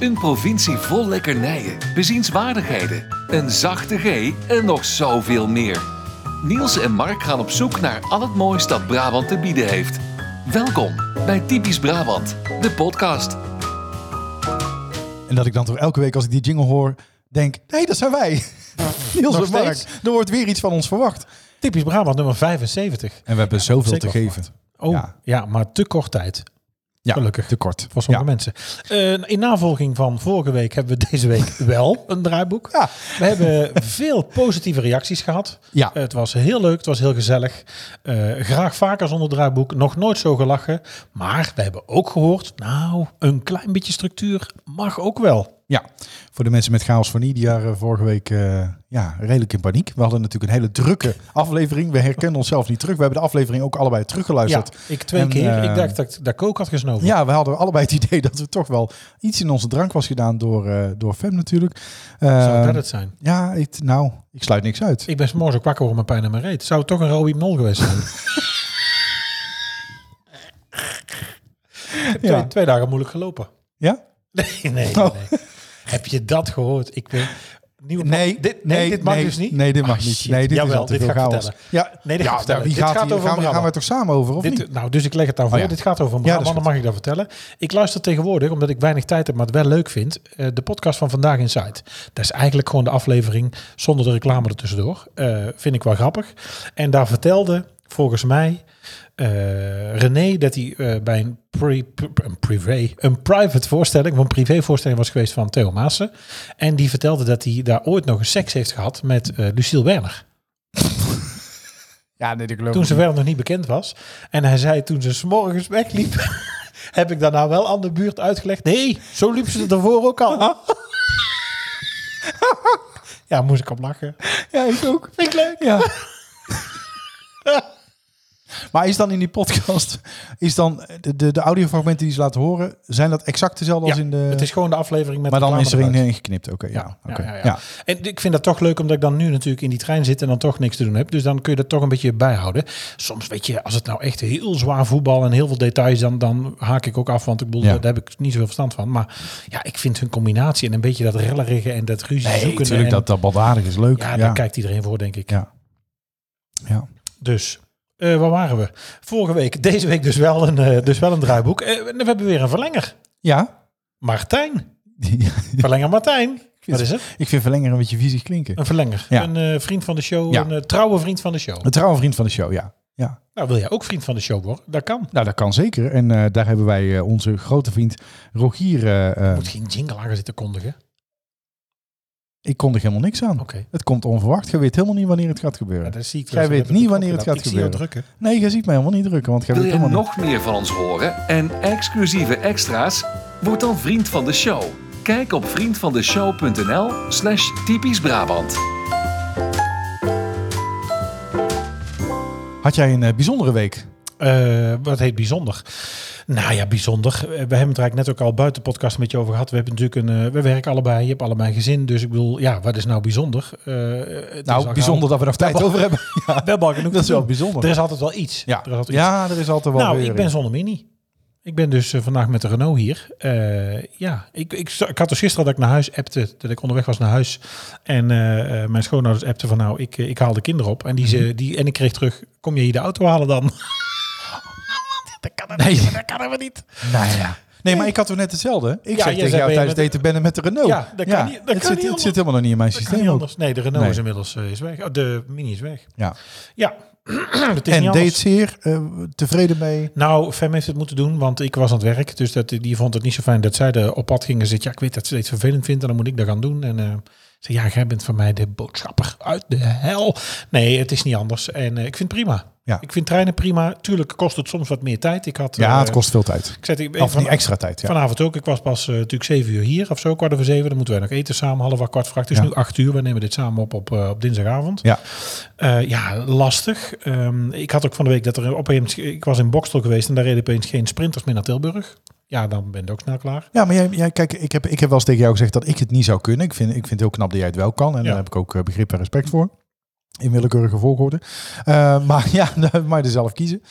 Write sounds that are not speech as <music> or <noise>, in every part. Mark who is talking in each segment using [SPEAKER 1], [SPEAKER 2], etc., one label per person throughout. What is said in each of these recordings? [SPEAKER 1] Een provincie vol lekkernijen, bezienswaardigheden, een zachte G en nog zoveel meer. Niels en Mark gaan op zoek naar al het moois dat Brabant te bieden heeft. Welkom bij Typisch Brabant, de podcast.
[SPEAKER 2] En dat ik dan toch elke week als ik die jingle hoor, denk, hé, hey, dat zijn
[SPEAKER 3] <laughs>
[SPEAKER 2] wij. Niels
[SPEAKER 3] Nog
[SPEAKER 2] en Mark,
[SPEAKER 3] steeds?
[SPEAKER 2] er wordt weer iets van ons verwacht.
[SPEAKER 3] Typisch Brabant, nummer 75.
[SPEAKER 2] En we hebben zoveel
[SPEAKER 3] zeker
[SPEAKER 2] te geven.
[SPEAKER 3] Oh,
[SPEAKER 2] Ja.
[SPEAKER 3] ja, maar te kort tijd
[SPEAKER 2] Ja,
[SPEAKER 3] Gelukkig.
[SPEAKER 2] te kort.
[SPEAKER 3] voor sommige
[SPEAKER 2] Ja.
[SPEAKER 3] mensen. Eh, in navolging van vorige week hebben we deze week <laughs> wel een draaiboek.
[SPEAKER 2] Ja.
[SPEAKER 3] We hebben veel positieve reacties gehad.
[SPEAKER 2] Ja.
[SPEAKER 3] Het was heel leuk, het was heel gezellig. Eh, graag vaker zonder draaiboek, nog nooit zo gelachen. Maar we hebben ook gehoord, nou, een klein beetje structuur mag ook wel.
[SPEAKER 2] Ja, voor de mensen met chaos van die waren vorige week eh, ja, redelijk in paniek. We hadden natuurlijk een hele drukke aflevering. We herkennen onszelf niet terug. We hebben de aflevering ook allebei
[SPEAKER 3] Ja,
[SPEAKER 2] teruggeluisterd.
[SPEAKER 3] ik twee
[SPEAKER 2] En,
[SPEAKER 3] keer.
[SPEAKER 2] eh,
[SPEAKER 3] ik dacht dat ik daar kook had gesnoven.
[SPEAKER 2] Ja, we hadden allebei het <laughs> idee dat er toch wel iets in onze drank was gedaan door, eh, door Fem natuurlijk.
[SPEAKER 3] Zou
[SPEAKER 2] Eh,
[SPEAKER 3] dat het zijn?
[SPEAKER 2] Ja, ik, nou, ik sluit niks uit.
[SPEAKER 3] Ik ben s'morgens ook wakker om mijn pijn aan mijn reet. Zou het toch een Robbie Mol
[SPEAKER 2] <laughs>
[SPEAKER 3] geweest zijn? Ik heb
[SPEAKER 2] Ja.
[SPEAKER 3] twee, twee dagen moeilijk gelopen.
[SPEAKER 2] Ja?
[SPEAKER 3] Nee, nee, nee.
[SPEAKER 2] Oh.
[SPEAKER 3] Heb je dat gehoord? Ik ben... Nieuwe
[SPEAKER 2] Nee,
[SPEAKER 3] dit, nee, dit mag
[SPEAKER 2] nee,
[SPEAKER 3] dus niet?
[SPEAKER 2] Nee, dit mag
[SPEAKER 3] Ah,
[SPEAKER 2] niet.
[SPEAKER 3] shit.
[SPEAKER 2] Nee, dit
[SPEAKER 3] Jawel,
[SPEAKER 2] is al te
[SPEAKER 3] dit
[SPEAKER 2] veel
[SPEAKER 3] ga ik
[SPEAKER 2] chaos.
[SPEAKER 3] vertellen.
[SPEAKER 2] Ja,
[SPEAKER 3] Nee, dit ga
[SPEAKER 2] ja
[SPEAKER 3] ik vertellen.
[SPEAKER 2] wie
[SPEAKER 3] Dit
[SPEAKER 2] gaat,
[SPEAKER 3] gaat
[SPEAKER 2] hier-
[SPEAKER 3] over
[SPEAKER 2] gaan, we,
[SPEAKER 3] Brabant.
[SPEAKER 2] gaan we toch samen over, of niet? Oh
[SPEAKER 3] Dit, nou, dus ik leg het aan voor.
[SPEAKER 2] ja.
[SPEAKER 3] Dit gaat over
[SPEAKER 2] Ja, dat is
[SPEAKER 3] Brabant, dan
[SPEAKER 2] goed.
[SPEAKER 3] mag ik dat vertellen. Ik luister tegenwoordig, omdat ik weinig tijd heb, maar het wel leuk vind, eh, de podcast van Vandaag Inside. Dat is eigenlijk gewoon de aflevering zonder de reclame ertussendoor. Eh vind ik wel grappig. En daar vertelde, volgens mij, eh, René dat hij eh, bij een, pri- pri- een, privé, een private voorstelling, of een privé voorstelling was geweest van Theo Maassen. En die vertelde dat hij daar ooit nog een seks heeft gehad met eh, Lucille Werner.
[SPEAKER 2] Ja, nee, ik geloof
[SPEAKER 3] Toen ze wel nog niet bekend was. En hij zei toen ze s'morgens wegliep. <laughs> heb ik daarna wel aan de buurt uitgelegd. Nee, zo liep ze ervoor ook <laughs> al. ja, moest ik op lachen.
[SPEAKER 2] Ja, ik ook. Vind ik leuk. Ja. <laughs> maar is dan in die podcast, is dan de, de, de audiofragmenten die ze laten horen, zijn dat exact dezelfde
[SPEAKER 3] Ja,
[SPEAKER 2] als in de...
[SPEAKER 3] het is gewoon de aflevering met
[SPEAKER 2] maar dan
[SPEAKER 3] reclame
[SPEAKER 2] is er een
[SPEAKER 3] eruit.
[SPEAKER 2] in geknipt, oké. ja,
[SPEAKER 3] Ja,
[SPEAKER 2] oké.
[SPEAKER 3] ja, ja.
[SPEAKER 2] ja.
[SPEAKER 3] En ik vind dat toch leuk, omdat ik dan nu natuurlijk in die trein zit en dan toch niks te doen heb. Dus dan kun je dat toch een beetje bijhouden. Soms weet je, als het nou echt heel zwaar voetbal en heel veel details, dan, dan haak ik ook af. Want ik bedoel,
[SPEAKER 2] Ja.
[SPEAKER 3] daar heb ik niet zoveel verstand van. Maar ja, ik vind hun combinatie en een beetje dat rellerige en dat ruzie
[SPEAKER 2] Nee,
[SPEAKER 3] zoeken.
[SPEAKER 2] natuurlijk,
[SPEAKER 3] en-
[SPEAKER 2] dat, dat baldadig is leuk.
[SPEAKER 3] ja,
[SPEAKER 2] Ja,
[SPEAKER 3] daar kijkt iedereen voor, denk ik.
[SPEAKER 2] Ja. Ja.
[SPEAKER 3] Dus, eh, waar waren we? Vorige week, deze week dus wel een, eh, dus wel een draaiboek. Eh, we hebben weer een verlenger.
[SPEAKER 2] Ja? <laughs>
[SPEAKER 3] Martijn. Verlenger Martijn. Wat is het?
[SPEAKER 2] ik vind verlengeren een beetje viezig klinken.
[SPEAKER 3] Een verlenger.
[SPEAKER 2] Ja.
[SPEAKER 3] Een eh, vriend van de show.
[SPEAKER 2] Ja.
[SPEAKER 3] Een eh, trouwe vriend van de show.
[SPEAKER 2] Een trouwe vriend van de show, ja. Ja.
[SPEAKER 3] Nou, wil jij ook vriend van de show worden? Dat kan.
[SPEAKER 2] Nou, dat kan zeker. En eh, daar hebben wij eh, onze grote vriend Rogier. eh, eh,
[SPEAKER 3] Moet geen jingle aan gaan zitten kondigen.
[SPEAKER 2] ik kondig helemaal niks aan.
[SPEAKER 3] Oké.
[SPEAKER 2] Het komt onverwacht. Je weet helemaal niet wanneer het gaat
[SPEAKER 3] Ja,
[SPEAKER 2] gebeuren.
[SPEAKER 3] dat zie ik
[SPEAKER 2] Jij
[SPEAKER 3] wel.
[SPEAKER 2] weet
[SPEAKER 3] Dat heb
[SPEAKER 2] niet
[SPEAKER 3] ik
[SPEAKER 2] wanneer
[SPEAKER 3] ook
[SPEAKER 2] het
[SPEAKER 3] gedaan.
[SPEAKER 2] gaat
[SPEAKER 3] ik zie jou
[SPEAKER 2] gebeuren.
[SPEAKER 3] drukken.
[SPEAKER 2] Nee, je ziet mij helemaal niet drukken, want jij
[SPEAKER 1] Wil
[SPEAKER 2] weet
[SPEAKER 1] je
[SPEAKER 2] helemaal
[SPEAKER 1] nog meer van ons horen en exclusieve extra's? Word dan vriend van de show. Kijk op vriendvandeshow.nl slash typisch Brabant.
[SPEAKER 2] niet. Had jij een eh, bijzondere week?
[SPEAKER 3] Eh, wat heet bijzonder? Nou ja, bijzonder. Eh, We hebben het er eigenlijk net ook al buiten de podcast met je over gehad. We hebben natuurlijk een. eh, we werken allebei. Je hebt allebei een gezin. Dus ik bedoel, ja, wat is nou bijzonder? Eh, het is al
[SPEAKER 2] Nou, bijzonder dat we daar tijd over
[SPEAKER 3] <laughs>
[SPEAKER 2] hebben.
[SPEAKER 3] gauw- We hebben al genoeg.
[SPEAKER 2] Dat is
[SPEAKER 3] te
[SPEAKER 2] wel
[SPEAKER 3] doen.
[SPEAKER 2] bijzonder.
[SPEAKER 3] Er is altijd wel iets.
[SPEAKER 2] Ja,
[SPEAKER 3] Er is altijd iets.
[SPEAKER 2] ja er is altijd wel
[SPEAKER 3] nou,
[SPEAKER 2] weer
[SPEAKER 3] ik ben
[SPEAKER 2] iets.
[SPEAKER 3] zonder mini. Ik ben dus eh, vandaag met de Renault hier. Eh, ja, ik, ik, sta- ik had dus gisteren dat ik naar huis appte, dat ik onderweg was naar huis. En eh, eh, mijn schoonouders appten van nou, ik, eh, ik haal de kinderen op. En, die,
[SPEAKER 2] Mhm.
[SPEAKER 3] ze, die, en ik kreeg terug, kom je hier de auto halen
[SPEAKER 2] <laughs>
[SPEAKER 3] dan? dat kan helemaal
[SPEAKER 2] Nee.
[SPEAKER 3] niet, dat kan helemaal niet.
[SPEAKER 2] Nou ja. Nee, maar ik had toen net hetzelfde. Ik
[SPEAKER 3] Ja,
[SPEAKER 2] zeg
[SPEAKER 3] jij
[SPEAKER 2] tegen
[SPEAKER 3] zei,
[SPEAKER 2] jou
[SPEAKER 3] ben je
[SPEAKER 2] tijdens
[SPEAKER 3] met-
[SPEAKER 2] daten ben ik met de Renault.
[SPEAKER 3] Ja, dat kan niet- dat
[SPEAKER 2] het,
[SPEAKER 3] kan
[SPEAKER 2] zit,
[SPEAKER 3] niet
[SPEAKER 2] het
[SPEAKER 3] anders.
[SPEAKER 2] zit helemaal nog niet in mijn
[SPEAKER 3] Dat kan
[SPEAKER 2] systeem.
[SPEAKER 3] niet
[SPEAKER 2] ook.
[SPEAKER 3] anders. Nee, de Renault
[SPEAKER 2] Nee.
[SPEAKER 3] is inmiddels eh, is weg. Oh, de mini is weg.
[SPEAKER 2] Ja.
[SPEAKER 3] Ja, <clears throat> het is
[SPEAKER 2] En
[SPEAKER 3] niet
[SPEAKER 2] deed
[SPEAKER 3] anders.
[SPEAKER 2] het zeer eh, tevreden mee.
[SPEAKER 3] Nou, Fem heeft het moeten doen, want ik was aan het werk. Dus dat, die vond het niet zo fijn dat zij er op pad gingen zitten. Ja, ik weet dat ze dit vervelend vindt en dan moet ik dat gaan doen. En eh, ze ja, jij bent voor mij de boodschapper uit de hel. Nee, het is niet anders. En eh, ik vind het prima.
[SPEAKER 2] Ja.
[SPEAKER 3] Ik vind treinen prima. Tuurlijk kost het soms wat meer tijd. Ik had,
[SPEAKER 2] Ja,
[SPEAKER 3] eh,
[SPEAKER 2] het kost veel tijd.
[SPEAKER 3] Ik zet, ik,
[SPEAKER 2] Of
[SPEAKER 3] van-
[SPEAKER 2] niet extra tijd, ja.
[SPEAKER 3] Vanavond ook. Ik was pas eh, natuurlijk zeven uur hier of zo, kwart over zeven. Dan moeten wij nog eten samen, half acht, kwart voor acht. Het is
[SPEAKER 2] Ja.
[SPEAKER 3] nu acht uur. We nemen dit samen op op, eh, op dinsdagavond.
[SPEAKER 2] Ja.
[SPEAKER 3] Eh, ja, lastig. Ehm, ik had ook van de week dat er opeens... Ik was in Bokstel geweest en daar reden opeens geen sprinters meer naar Tilburg. Ja, dan ben je ook snel klaar.
[SPEAKER 2] Ja, maar jij, jij, kijk, ik heb, ik heb wel eens tegen jou gezegd dat ik het niet zou kunnen. Ik vind, ik vind het heel knap dat jij het wel kan. En daar
[SPEAKER 3] Ja.
[SPEAKER 2] heb ik ook eh, begrip en <laughs> respect voor. In willekeurige volgorde. Eh, maar ja, dan moet je er zelf kiezen.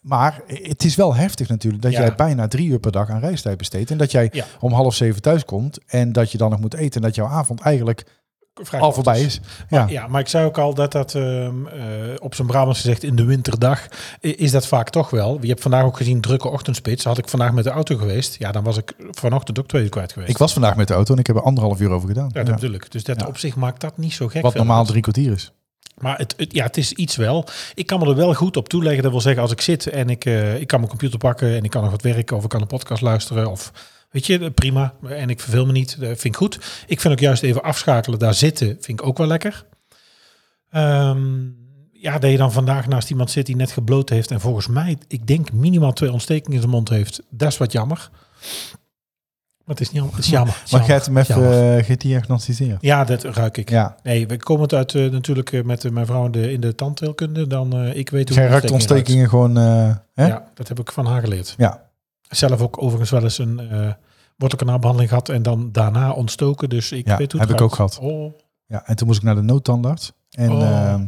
[SPEAKER 2] Maar het is wel heftig natuurlijk dat
[SPEAKER 3] Ja.
[SPEAKER 2] jij bijna drie uur per dag aan reistijd besteedt. En dat jij
[SPEAKER 3] Ja.
[SPEAKER 2] om half zeven thuis komt en dat je dan nog moet eten. En dat jouw avond eigenlijk
[SPEAKER 3] Vrij
[SPEAKER 2] al
[SPEAKER 3] kort
[SPEAKER 2] voorbij is. Ja.
[SPEAKER 3] dus. Ja, maar ik zei ook al dat dat ehm, eh, op zijn Brabants gezegd in de winterdag i- is dat vaak toch wel. Je hebt vandaag ook gezien drukke ochtendspits. Had ik vandaag met de auto geweest, ja, dan was ik vanochtend ook twee uur kwijt geweest.
[SPEAKER 2] Ik was vandaag met de auto en ik heb er anderhalf uur over gedaan.
[SPEAKER 3] ja, dat
[SPEAKER 2] Ja.
[SPEAKER 3] bedoel ik. Dus dat
[SPEAKER 2] Ja.
[SPEAKER 3] op zich maakt dat niet zo gek.
[SPEAKER 2] Wat
[SPEAKER 3] veel
[SPEAKER 2] normaal
[SPEAKER 3] uit.
[SPEAKER 2] drie kwartier is.
[SPEAKER 3] Maar het, het- ja, het is iets wel. Ik kan me er wel goed op toeleggen. Dat wil zeggen, als ik zit en ik, eh, ik kan mijn computer pakken en ik kan nog wat werken of ik kan een podcast luisteren of weet je, eh, prima. En ik verveel me niet. Dat vind ik goed. Ik vind ook juist even afschakelen, daar zitten, vind ik ook wel lekker. Ehm, ja, dat je dan vandaag naast iemand zit die net gebloot heeft en volgens mij, ik denk minimaal twee ontstekingen in zijn mond heeft. Dat is wat jammer. Maar het is niet jammer. Het is jammer. Het is
[SPEAKER 2] Maar jij hebt
[SPEAKER 3] jammer.
[SPEAKER 2] hem even
[SPEAKER 3] Jammer.
[SPEAKER 2] eh, gediagnosticeerd.
[SPEAKER 3] Ja, dat ruik ik.
[SPEAKER 2] Ja.
[SPEAKER 3] Nee, we komen het uit eh, natuurlijk eh, met eh, mijn vrouw in de, in de tandheelkunde. Dan eh, ik weet hoe
[SPEAKER 2] Jij
[SPEAKER 3] een
[SPEAKER 2] ruikt
[SPEAKER 3] ontsteking
[SPEAKER 2] ontstekingen gewoon... eh, hè?
[SPEAKER 3] ruikt.
[SPEAKER 2] Ja.
[SPEAKER 3] Ja, dat heb ik van haar geleerd. Zelf ook overigens wel eens een eh wortelkanaalbehandeling gehad en dan daarna ontstoken. Dus ik
[SPEAKER 2] Ja,
[SPEAKER 3] weet hoe het
[SPEAKER 2] heb ik
[SPEAKER 3] ruikt.
[SPEAKER 2] ook
[SPEAKER 3] Oh,
[SPEAKER 2] Ja, en toen moest ik naar de noodtandarts. En
[SPEAKER 3] Oh.
[SPEAKER 2] eh,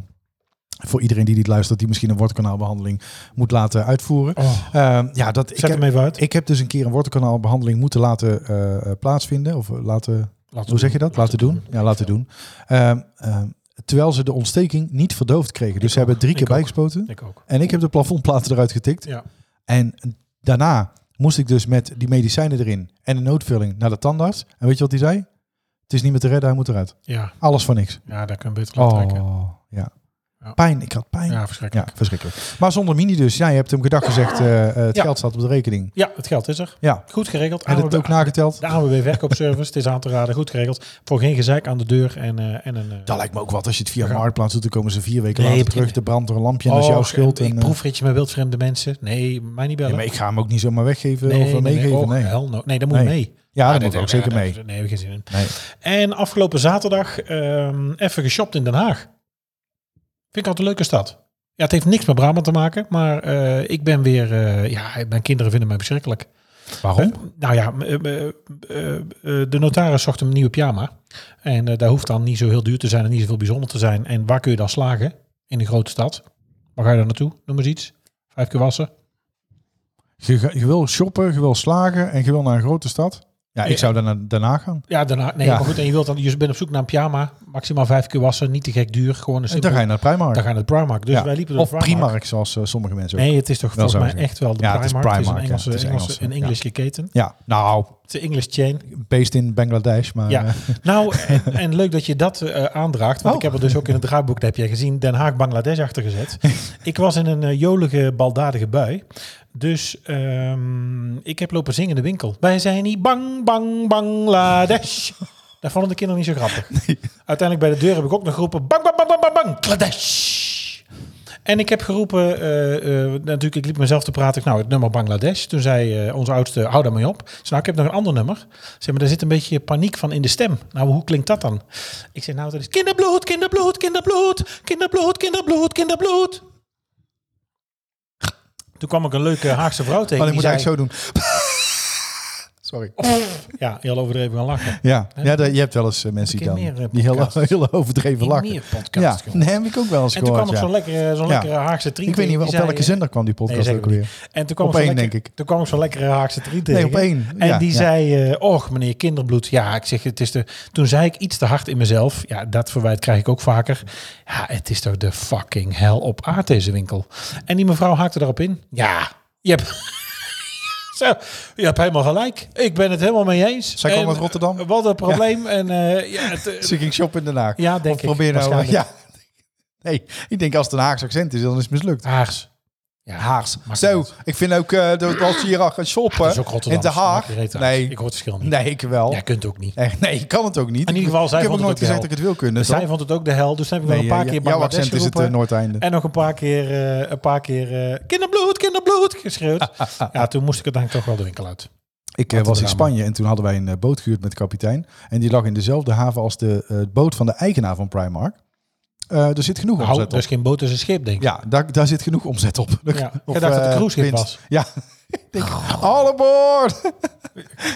[SPEAKER 2] voor iedereen die dit luistert, die misschien een wortelkanaalbehandeling moet laten uitvoeren.
[SPEAKER 3] oh.
[SPEAKER 2] Eh, ja, dat, ik,
[SPEAKER 3] Zet
[SPEAKER 2] heb,
[SPEAKER 3] hem even uit.
[SPEAKER 2] ik heb dus een keer een wortelkanaalbehandeling moeten laten eh, eh, plaatsvinden. Of eh, laten
[SPEAKER 3] Laten
[SPEAKER 2] Hoe zeg je dat? Laten doen? Ja, laten
[SPEAKER 3] Ja.
[SPEAKER 2] doen. Ehm, ehm, terwijl ze de ontsteking niet verdoofd kregen. Dus ze
[SPEAKER 3] ook.
[SPEAKER 2] hebben drie keer
[SPEAKER 3] Ik ook.
[SPEAKER 2] bijgespoten.
[SPEAKER 3] Ik ook.
[SPEAKER 2] En ik heb de plafondplaten eruit getikt.
[SPEAKER 3] Ja.
[SPEAKER 2] En daarna moest ik dus met die medicijnen erin en een noodvulling naar de tandarts. En weet je wat die zei? Het is niet meer te redden, hij moet eruit.
[SPEAKER 3] Ja,
[SPEAKER 2] Alles van niks.
[SPEAKER 3] ja daar kun je beter laten trekken.
[SPEAKER 2] Oh, ja.
[SPEAKER 3] Ja.
[SPEAKER 2] Pijn, ik had pijn. Ja.
[SPEAKER 3] Ja, verschrikkelijk.
[SPEAKER 2] verschrikkelijk. Maar zonder mini dus. Ja, je hebt hem gedag gezegd, eh, eh, het
[SPEAKER 3] Ja.
[SPEAKER 2] geld staat op de rekening.
[SPEAKER 3] Ja. het geld is er.
[SPEAKER 2] Ja.
[SPEAKER 3] Goed geregeld.
[SPEAKER 2] En het
[SPEAKER 3] AWB
[SPEAKER 2] ook nageteld.
[SPEAKER 3] De AWB verkoopservice, het is aan te raden. Goed geregeld. Voor geen gezeik aan de deur en, eh, en een... eh,
[SPEAKER 2] Dat lijkt me ook wat. Als je het via
[SPEAKER 3] Ja.
[SPEAKER 2] Marktplaats doet, dan komen ze vier weken
[SPEAKER 3] Nee,
[SPEAKER 2] later
[SPEAKER 3] begin-
[SPEAKER 2] terug. De brandt er een lampje en dat is
[SPEAKER 3] Oh,
[SPEAKER 2] jouw schuld.
[SPEAKER 3] Ik,
[SPEAKER 2] en,
[SPEAKER 3] ik
[SPEAKER 2] eh,
[SPEAKER 3] proefritje met wildvreemde mensen. Nee, mij niet
[SPEAKER 2] Ja,
[SPEAKER 3] bellen.
[SPEAKER 2] maar ik ga hem ook niet zomaar weggeven of eh, meegeven.
[SPEAKER 3] Nee,
[SPEAKER 2] Nee,
[SPEAKER 3] oh, hell no. nee dat moet
[SPEAKER 2] Nee.
[SPEAKER 3] mee.
[SPEAKER 2] Ja,
[SPEAKER 3] Ah,
[SPEAKER 2] dat
[SPEAKER 3] nee,
[SPEAKER 2] moet ook
[SPEAKER 3] nee,
[SPEAKER 2] zeker
[SPEAKER 3] nee,
[SPEAKER 2] mee.
[SPEAKER 3] Nee, daar heb ik geen zin in.
[SPEAKER 2] Nee.
[SPEAKER 3] En afgelopen zaterdag ehm, even geshopt in Den Haag. Vind ik altijd een leuke stad. Ja, het heeft niks met Brabant te maken, maar eh, ik ben weer... eh, ja, mijn kinderen vinden mij verschrikkelijk.
[SPEAKER 2] Waarom?
[SPEAKER 3] Eh, nou ja, m- eh, eh, eh, eh, de notaris zocht hem een nieuwe pyjama. En eh, daar hoeft dan niet zo heel duur te zijn en niet zoveel bijzonder te zijn. En waar kun je dan slagen? In de grote stad. Waar ga je dan naartoe? Noem eens iets. Vijf keer wassen.
[SPEAKER 2] Je, ga- je wil shoppen, je wil slagen en je wil naar een grote stad. Ja, ik
[SPEAKER 3] Ja.
[SPEAKER 2] zou dan naar daarna gaan.
[SPEAKER 3] Ja, daarna. Nee,
[SPEAKER 2] Ja.
[SPEAKER 3] maar goed. En je, wilt dan, je bent op zoek naar een pyjama. Maximaal vijf keer wassen. Niet te gek duur. Gewoon een
[SPEAKER 2] En dan
[SPEAKER 3] simpel.
[SPEAKER 2] ga je naar de Primark.
[SPEAKER 3] Dan ga je naar de Primark. Dus
[SPEAKER 2] Ja.
[SPEAKER 3] wij liepen door
[SPEAKER 2] of
[SPEAKER 3] de Primark.
[SPEAKER 2] Primark, zoals eh, sommige mensen ook.
[SPEAKER 3] Nee, het is toch
[SPEAKER 2] Wel
[SPEAKER 3] volgens
[SPEAKER 2] zo
[SPEAKER 3] mij echt wel de
[SPEAKER 2] Ja, het is
[SPEAKER 3] Primark. Het is een
[SPEAKER 2] Primark, ja.
[SPEAKER 3] Engelse,
[SPEAKER 2] Het is
[SPEAKER 3] Engelse-
[SPEAKER 2] Engels,
[SPEAKER 3] een
[SPEAKER 2] ja.
[SPEAKER 3] Engelse keten.
[SPEAKER 2] Ja, nou,
[SPEAKER 3] Het is een English chain.
[SPEAKER 2] based in Bangladesh. Maar
[SPEAKER 3] Ja.
[SPEAKER 2] eh,
[SPEAKER 3] <laughs> Nou, en, en leuk dat je dat eh, aandraagt. Want
[SPEAKER 2] Oh.
[SPEAKER 3] ik heb er dus ook in het draaiboek, dat heb jij gezien, Den Haag Bangladesh achter
[SPEAKER 2] <laughs>
[SPEAKER 3] gezet. ik was in een eh, jolige, baldadige bui. Dus ehm, ik heb lopen zingen in de winkel. Wij zijn niet bang, bang,
[SPEAKER 2] <laughs>
[SPEAKER 3] Bangladesh. Daar vonden de kinderen niet zo grappig. Uiteindelijk bij de deur heb ik ook nog geroepen... Bang, bang, bang, bang, bang, bang, Bangladesh. En ik heb geroepen, eh, eh, natuurlijk, ik liep mezelf te praten. Ik, Nou, het nummer Bangladesh. Toen zei eh, onze oudste, hou daarmee op. Ik zei, nou, ik heb nog een ander nummer. Ik Zeg, maar daar zit een beetje paniek van in de stem. Nou, hoe klinkt dat dan? Ik zei, nou, dat is kinderbloed, kinderbloed, kinderbloed, kinderbloed, kinderbloed, kinderbloed. Toen kwam ik een leuke Haagse vrouw tegen.
[SPEAKER 2] maar ik
[SPEAKER 3] die
[SPEAKER 2] Oh, moet
[SPEAKER 3] zei,
[SPEAKER 2] eigenlijk zo doen. <laughs> Sorry.
[SPEAKER 3] Ja, heel overdreven gaan lachen.
[SPEAKER 2] Ja, ja dat- je hebt wel eens eh, mensen die
[SPEAKER 3] Een
[SPEAKER 2] dan
[SPEAKER 3] keer meer, eh,
[SPEAKER 2] die heel,
[SPEAKER 3] podcast.
[SPEAKER 2] heel overdreven
[SPEAKER 3] In
[SPEAKER 2] lachen.
[SPEAKER 3] meer
[SPEAKER 2] Ja,
[SPEAKER 3] podcast.
[SPEAKER 2] nee, heb ik ook wel eens
[SPEAKER 3] En toen kwam
[SPEAKER 2] gehoord.
[SPEAKER 3] ik zo'n
[SPEAKER 2] ja.
[SPEAKER 3] lekkere, zo'n
[SPEAKER 2] Ja.
[SPEAKER 3] lekkere Haagse trien
[SPEAKER 2] Ik weet niet
[SPEAKER 3] tegen,
[SPEAKER 2] op
[SPEAKER 3] die zei,
[SPEAKER 2] welke
[SPEAKER 3] eh,
[SPEAKER 2] zender kwam die podcast
[SPEAKER 3] Nee,
[SPEAKER 2] ook
[SPEAKER 3] zeggen we
[SPEAKER 2] weer.
[SPEAKER 3] En toen kwam
[SPEAKER 2] Op
[SPEAKER 3] zo'n
[SPEAKER 2] één,
[SPEAKER 3] lekker-
[SPEAKER 2] denk ik.
[SPEAKER 3] Toen kwam zo'n lekkere Haagse triet
[SPEAKER 2] Nee,
[SPEAKER 3] tegen.
[SPEAKER 2] op één.
[SPEAKER 3] En
[SPEAKER 2] Ja,
[SPEAKER 3] die
[SPEAKER 2] ja.
[SPEAKER 3] zei, eh, och meneer Kinderbloed. Ja, ik zeg, het is de... Toen zei ik iets te hard in mezelf. Ja, dat verwijt krijg ik ook vaker. Ja, het is toch de fucking hel op aard deze winkel. En die mevrouw haakte daarop in. Ja, je hebt... <laughs> Zo, je hebt helemaal gelijk. Ik ben het helemaal mee eens.
[SPEAKER 2] Zij kwam
[SPEAKER 3] En,
[SPEAKER 2] uit Rotterdam.
[SPEAKER 3] eh, Wat een probleem. En eh, ja,
[SPEAKER 2] <laughs>
[SPEAKER 3] het,
[SPEAKER 2] Ze
[SPEAKER 3] eh,
[SPEAKER 2] Dus ging shoppen in Den Haag.
[SPEAKER 3] ja, denk
[SPEAKER 2] of
[SPEAKER 3] ik.
[SPEAKER 2] probeer nou...
[SPEAKER 3] waarschijnlijk.
[SPEAKER 2] Ja. Nee, ik denk als het een Haags accent is, dan is het mislukt.
[SPEAKER 3] Haags. Ja,
[SPEAKER 2] Haags.
[SPEAKER 3] maakt
[SPEAKER 2] Zo,
[SPEAKER 3] niet uit.
[SPEAKER 2] ik vind ook eh, dat als je hier al gaat shoppen
[SPEAKER 3] Dat is ook Rotterdam. dus
[SPEAKER 2] in Den Haag.
[SPEAKER 3] Nee.
[SPEAKER 2] Nee,
[SPEAKER 3] Ik hoor het verschil niet.
[SPEAKER 2] nee, ik wel.
[SPEAKER 3] Jij kunt ook niet.
[SPEAKER 2] Echt, nee, ik kan het ook niet.
[SPEAKER 3] Oh. In ieder geval, zij
[SPEAKER 2] ik heb ook
[SPEAKER 3] vond
[SPEAKER 2] nooit
[SPEAKER 3] het ook
[SPEAKER 2] gezegd dat ik het wil kunnen.
[SPEAKER 3] Zij
[SPEAKER 2] toch?
[SPEAKER 3] vond het ook de hel. Dus toen heb ik
[SPEAKER 2] Nee,
[SPEAKER 3] nog een paar
[SPEAKER 2] eh,
[SPEAKER 3] keer
[SPEAKER 2] jouw
[SPEAKER 3] Bangladesh
[SPEAKER 2] accent is het
[SPEAKER 3] geroepen.
[SPEAKER 2] eh, Noordeinde.
[SPEAKER 3] en nog een paar keer, eh, een paar keer eh, kinderbloed, kinderbloed
[SPEAKER 2] <laughs>
[SPEAKER 3] geschreeuwd. ja, toen moest ik het eigenlijk toch wel de winkel uit.
[SPEAKER 2] Ik eh,
[SPEAKER 3] Wat een
[SPEAKER 2] was in
[SPEAKER 3] drama.
[SPEAKER 2] Spanje en toen hadden wij een eh, boot gehuurd met de kapitein. En die lag in dezelfde haven als de eh, boot van de eigenaar van Primark. Eh, er zit genoeg
[SPEAKER 3] Nou,
[SPEAKER 2] omzet
[SPEAKER 3] dat
[SPEAKER 2] op.
[SPEAKER 3] is geen boot, dat is een schip, denk ik.
[SPEAKER 2] Ja, daar, daar zit genoeg omzet <laughs> op.
[SPEAKER 3] Ja. Ik dacht dat het een
[SPEAKER 2] eh,
[SPEAKER 3] cruiseschip
[SPEAKER 2] winst.
[SPEAKER 3] was.
[SPEAKER 2] Ja. <laughs> Ik denk, all aboard!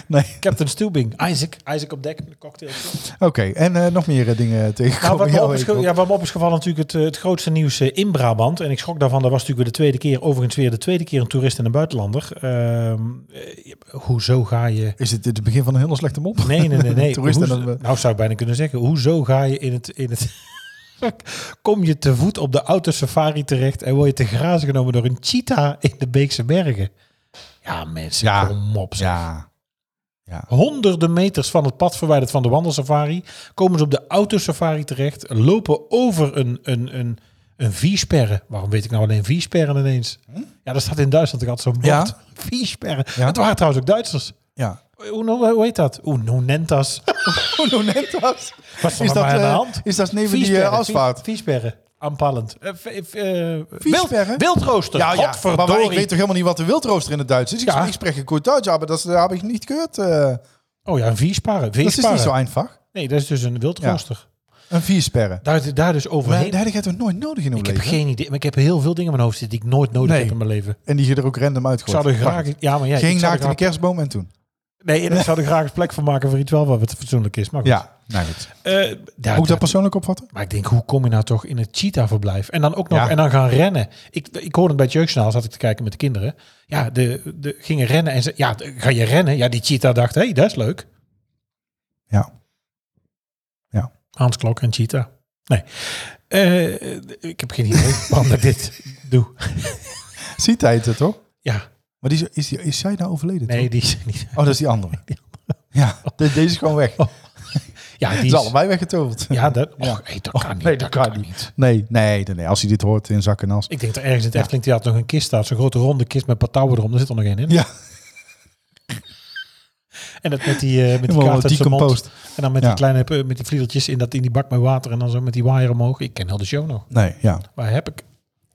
[SPEAKER 2] nee,
[SPEAKER 3] Captain Stubing, Isaac. Isaac op dek, een
[SPEAKER 2] <laughs>
[SPEAKER 3] cocktail.
[SPEAKER 2] oké. En eh, nog meer eh, dingen
[SPEAKER 3] Nou,
[SPEAKER 2] tegenkomen.
[SPEAKER 3] wat, me
[SPEAKER 2] in jouw
[SPEAKER 3] op is ge-
[SPEAKER 2] week,
[SPEAKER 3] ja, wat me op is gevallen natuurlijk het, eh, het grootste nieuws eh, in Brabant. En ik schrok daarvan, dat was natuurlijk weer de tweede keer. Overigens weer de tweede keer een toerist en een buitenlander. Ehm, eh, hoezo ga je...
[SPEAKER 2] Is dit het begin van een hele slechte mop?
[SPEAKER 3] Nee, nee, nee.
[SPEAKER 2] <laughs>
[SPEAKER 3] nee.
[SPEAKER 2] Toeristen
[SPEAKER 3] Hoezo-
[SPEAKER 2] en dat we-
[SPEAKER 3] nou zou ik bijna kunnen zeggen, hoezo ga je in het... In het <laughs> Kom je te voet op de autosafari terecht en word je te grazen genomen door een cheetah in de Beekse Bergen? Ja, mensen,
[SPEAKER 2] Ja.
[SPEAKER 3] kom op. zeg.
[SPEAKER 2] Ja. Ja.
[SPEAKER 3] Honderden meters van het pad verwijderd van de wandelsafari komen ze op de autosafari terecht, lopen over een, een, een, een viersperre. Waarom weet ik nou alleen viersperren ineens? Ja, dat staat in Duitsland. Ik had zo'n bord.
[SPEAKER 2] Hm? Ja.
[SPEAKER 3] Viersperren.
[SPEAKER 2] Ja.
[SPEAKER 3] Het waren trouwens ook Duitsers.
[SPEAKER 2] Ja. <laughs> Oh,
[SPEAKER 3] Hoe, hoe, hoe heet dat? Hoe, hoe nent dat?
[SPEAKER 2] Ononentas.
[SPEAKER 3] Wat is dat aan de
[SPEAKER 2] eh,
[SPEAKER 3] hand?
[SPEAKER 2] Is dat neven die
[SPEAKER 3] Viesperre,
[SPEAKER 2] eh, asfalt?
[SPEAKER 3] vie- Viesperre, aanpallend. Eh, v- v- eh,
[SPEAKER 2] Viesperre?
[SPEAKER 3] wild- Wildrooster, ja,
[SPEAKER 2] maar, maar ik weet
[SPEAKER 3] godverdorie.
[SPEAKER 2] toch helemaal niet wat de wildrooster in het Duits is? Ik,
[SPEAKER 3] Ja.
[SPEAKER 2] ik spreek een goed Duits, maar dat heb ik niet gehoord. eh.
[SPEAKER 3] Oh ja, een viersparre.
[SPEAKER 2] dat is niet zo
[SPEAKER 3] viersparre.
[SPEAKER 2] einfach.
[SPEAKER 3] Nee, dat is dus een wildrooster.
[SPEAKER 2] Een viersperre.
[SPEAKER 3] Daar, daar dus
[SPEAKER 2] Maar
[SPEAKER 3] overheen.
[SPEAKER 2] daar heb je toch nooit nodig in uw
[SPEAKER 3] Ik heb
[SPEAKER 2] leven?
[SPEAKER 3] geen idee, maar ik heb heel veel dingen in mijn hoofd zitten die ik nooit nodig
[SPEAKER 2] Nee.
[SPEAKER 3] heb in mijn leven.
[SPEAKER 2] En die je er ook random
[SPEAKER 3] Ik
[SPEAKER 2] uitgooit.
[SPEAKER 3] zou er graag, ja, maar ja,
[SPEAKER 2] Geen
[SPEAKER 3] ik zou er
[SPEAKER 2] naakt in de
[SPEAKER 3] graag,
[SPEAKER 2] kerstboom en toen.
[SPEAKER 3] nee, en ik zou er graag eens plek van maken voor iets wel wat fatsoenlijk is. Maar goed.
[SPEAKER 2] Ja, nou goed.
[SPEAKER 3] Eh, daar-
[SPEAKER 2] Moet ik
[SPEAKER 3] daar-
[SPEAKER 2] dat persoonlijk opvatten?
[SPEAKER 3] maar ik denk, hoe kom je nou toch in het cheetah-verblijf? En dan ook nog,
[SPEAKER 2] Ja.
[SPEAKER 3] en dan gaan rennen. Ik, ik hoorde het bij het jeugdjournaal, zat ik te kijken met de kinderen. Ja, de, de gingen rennen en ze, ja, de- ga je rennen? Ja, die cheetah dacht, hé, hey, dat is leuk.
[SPEAKER 2] Ja.
[SPEAKER 3] Hans Klok en cheetah. Nee, Eh, ik heb geen
[SPEAKER 2] <laughs>
[SPEAKER 3] idee waarom ik dit doe.
[SPEAKER 2] Ziet hij het er toch?
[SPEAKER 3] Ja,
[SPEAKER 2] Maar die, is- is, die, is zij nou overleden?
[SPEAKER 3] nee,
[SPEAKER 2] toch?
[SPEAKER 3] die is niet.
[SPEAKER 2] Oh, dat is die
[SPEAKER 3] <laughs>
[SPEAKER 2] andere. Ja, de- deze is gewoon weg.
[SPEAKER 3] Ja, <laughs> die
[SPEAKER 2] Die is
[SPEAKER 3] is,
[SPEAKER 2] allebei weggetoverd.
[SPEAKER 3] ja, dat,
[SPEAKER 2] Ja. Oh,
[SPEAKER 3] och, hey, dat kan niet.
[SPEAKER 2] nee, dat kan niet. Nee, nee, nee, nee. Als hij dit hoort in zak en as.
[SPEAKER 3] Ik denk dat ergens in het Efteling Theater nog een kist staat. Zo'n grote ronde kist met patouwen erom. Daar zit er nog één in.
[SPEAKER 2] Ja,
[SPEAKER 3] En dat met die, eh, met die
[SPEAKER 2] Helemaal
[SPEAKER 3] kaart uit zijn mond.
[SPEAKER 2] decomposed.
[SPEAKER 3] En dan met
[SPEAKER 2] Ja.
[SPEAKER 3] die kleine eh, met die vliedeltjes in, dat, in die bak met water. En dan zo met die waaier omhoog. Ik ken heel de show nog.
[SPEAKER 2] nee, ja.
[SPEAKER 3] Waar heb ik,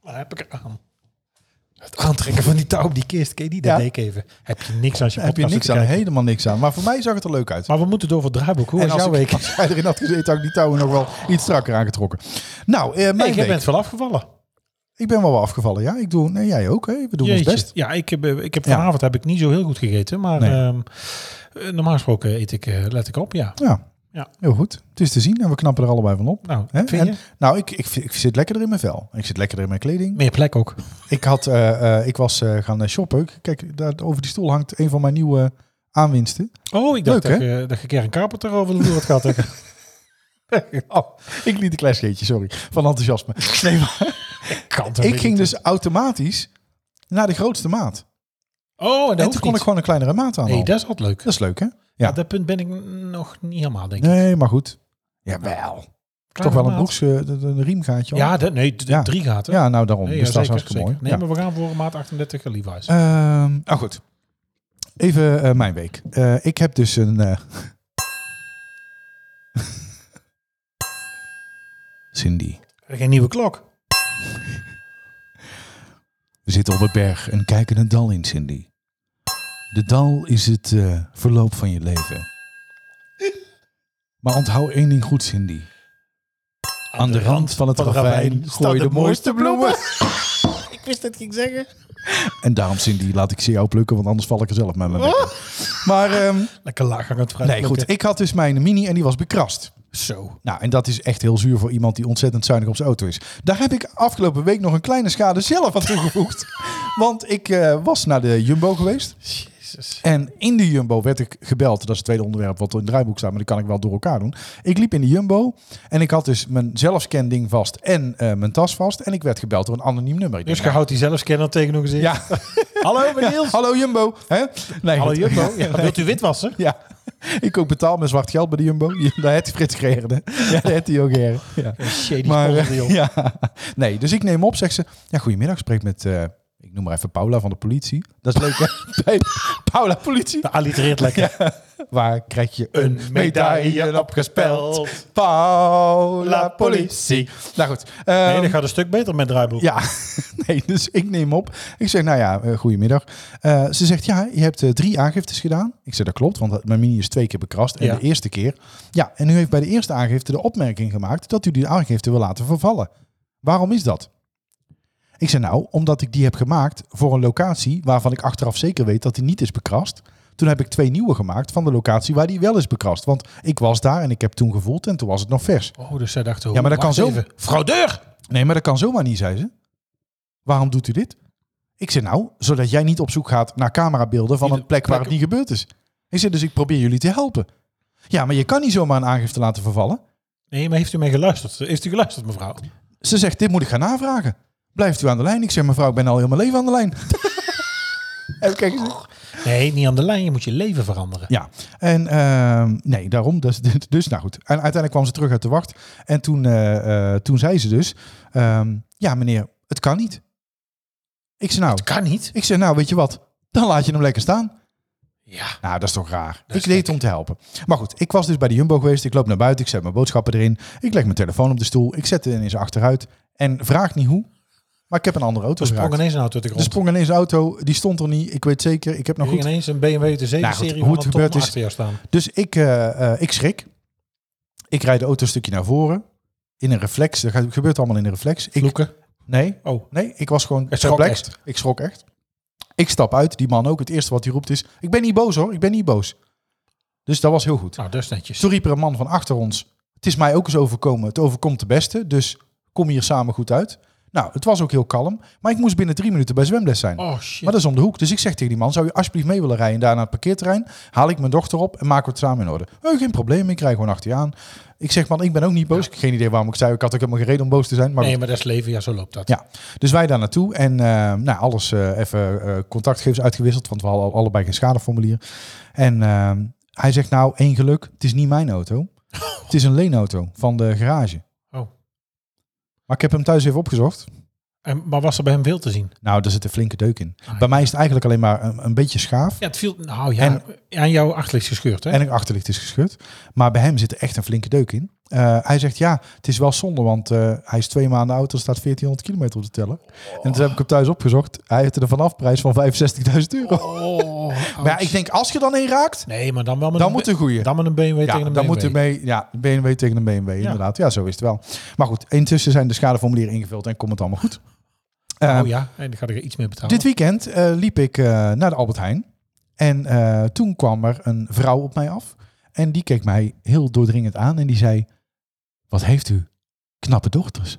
[SPEAKER 3] waar heb ik er aan? Het aantrekken van die touw op die kist. Ken je die? Dat
[SPEAKER 2] Ja.
[SPEAKER 3] deed ik even. Heb je niks als je
[SPEAKER 2] Daar heb je
[SPEAKER 3] podcast
[SPEAKER 2] niks
[SPEAKER 3] zit
[SPEAKER 2] aan,
[SPEAKER 3] te kijken.
[SPEAKER 2] helemaal niks aan. Maar voor mij zag het er leuk uit.
[SPEAKER 3] Maar we moeten door voor het draaiboek. Hoe
[SPEAKER 2] en
[SPEAKER 3] was
[SPEAKER 2] als
[SPEAKER 3] jouw
[SPEAKER 2] ik- <laughs>
[SPEAKER 3] week?
[SPEAKER 2] Als jij erin had gezeten, had ik die touwen nog wel iets strakker aangetrokken. Nou, eh,
[SPEAKER 3] Nee,
[SPEAKER 2] mijn
[SPEAKER 3] jij
[SPEAKER 2] week.
[SPEAKER 3] bent veel afgevallen.
[SPEAKER 2] Ik ben wel wel afgevallen, ja. Ik doe, nee, jij ook, hè. We doen
[SPEAKER 3] Jeetje.
[SPEAKER 2] ons best.
[SPEAKER 3] Ja, ik heb, eh, ik heb
[SPEAKER 2] Ja.
[SPEAKER 3] vanavond heb ik niet zo heel goed gegeten. Maar
[SPEAKER 2] Nee.
[SPEAKER 3] ehm, eh, normaal gesproken eet ik, eh, let ik op. Ja.
[SPEAKER 2] Ja.
[SPEAKER 3] Ja.
[SPEAKER 2] heel goed. Het is te zien en we knappen er allebei van op.
[SPEAKER 3] Nou,
[SPEAKER 2] Hè?
[SPEAKER 3] vind
[SPEAKER 2] En-
[SPEAKER 3] je?
[SPEAKER 2] nou, ik, ik, ik zit lekkerder in mijn vel. Ik zit lekkerder in mijn kleding.
[SPEAKER 3] Meer plek ook.
[SPEAKER 2] Ik, had, eh, eh, ik was eh, gaan eh, shoppen. Kijk, daar over die stoel hangt een van mijn nieuwe eh, aanwinsten. <laughs>
[SPEAKER 3] Oh, ik dacht
[SPEAKER 2] Leuk,
[SPEAKER 3] dat, je, dat je Karen Carpenter over de vloer had
[SPEAKER 2] <laughs>
[SPEAKER 3] gehad. hè?
[SPEAKER 2] Oh, ik liet een klein scheetje, sorry. Van enthousiasme. Nee, maar
[SPEAKER 3] kan toch
[SPEAKER 2] ik
[SPEAKER 3] niet?
[SPEAKER 2] ging dus automatisch naar de grootste maat.
[SPEAKER 3] Oh, en
[SPEAKER 2] En
[SPEAKER 3] dat
[SPEAKER 2] toen
[SPEAKER 3] hoeft
[SPEAKER 2] kon
[SPEAKER 3] niet.
[SPEAKER 2] ik gewoon een kleinere maat aan.
[SPEAKER 3] hey, dat is altijd leuk.
[SPEAKER 2] dat is leuk, hè?
[SPEAKER 3] Ja.
[SPEAKER 2] ja.
[SPEAKER 3] dat punt ben ik nog niet helemaal, denk ik.
[SPEAKER 2] Nee, maar goed. Jawel. Toch
[SPEAKER 3] Kleine
[SPEAKER 2] wel een
[SPEAKER 3] maat.
[SPEAKER 2] broeks, eh, een een riemgaatje.
[SPEAKER 3] Ja, dat, nee, d-
[SPEAKER 2] Ja.
[SPEAKER 3] drie gaten.
[SPEAKER 2] ja, nou daarom.
[SPEAKER 3] nee, ja,
[SPEAKER 2] dus dat is
[SPEAKER 3] zeker,
[SPEAKER 2] hartstikke
[SPEAKER 3] zeker.
[SPEAKER 2] mooi.
[SPEAKER 3] Nee,
[SPEAKER 2] ja.
[SPEAKER 3] maar we gaan voor maat 38 Levi's.
[SPEAKER 2] Ehm, nou goed. Even eh, mijn week. Eh, ik heb dus een. eh, <laughs> Cindy.
[SPEAKER 3] Geen nieuwe klok.
[SPEAKER 2] We zitten op een berg en kijken een dal in, Cindy. De dal is het eh, verloop van je leven. Maar onthoud één ding goed, Cindy. Aan, de, rand van het ravijn
[SPEAKER 3] staan
[SPEAKER 2] gooi je de mooiste bloemen. <laughs>
[SPEAKER 3] ik wist dat ik ging zeggen.
[SPEAKER 2] En daarom, Cindy, laat ik ze jou plukken, want anders val ik er zelf met mijn bekken. Maar ehm,
[SPEAKER 3] Lekker laag hangend fruit.
[SPEAKER 2] nee, goed.
[SPEAKER 3] plukken.
[SPEAKER 2] Ik had dus mijn mini en die was bekrast.
[SPEAKER 3] Zo.
[SPEAKER 2] Nou, en dat is echt heel zuur voor iemand die ontzettend zuinig op zijn auto is. Daar heb ik afgelopen week nog een kleine schade zelf aan
[SPEAKER 3] <laughs>
[SPEAKER 2] toegevoegd. Want ik eh, was naar de Jumbo geweest.
[SPEAKER 3] Jezus.
[SPEAKER 2] En in de Jumbo werd ik gebeld. Dat is het tweede onderwerp wat in het draaiboek staat, maar dat kan ik wel door elkaar doen. Ik liep in de Jumbo en ik had dus mijn zelfscan ding vast en eh, mijn tas vast. En ik werd gebeld door een anoniem nummer. Ik
[SPEAKER 3] Dus
[SPEAKER 2] denk,
[SPEAKER 3] je houdt die zelfscanner tegen uw gezicht.
[SPEAKER 2] nou, ja,
[SPEAKER 3] Hallo, meneer Niels.
[SPEAKER 2] <laughs> hallo Jumbo. Hè? Nee,
[SPEAKER 3] Hallo,
[SPEAKER 2] goed.
[SPEAKER 3] Jumbo. Ja, Wilt u wit
[SPEAKER 2] <laughs>
[SPEAKER 3] wassen?
[SPEAKER 2] Ja, ik ook betaal mijn zwart geld bij de Jumbo. Ja, Daar had Frits Gerden. Ja, daar had hij ook Gerden. Ja.
[SPEAKER 3] Shady
[SPEAKER 2] Maar,
[SPEAKER 3] sponsor,
[SPEAKER 2] eh,
[SPEAKER 3] joh.
[SPEAKER 2] ja. Nee, dus ik neem op, zegt ze. Ja, goedemiddag, ik spreek met... eh, ik ik noem maar even Paula van de politie. Dat is leuk hè? Bij Paula politie.
[SPEAKER 3] <laughs> Dat allitereert lekker.
[SPEAKER 2] Waar krijg je
[SPEAKER 3] Nou. Een
[SPEAKER 2] een medaille
[SPEAKER 3] medaille
[SPEAKER 2] opgespeld?
[SPEAKER 3] opgespeld.
[SPEAKER 2] Paula politie. Nou goed. ehm,
[SPEAKER 3] nee, dat gaat een stuk beter met draaiboek.
[SPEAKER 2] ja, <laughs> nee, dus ik neem op. Ik zeg, nou ja, eh, goedemiddag. Eh, ze zegt, ja, je hebt eh, drie aangiftes gedaan. Ik zeg, dat klopt, want mijn mini is twee keer bekrast. En
[SPEAKER 3] Ja.
[SPEAKER 2] de eerste keer. Ja, en u heeft bij de eerste aangifte de opmerking gemaakt dat u die aangifte wil laten vervallen. Waarom is dat? Ik zeg, nou, omdat ik die heb gemaakt voor een locatie waarvan ik achteraf zeker weet dat die niet is bekrast. Toen heb ik twee nieuwe gemaakt van de locatie waar die wel is bekrast. Want ik was daar en ik heb toen gevoeld en toen was het nog vers.
[SPEAKER 3] Oh, dus zij dachten...
[SPEAKER 2] Ja, maar dat
[SPEAKER 3] wacht
[SPEAKER 2] kan zo.
[SPEAKER 3] even. Fraudeur!
[SPEAKER 2] Nee, maar dat kan zomaar niet, zei ze. Waarom doet u dit? Ik zei nou, zodat jij niet op zoek gaat naar camerabeelden van
[SPEAKER 3] Niet
[SPEAKER 2] een plek waar het
[SPEAKER 3] plek-
[SPEAKER 2] niet gebeurd is. Ik zei dus ik probeer jullie te helpen. Ja, maar je kan niet zomaar een aangifte laten vervallen.
[SPEAKER 3] Nee, maar heeft u mij geluisterd? Heeft u geluisterd, mevrouw?
[SPEAKER 2] Ze zegt, dit moet ik gaan navragen. Blijft u aan de lijn? Ik zeg, mevrouw, ik ben al heel mijn leven aan de lijn. <laughs> en kijk,
[SPEAKER 3] Nee, niet aan de lijn. Je moet je leven veranderen.
[SPEAKER 2] Ja, en ehm, nee, daarom. Dus, <laughs> dus nou goed. En uiteindelijk kwam ze terug uit de wacht. En toen, eh, eh, toen zei ze dus, ehm, ja meneer, het kan niet. Ik zei nou,
[SPEAKER 3] Dat kan niet.
[SPEAKER 2] Ik zeg, nou weet je wat, dan laat je hem lekker staan.
[SPEAKER 3] Ja.
[SPEAKER 2] Nou, dat is toch raar.
[SPEAKER 3] is
[SPEAKER 2] ik deed het om te helpen. Maar goed, ik was dus bij de Jumbo geweest. Ik loop naar buiten, ik zet mijn boodschappen erin. Ik leg mijn telefoon op de stoel. Ik zet er ineens achteruit. En vraag niet hoe, maar ik heb een andere auto
[SPEAKER 3] Er sprong
[SPEAKER 2] geraakt.
[SPEAKER 3] ineens een auto uit de
[SPEAKER 2] Er
[SPEAKER 3] grond.
[SPEAKER 2] sprong ineens een auto, die stond er niet. Ik weet zeker, ik heb nog
[SPEAKER 3] Er ging
[SPEAKER 2] goed.
[SPEAKER 3] ineens een BMW de 7-serie
[SPEAKER 2] Nou goed, hoe
[SPEAKER 3] van
[SPEAKER 2] het
[SPEAKER 3] een
[SPEAKER 2] gebeurd
[SPEAKER 3] top
[SPEAKER 2] is-
[SPEAKER 3] achter jou staan.
[SPEAKER 2] Dus ik, eh, eh, ik schrik. Ik rijd de auto een stukje naar voren. In een reflex. Dat gaat- gebeurt allemaal in een reflex. Ik,
[SPEAKER 3] Vloeken.
[SPEAKER 2] nee,
[SPEAKER 3] Oh.
[SPEAKER 2] Nee, ik was gewoon
[SPEAKER 3] Hij schrok
[SPEAKER 2] perplex.
[SPEAKER 3] echt.
[SPEAKER 2] Ik schrok echt. Ik stap uit, die man ook. Het eerste wat hij roept is: Ik ben niet boos hoor, ik ben niet boos. Dus dat was heel goed.
[SPEAKER 3] Nou, dat is netjes.
[SPEAKER 2] Toen riep er een man van achter ons: Het is mij ook eens overkomen. Het overkomt de beste, dus kom hier samen goed uit. Nou, het was ook heel kalm, maar ik moest binnen drie minuten bij zwemles zijn.
[SPEAKER 3] Oh, shit.
[SPEAKER 2] Maar dat is om de hoek. Dus ik zeg tegen die man: Zou je alsjeblieft mee willen rijden daar naar het parkeerterrein? Haal ik mijn dochter op en maken we het samen in orde. Oh, geen probleem, ik rij gewoon achter je aan. Ik zeg: Man, ik ben ook niet boos. Ik heb Geen idee waarom ik zei. Ik had ook helemaal geen reden om boos te zijn. Maar
[SPEAKER 3] nee, maar dat is leven. Ja, zo loopt dat.
[SPEAKER 2] ja, dus wij daar naartoe en eh, nou, alles eh, even eh, contactgegevens uitgewisseld, want we hadden allebei geen schadeformulier. En eh, hij zegt nou, één geluk, het is niet mijn
[SPEAKER 3] <laughs>
[SPEAKER 2] auto. Het is een leenauto van de garage.
[SPEAKER 3] Oh.
[SPEAKER 2] Maar ik heb hem thuis even opgezocht.
[SPEAKER 3] En, maar was er bij hem veel te zien?
[SPEAKER 2] Nou, daar zit een flinke deuk in.
[SPEAKER 3] Ah, ja.
[SPEAKER 2] Bij mij is het eigenlijk alleen maar een, een beetje schaaf
[SPEAKER 3] Ja, het viel... Nou ja, aan jouw achterlicht gescheurd, hè?
[SPEAKER 2] en een achterlicht is geschud. Maar bij hem zit er echt een flinke deuk in. Eh, hij zegt ja, het is wel zonde, want eh, hij is twee maanden oud en staat 1400 kilometer op de teller. En toen heb ik hem thuis opgezocht. Hij heeft er een vanafprijs van 65.000 euro.
[SPEAKER 3] Oh,
[SPEAKER 2] <laughs> Maar ja, ik denk, als je dan één raakt,
[SPEAKER 3] Nee, maar dan wel met
[SPEAKER 2] dan
[SPEAKER 3] een
[SPEAKER 2] moet een goeie.
[SPEAKER 3] Dan met een BMW
[SPEAKER 2] ja,
[SPEAKER 3] tegen
[SPEAKER 2] dan
[SPEAKER 3] een BMW.
[SPEAKER 2] moet er mee, ja, BMW tegen een BMW, inderdaad. Ja, zo is het wel. Maar goed, intussen zijn de schadeformulieren ingevuld en komt het allemaal goed. Eh,
[SPEAKER 3] Oh ja, en dan ga ik er iets meer betalen.
[SPEAKER 2] Dit weekend eh, liep ik eh, naar de Albert Heijn. En eh, toen kwam er een vrouw op mij af. En die keek mij heel doordringend aan en die zei... Wat heeft u? Knappe dochters.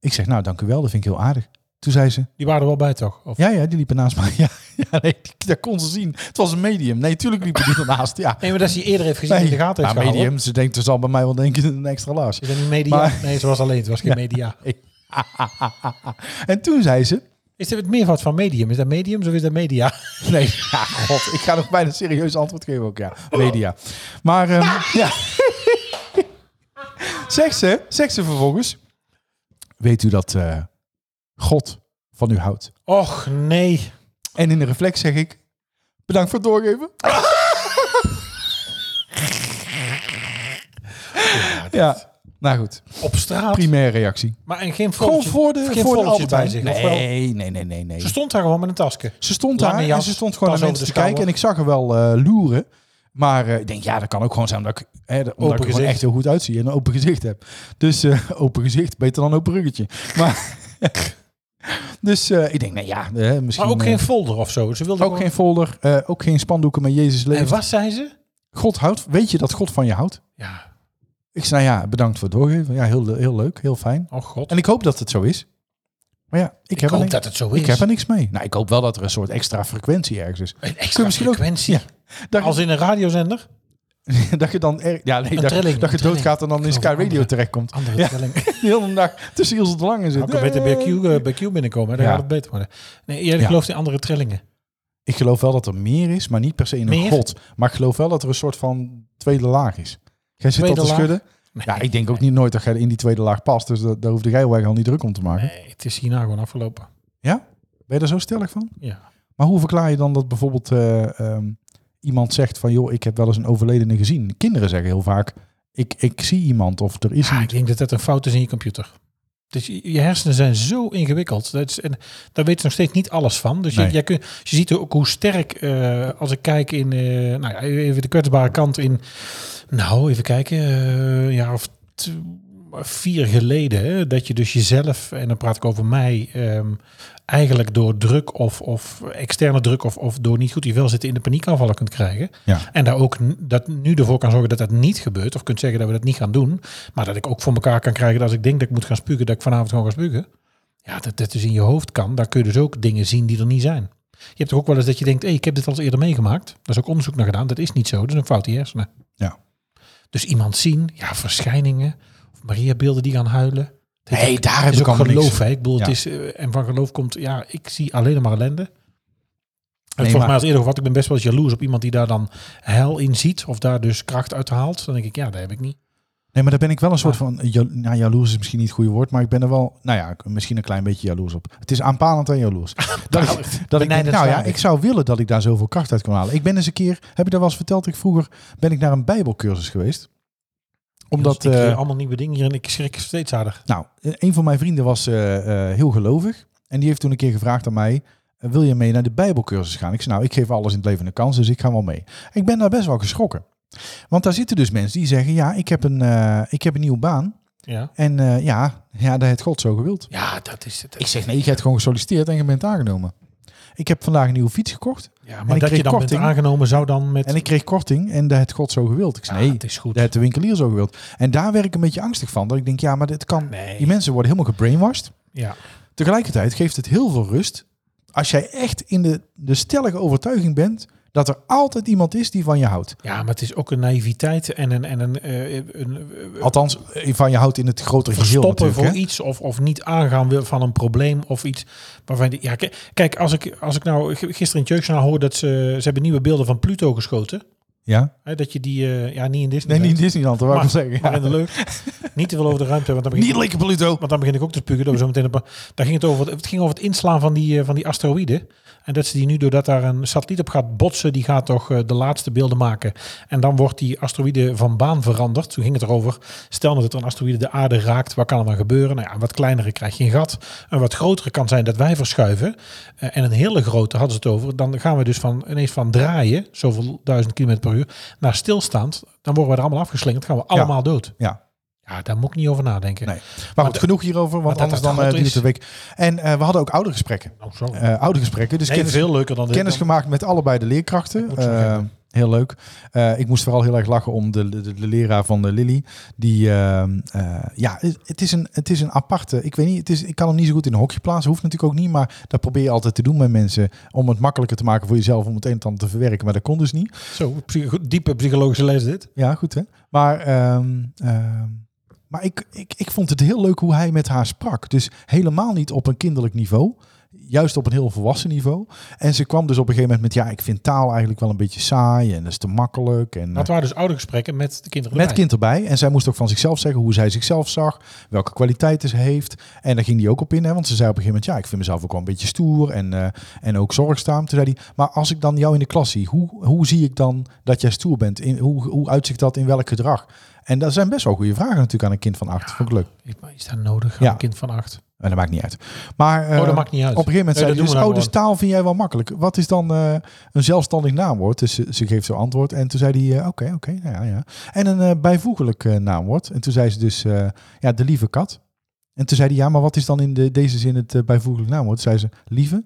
[SPEAKER 2] Ik zeg, nou dank u wel, dat vind ik heel aardig. Toen zei ze,
[SPEAKER 3] Die waren er wel bij, toch? Of...
[SPEAKER 2] ja, ja, die liepen naast mij. <laughs> Ja, ja nee, die- dat kon ze zien. Het was een medium. Nee, tuurlijk liepen die <laughs> ernaast. Ja,
[SPEAKER 3] Nee, maar dat ze eerder heeft gezien in de gaten heeft
[SPEAKER 2] nou,
[SPEAKER 3] gehouden.
[SPEAKER 2] medium, ze denkt, ze zal bij mij wel denken een extra lars.
[SPEAKER 3] Is dat niet media?
[SPEAKER 2] Maar-
[SPEAKER 3] Nee, ze was alleen. Het was geen media.
[SPEAKER 2] <laughs> En toen zei ze,
[SPEAKER 3] Is dit het meervoud van medium? Is dat medium of is dat media?
[SPEAKER 2] nee, <laughs> ja, god, ik ga nog bijna serieus antwoord geven ook, ja, media. Maar, ehm,
[SPEAKER 3] <laughs>
[SPEAKER 2] ja. <laughs> zegt ze, zegt ze vervolgens, weet u dat eh, God van u houdt?
[SPEAKER 3] Och, nee.
[SPEAKER 2] En in de reflex zeg ik, bedankt voor het doorgeven. Ja, nou goed,
[SPEAKER 3] Op straat.
[SPEAKER 2] primaire reactie.
[SPEAKER 3] Maar en geen
[SPEAKER 2] Gewoon
[SPEAKER 3] vrolletje,
[SPEAKER 2] voor de,
[SPEAKER 3] geen
[SPEAKER 2] voor de
[SPEAKER 3] vrolletje
[SPEAKER 2] Albert
[SPEAKER 3] bij
[SPEAKER 2] Heijn.
[SPEAKER 3] zich. of wel?
[SPEAKER 2] Nee, nee, nee, nee, nee.
[SPEAKER 3] Ze stond daar gewoon met een tasje.
[SPEAKER 2] Ze stond
[SPEAKER 3] Lange
[SPEAKER 2] daar en
[SPEAKER 3] jas,
[SPEAKER 2] ze stond gewoon
[SPEAKER 3] tas
[SPEAKER 2] naar
[SPEAKER 3] over
[SPEAKER 2] mensen
[SPEAKER 3] de
[SPEAKER 2] te kijken. En ik
[SPEAKER 3] schouder.
[SPEAKER 2] zag er wel eh, loeren. Maar eh, ik denk, ja, dat kan ook gewoon zijn omdat ik, hè, dat- omdat ik er gewoon
[SPEAKER 3] gezicht.
[SPEAKER 2] echt heel goed uitzie en een open gezicht heb. Dus eh, <laughs> open gezicht, beter dan open ruggetje. Maar, <laughs> dus eh, ik denk, nou ja, eh, misschien
[SPEAKER 3] Maar ook
[SPEAKER 2] eh,
[SPEAKER 3] geen folder of zo. Ze wilde
[SPEAKER 2] ook
[SPEAKER 3] gewoon-
[SPEAKER 2] geen folder, eh, ook geen spandoeken met Jezus
[SPEAKER 3] En
[SPEAKER 2] leeft.
[SPEAKER 3] wat zei ze?
[SPEAKER 2] God houdt, weet je dat God van je houdt?
[SPEAKER 3] Ja.
[SPEAKER 2] Ik zei, nou ja, bedankt voor het doorgeven. Ja, heel, heel leuk, heel fijn.
[SPEAKER 3] Oh god.
[SPEAKER 2] En ik hoop dat het zo is. Maar ja, ik,
[SPEAKER 3] ik
[SPEAKER 2] heb, er
[SPEAKER 3] hoop
[SPEAKER 2] niks,
[SPEAKER 3] dat het zo is.
[SPEAKER 2] ik heb er niks mee. Nou, ik hoop wel dat er een soort extra frequentie ergens is.
[SPEAKER 3] een
[SPEAKER 2] Kun je
[SPEAKER 3] extra
[SPEAKER 2] misschien ook-
[SPEAKER 3] frequentie.
[SPEAKER 2] Daar-
[SPEAKER 3] Als in een radiozender.
[SPEAKER 2] dat je dan er, ja, nee,
[SPEAKER 3] Een
[SPEAKER 2] dat,
[SPEAKER 3] trilling,
[SPEAKER 2] dat je
[SPEAKER 3] een
[SPEAKER 2] doodgaat en dan in
[SPEAKER 3] trilling.
[SPEAKER 2] Sky Radio
[SPEAKER 3] Andere-
[SPEAKER 2] terechtkomt.
[SPEAKER 3] Andere
[SPEAKER 2] Ja.
[SPEAKER 3] stelling.
[SPEAKER 2] De hele dag tussen Iels en de Lange
[SPEAKER 3] Nou,
[SPEAKER 2] zit.
[SPEAKER 3] ik kan beter bij Q, eh, bij Q binnenkomen. hè. Dan
[SPEAKER 2] Ja.
[SPEAKER 3] gaat het beter worden. Nee, jij
[SPEAKER 2] Ja.
[SPEAKER 3] gelooft in andere trillingen.
[SPEAKER 2] Ik geloof wel dat er meer is, maar niet per se in een
[SPEAKER 3] Meer?
[SPEAKER 2] god. Maar ik geloof wel dat er een soort van tweede laag is. Jij zit al
[SPEAKER 3] Tweede
[SPEAKER 2] te
[SPEAKER 3] laag?
[SPEAKER 2] schudden.
[SPEAKER 3] Nee.
[SPEAKER 2] Ja, ik denk ook niet nooit dat jij in die tweede laag past. Dus dat, daar hoefde jij wel al niet druk om te maken.
[SPEAKER 3] Nee, het is hierna gewoon afgelopen.
[SPEAKER 2] Ja? Ben je daar zo stellig van?
[SPEAKER 3] Ja.
[SPEAKER 2] Maar hoe verklaar je dan dat bijvoorbeeld eh, ehm, iemand zegt van... joh, ik heb wel eens een overledene gezien. Kinderen zeggen heel vaak, ik, ik zie iemand of er is
[SPEAKER 3] Ja,
[SPEAKER 2] een...
[SPEAKER 3] ik denk dat dat een fout is in je computer. Dus je je hersenen zijn zo ingewikkeld. Dat is, en daar weet je nog steeds niet alles van. Dus je,
[SPEAKER 2] Nee.
[SPEAKER 3] jij kun, dus je ziet ook hoe sterk, eh, als ik kijk in, eh, nou ja, even de kwetsbare kant in, nou even kijken, eh, een jaar of t- vier geleden, hè, dat je dus jezelf, en dan praat ik over mij, ehm, eigenlijk door druk of, of externe druk of, of door niet goed in je vel zitten in de paniekaanvallen kunt krijgen.
[SPEAKER 2] Ja.
[SPEAKER 3] En daar ook n- dat nu ervoor kan zorgen dat dat niet gebeurt. Of kunt zeggen dat we dat niet gaan doen. Maar dat ik ook voor elkaar kan krijgen dat als ik denk dat ik moet gaan spugen, dat ik vanavond gewoon ga spugen. Ja, dat dat dus in je hoofd kan. Daar kun je dus ook dingen zien die er niet zijn. Je hebt toch ook wel eens dat je denkt, hé, ik heb dit al eens eerder meegemaakt. Daar is ook onderzoek naar gedaan. Dat is niet zo. Dat is een fout in je hersenen.
[SPEAKER 2] Ja.
[SPEAKER 3] Dus iemand zien, ja, verschijningen. Of Maria-beelden die gaan huilen. Dat
[SPEAKER 2] Nee,
[SPEAKER 3] is ook-
[SPEAKER 2] daar heb
[SPEAKER 3] dat is
[SPEAKER 2] ik
[SPEAKER 3] ook
[SPEAKER 2] allemaal niks.
[SPEAKER 3] geloof, hè. Ik bedoel, het
[SPEAKER 2] Ja.
[SPEAKER 3] is, eh, en van geloof komt, ja, ik zie alleen maar ellende. En
[SPEAKER 2] Nee,
[SPEAKER 3] volgens
[SPEAKER 2] maar-
[SPEAKER 3] mij als eerder wat, ik ben best wel eens jaloers op iemand die daar dan heil in ziet. Of daar dus kracht uit haalt. Dan denk ik, ja, dat heb ik <laughs> niet.
[SPEAKER 2] Nee, maar daar ben ik wel een soort van... ja- Nou, jaloers is misschien niet het goede woord, maar ik ben er wel... Nou ja, ik- misschien een klein beetje jaloers op. Het is aanpalend en <laughs> jaloers. dat ik,
[SPEAKER 3] eh,
[SPEAKER 2] dat ik, denk,
[SPEAKER 3] Benijdenswaardig.
[SPEAKER 2] nou ja, ik zou willen dat ik daar zoveel kracht uit kan halen. Ik ben eens een keer, heb ik daar wel eens verteld, ik vroeger ben ik naar een bijbelcursus geweest. Omdat...
[SPEAKER 3] ik
[SPEAKER 2] eh,
[SPEAKER 3] leer allemaal nieuwe dingen hier en ik schrik steeds harder.
[SPEAKER 2] Nou, een van mijn vrienden was eh, eh, heel gelovig. En die heeft toen een keer gevraagd aan mij... eh, wil je mee naar de bijbelcursus gaan? Ik zei, nou, ik geef alles in het leven een kans, dus ik ga wel mee. Ik ben daar best wel geschrokken. Want daar zitten dus mensen die zeggen... ja, ik heb een, eh, ik heb een nieuwe baan.
[SPEAKER 3] Ja,
[SPEAKER 2] En eh, ja, ja, dat heeft God zo gewild.
[SPEAKER 3] ja dat is het.
[SPEAKER 2] Ik zeg, nee, je hebt gewoon gesolliciteerd en je bent aangenomen. Ik heb vandaag een nieuwe fiets gekocht.
[SPEAKER 3] ja,
[SPEAKER 2] ik
[SPEAKER 3] maar dat
[SPEAKER 2] kreeg
[SPEAKER 3] je dan
[SPEAKER 2] korting.
[SPEAKER 3] bent aangenomen zou dan met...
[SPEAKER 2] En ik kreeg korting en dat heeft God zo gewild. Ik
[SPEAKER 3] ja,
[SPEAKER 2] zei, nee,
[SPEAKER 3] het Ah, is goed.
[SPEAKER 2] dat heeft de winkelier zo gewild. En daar werd ik een beetje angstig van. Dat ik denk, ja, maar dit kan...
[SPEAKER 3] Nee.
[SPEAKER 2] Die mensen worden helemaal gebrainwashed.
[SPEAKER 3] ja.
[SPEAKER 2] Tegelijkertijd geeft het heel veel rust als jij echt in de, de stellige overtuiging bent dat er altijd iemand is die van je houdt.
[SPEAKER 3] ja, maar het is ook een naïviteit en een... En een, eh, een eh,
[SPEAKER 2] Althans, eh, van je houdt in het grotere geheel
[SPEAKER 3] verstoppen
[SPEAKER 2] natuurlijk.
[SPEAKER 3] voor
[SPEAKER 2] Hè?
[SPEAKER 3] iets of, of niet aangaan wil van een probleem of iets waarvan je- ja kijk, kijk als ik als ik nou g- gisteren in het Jeugdjournaal hoor dat ze ze hebben nieuwe beelden van Pluto geschoten
[SPEAKER 2] Ja?
[SPEAKER 3] hè, dat je die eh, ja niet in Disney
[SPEAKER 2] Nee, niet in Disneyland, dat wou ik
[SPEAKER 3] maar,
[SPEAKER 2] wel zeggen.
[SPEAKER 3] maar
[SPEAKER 2] Ja.
[SPEAKER 3] in de lucht niet te veel over de ruimte want dan begin
[SPEAKER 2] Niet lekker Pluto.
[SPEAKER 3] want dan begin ik ook te spugen. Dat we zo meteen op, daar ging het, over, het ging over het inslaan van die, eh, van die asteroïden. En dat ze die nu, doordat daar een satelliet op gaat botsen, die gaat toch eh, de laatste beelden maken. En dan wordt die asteroïde van baan veranderd. Toen ging het erover, stel nou dat er een asteroïde de aarde raakt, wat kan er dan gebeuren? Nou ja, een wat kleinere krijg je een gat. Een wat grotere kan zijn dat wij verschuiven. Eh, en een hele grote hadden ze het over. Dan gaan we dus van, ineens van draaien, zoveel duizend kilometer per uur, naar stilstaand. Dan worden we er allemaal afgeslingerd, gaan we allemaal dood.
[SPEAKER 2] Ja.
[SPEAKER 3] Ja, daar moet ik niet over nadenken.
[SPEAKER 2] Nee. Maar goed,
[SPEAKER 3] de-
[SPEAKER 2] genoeg hierover, want
[SPEAKER 3] maar dat
[SPEAKER 2] anders
[SPEAKER 3] dat
[SPEAKER 2] dan eh,
[SPEAKER 3] God
[SPEAKER 2] duurt het
[SPEAKER 3] is.
[SPEAKER 2] een week. En eh, we hadden ook oudergesprekken.
[SPEAKER 3] Oh, zo.
[SPEAKER 2] Eh oudergesprekken, dus
[SPEAKER 3] Nee,
[SPEAKER 2] kennis,
[SPEAKER 3] veel leuker dan dit.
[SPEAKER 2] kennis
[SPEAKER 3] dan-
[SPEAKER 2] gemaakt met allebei de leerkrachten.
[SPEAKER 3] moet zo
[SPEAKER 2] Eh,
[SPEAKER 3] zeggen.
[SPEAKER 2] heel leuk. Eh, ik moest vooral heel erg lachen om de, de, de leraar van de Lily. Die, eh, eh, ja, het- het is, een, het is een aparte. Ik weet niet, het is, ik kan hem niet zo goed in een hokje plaatsen. Hoeft natuurlijk ook niet, maar dat probeer je altijd te doen met mensen. Om het makkelijker te maken voor jezelf, om het een en ander te verwerken. Maar dat kon dus niet.
[SPEAKER 3] Zo, psycho- diepe psychologische les dit.
[SPEAKER 2] Ja, goed hè. Maar, ehm, ehm, maar ik, ik, ik vond het heel leuk hoe hij met haar sprak. Dus helemaal niet op een kinderlijk niveau. Juist op een heel volwassen niveau. En ze kwam dus op een gegeven moment met... ja, ik vind taal eigenlijk wel een beetje saai en dat is te makkelijk. En,
[SPEAKER 3] Dat waren dus oude gesprekken met de kinderen.
[SPEAKER 2] Met
[SPEAKER 3] erbij.
[SPEAKER 2] kind erbij. En zij moest ook van zichzelf zeggen hoe zij zichzelf zag. Welke kwaliteiten ze heeft. En daar ging die ook op in. Hè, want ze zei op een gegeven moment... ja, ik vind mezelf ook wel een beetje stoer. En, eh, en ook zorgzaam. Toen zei hij... maar als ik dan jou in de klas zie... hoe, hoe zie ik dan dat jij stoer bent? In, hoe, hoe uitzicht dat in welk gedrag? En dat zijn best wel goede vragen natuurlijk aan een kind van acht. Vond ik leuk.
[SPEAKER 3] Is- maar Is dat nodig aan
[SPEAKER 2] Ja.
[SPEAKER 3] een kind van acht?
[SPEAKER 2] En dat maakt niet uit. Maar eh,
[SPEAKER 3] Oh, dat maakt niet uit.
[SPEAKER 2] op een gegeven moment
[SPEAKER 3] Nee,
[SPEAKER 2] zei
[SPEAKER 3] dat
[SPEAKER 2] hij dus,
[SPEAKER 3] doen
[SPEAKER 2] oh,
[SPEAKER 3] we nou
[SPEAKER 2] dus taal vind jij wel makkelijk. Wat is dan eh, een zelfstandig naamwoord? Dus ze, ze geeft zo antwoord. En toen zei hij, eh, oké, oké, nou ja, ja. En een eh, bijvoeglijk eh, naamwoord. En toen zei ze dus, eh, ja, de lieve kat. En toen zei hij, ja, maar wat is dan in de, deze zin het eh, bijvoeglijk naamwoord? Toen zei ze, lieve.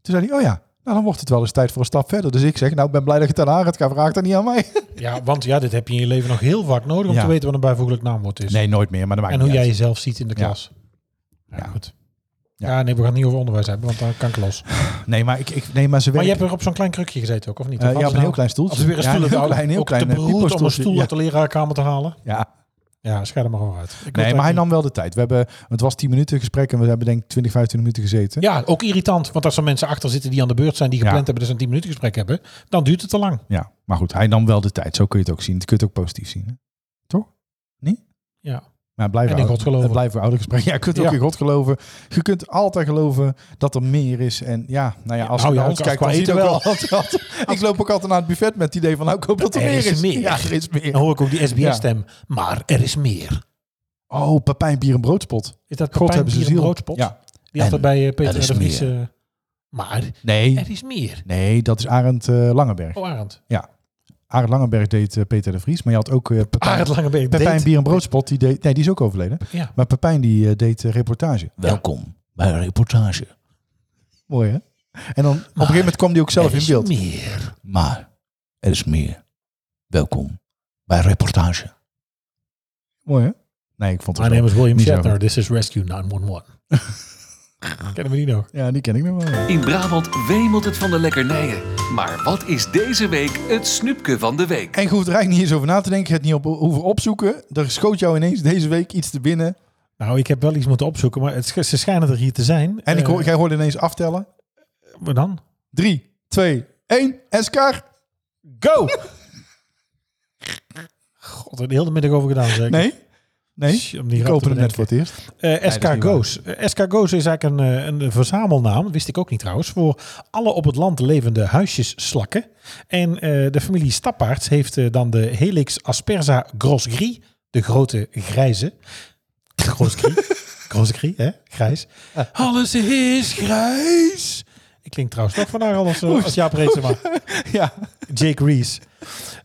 [SPEAKER 2] Toen zei hij, oh ja, nou dan wordt het wel eens tijd voor een stap verder. Dus ik zeg, nou, ik ben blij dat je het aan haar gaat gaan. Vraag dat niet aan mij.
[SPEAKER 3] Ja, want ja, dit heb je in je leven nog heel vaak nodig om
[SPEAKER 2] Ja.
[SPEAKER 3] te weten wat een bijvoeglijk naamwoord
[SPEAKER 2] <laughs>
[SPEAKER 3] is.
[SPEAKER 2] Nee, nooit meer, maar dat maakt
[SPEAKER 3] en hoe
[SPEAKER 2] niet
[SPEAKER 3] jij
[SPEAKER 2] uit.
[SPEAKER 3] jezelf ziet in de
[SPEAKER 2] Ja.
[SPEAKER 3] klas. Ja,
[SPEAKER 2] Ja.
[SPEAKER 3] goed.
[SPEAKER 2] Ja.
[SPEAKER 3] Ja. nee, we gaan het niet over onderwijs hebben, want dan kan ik los.
[SPEAKER 2] Nee, maar, ik, ik, nee, maar ze
[SPEAKER 3] Maar je
[SPEAKER 2] werkt-
[SPEAKER 3] hebt er op zo'n klein krukje gezeten ook, of niet?
[SPEAKER 2] eh, ja,
[SPEAKER 3] Of hadden
[SPEAKER 2] op
[SPEAKER 3] ze
[SPEAKER 2] een heel
[SPEAKER 3] nou-
[SPEAKER 2] klein
[SPEAKER 3] Als
[SPEAKER 2] stoeltje.
[SPEAKER 3] ze weer een
[SPEAKER 2] Ja,
[SPEAKER 3] stoel uit
[SPEAKER 2] heel
[SPEAKER 3] de oude-
[SPEAKER 2] klein, heel
[SPEAKER 3] ook
[SPEAKER 2] klein.
[SPEAKER 3] te
[SPEAKER 2] eh,
[SPEAKER 3] beroerd om een
[SPEAKER 2] pieperstoeltje.
[SPEAKER 3] stoel
[SPEAKER 2] Ja,
[SPEAKER 3] uit de leraarkamer te halen.
[SPEAKER 2] ja.
[SPEAKER 3] Ja, schaar er maar over uit. Ik wil het
[SPEAKER 2] Nee, maar
[SPEAKER 3] eigenlijk
[SPEAKER 2] hij
[SPEAKER 3] niet-
[SPEAKER 2] nam wel de tijd. We hebben, het was 10 minuten gesprek en we hebben denk ik 20, 25 minuten gezeten.
[SPEAKER 3] Ja, ook irritant, want als er mensen achter zitten die aan de beurt zijn, die gepland
[SPEAKER 2] Ja.
[SPEAKER 3] hebben, dus een 10 minuten gesprek hebben, dan duurt het te lang.
[SPEAKER 2] Ja, maar goed, hij nam wel de tijd. Zo kun je het ook zien. Dat kun je het ook positief zien. Hè?
[SPEAKER 3] Ja.
[SPEAKER 2] Maar blijf
[SPEAKER 3] En in God geloven.
[SPEAKER 2] Blijf een oude gesprek. <laughs> Ja, je kunt ook
[SPEAKER 3] Ja.
[SPEAKER 2] in God geloven. Je kunt altijd geloven dat er meer is. En ja, nou ja, als je
[SPEAKER 3] Nou
[SPEAKER 2] naar
[SPEAKER 3] ja,
[SPEAKER 2] ons
[SPEAKER 3] als-
[SPEAKER 2] kijkt, dan
[SPEAKER 3] als
[SPEAKER 2] zie je
[SPEAKER 3] qua
[SPEAKER 2] ook
[SPEAKER 3] eten
[SPEAKER 2] wel. altijd- <laughs> ik loop ook altijd naar het buffet met het idee van, nou, ik hoop dat er,
[SPEAKER 3] Er
[SPEAKER 2] meer
[SPEAKER 3] is
[SPEAKER 2] is.
[SPEAKER 3] meer.
[SPEAKER 2] Ja, er is meer.
[SPEAKER 3] Dan hoor ik ook die SBS-stem. Maar er is meer.
[SPEAKER 2] Oh, Papijn Bier en Broodspot.
[SPEAKER 3] Is dat
[SPEAKER 2] God
[SPEAKER 3] God
[SPEAKER 2] hebben ze ziel.
[SPEAKER 3] broodspot?
[SPEAKER 2] Ja.
[SPEAKER 3] Die had
[SPEAKER 2] En
[SPEAKER 3] er bij eh, Peter
[SPEAKER 2] er is
[SPEAKER 3] de Vries.
[SPEAKER 2] meer.
[SPEAKER 3] eh, maar
[SPEAKER 2] Nee,
[SPEAKER 3] er is meer.
[SPEAKER 2] nee, dat is Arend eh, Langenberg.
[SPEAKER 3] Oh, Arend.
[SPEAKER 2] Arend Langenberg deed eh, Peter de Vries, maar je had ook eh Pepijn,
[SPEAKER 3] Arend Langebeek.
[SPEAKER 2] Pepijn
[SPEAKER 3] deed-
[SPEAKER 2] Bier en Broodspot. Die deed, nee, die is ook overleden.
[SPEAKER 3] Ja.
[SPEAKER 2] Maar Pepijn die eh, deed eh, reportage.
[SPEAKER 4] Welkom bij een reportage.
[SPEAKER 2] Mooi, hè? En dan op een gegeven moment kwam die ook zelf
[SPEAKER 3] Er
[SPEAKER 2] in
[SPEAKER 3] is
[SPEAKER 2] beeld.
[SPEAKER 3] meer.
[SPEAKER 4] Maar er is meer. Welkom bij reportage.
[SPEAKER 2] Mooi, hè? Nee, ik vond het
[SPEAKER 3] My name
[SPEAKER 2] wel-
[SPEAKER 3] is William
[SPEAKER 2] Niet zo
[SPEAKER 3] Shatner.
[SPEAKER 2] goed.
[SPEAKER 3] This is Rescue
[SPEAKER 2] <laughs>
[SPEAKER 3] 911. Kennen we die nog?
[SPEAKER 2] Ja, die ken ik nog wel.
[SPEAKER 1] In Brabant wemelt het van de lekkernijen. Maar wat is deze week het snoepje van de week?
[SPEAKER 2] En je hoeft er eigenlijk niet eens over na te denken. Het niet op, hoeven opzoeken. Er schoot jou ineens deze week iets te binnen.
[SPEAKER 3] Nou, ik heb wel iets moeten opzoeken, maar het, sch- ze schijnen er hier te zijn.
[SPEAKER 2] En ik,
[SPEAKER 3] Eh,
[SPEAKER 2] hoor- jij hoorde ineens aftellen.
[SPEAKER 3] wat dan?
[SPEAKER 2] Drie, twee, één. Eskar.
[SPEAKER 3] Go! God, er heel de middag over gedaan, zeker.
[SPEAKER 2] Nee? Nee?
[SPEAKER 3] Sh- Om die
[SPEAKER 2] Ik
[SPEAKER 3] rap te
[SPEAKER 2] open het net voor
[SPEAKER 3] bedenken.
[SPEAKER 2] het eerst.
[SPEAKER 3] Eh, Escargo's. Eh, Escargo's is eigenlijk een, eh, een verzamelnaam, wist ik ook niet trouwens, voor alle op het land levende huisjesslakken. En eh, de familie Stappaards heeft eh, dan de Helix aspersa grosgris, de grote grijze.
[SPEAKER 2] <laughs>
[SPEAKER 3] Grosgris, grosgris, hè? Grijs.
[SPEAKER 2] Ah.
[SPEAKER 3] Alles is grijs. Ik klink trouwens toch vandaag al als, eh, als Jaap Reesema.
[SPEAKER 2] <laughs>
[SPEAKER 3] <laughs>
[SPEAKER 2] Ja,
[SPEAKER 3] Jake Rees.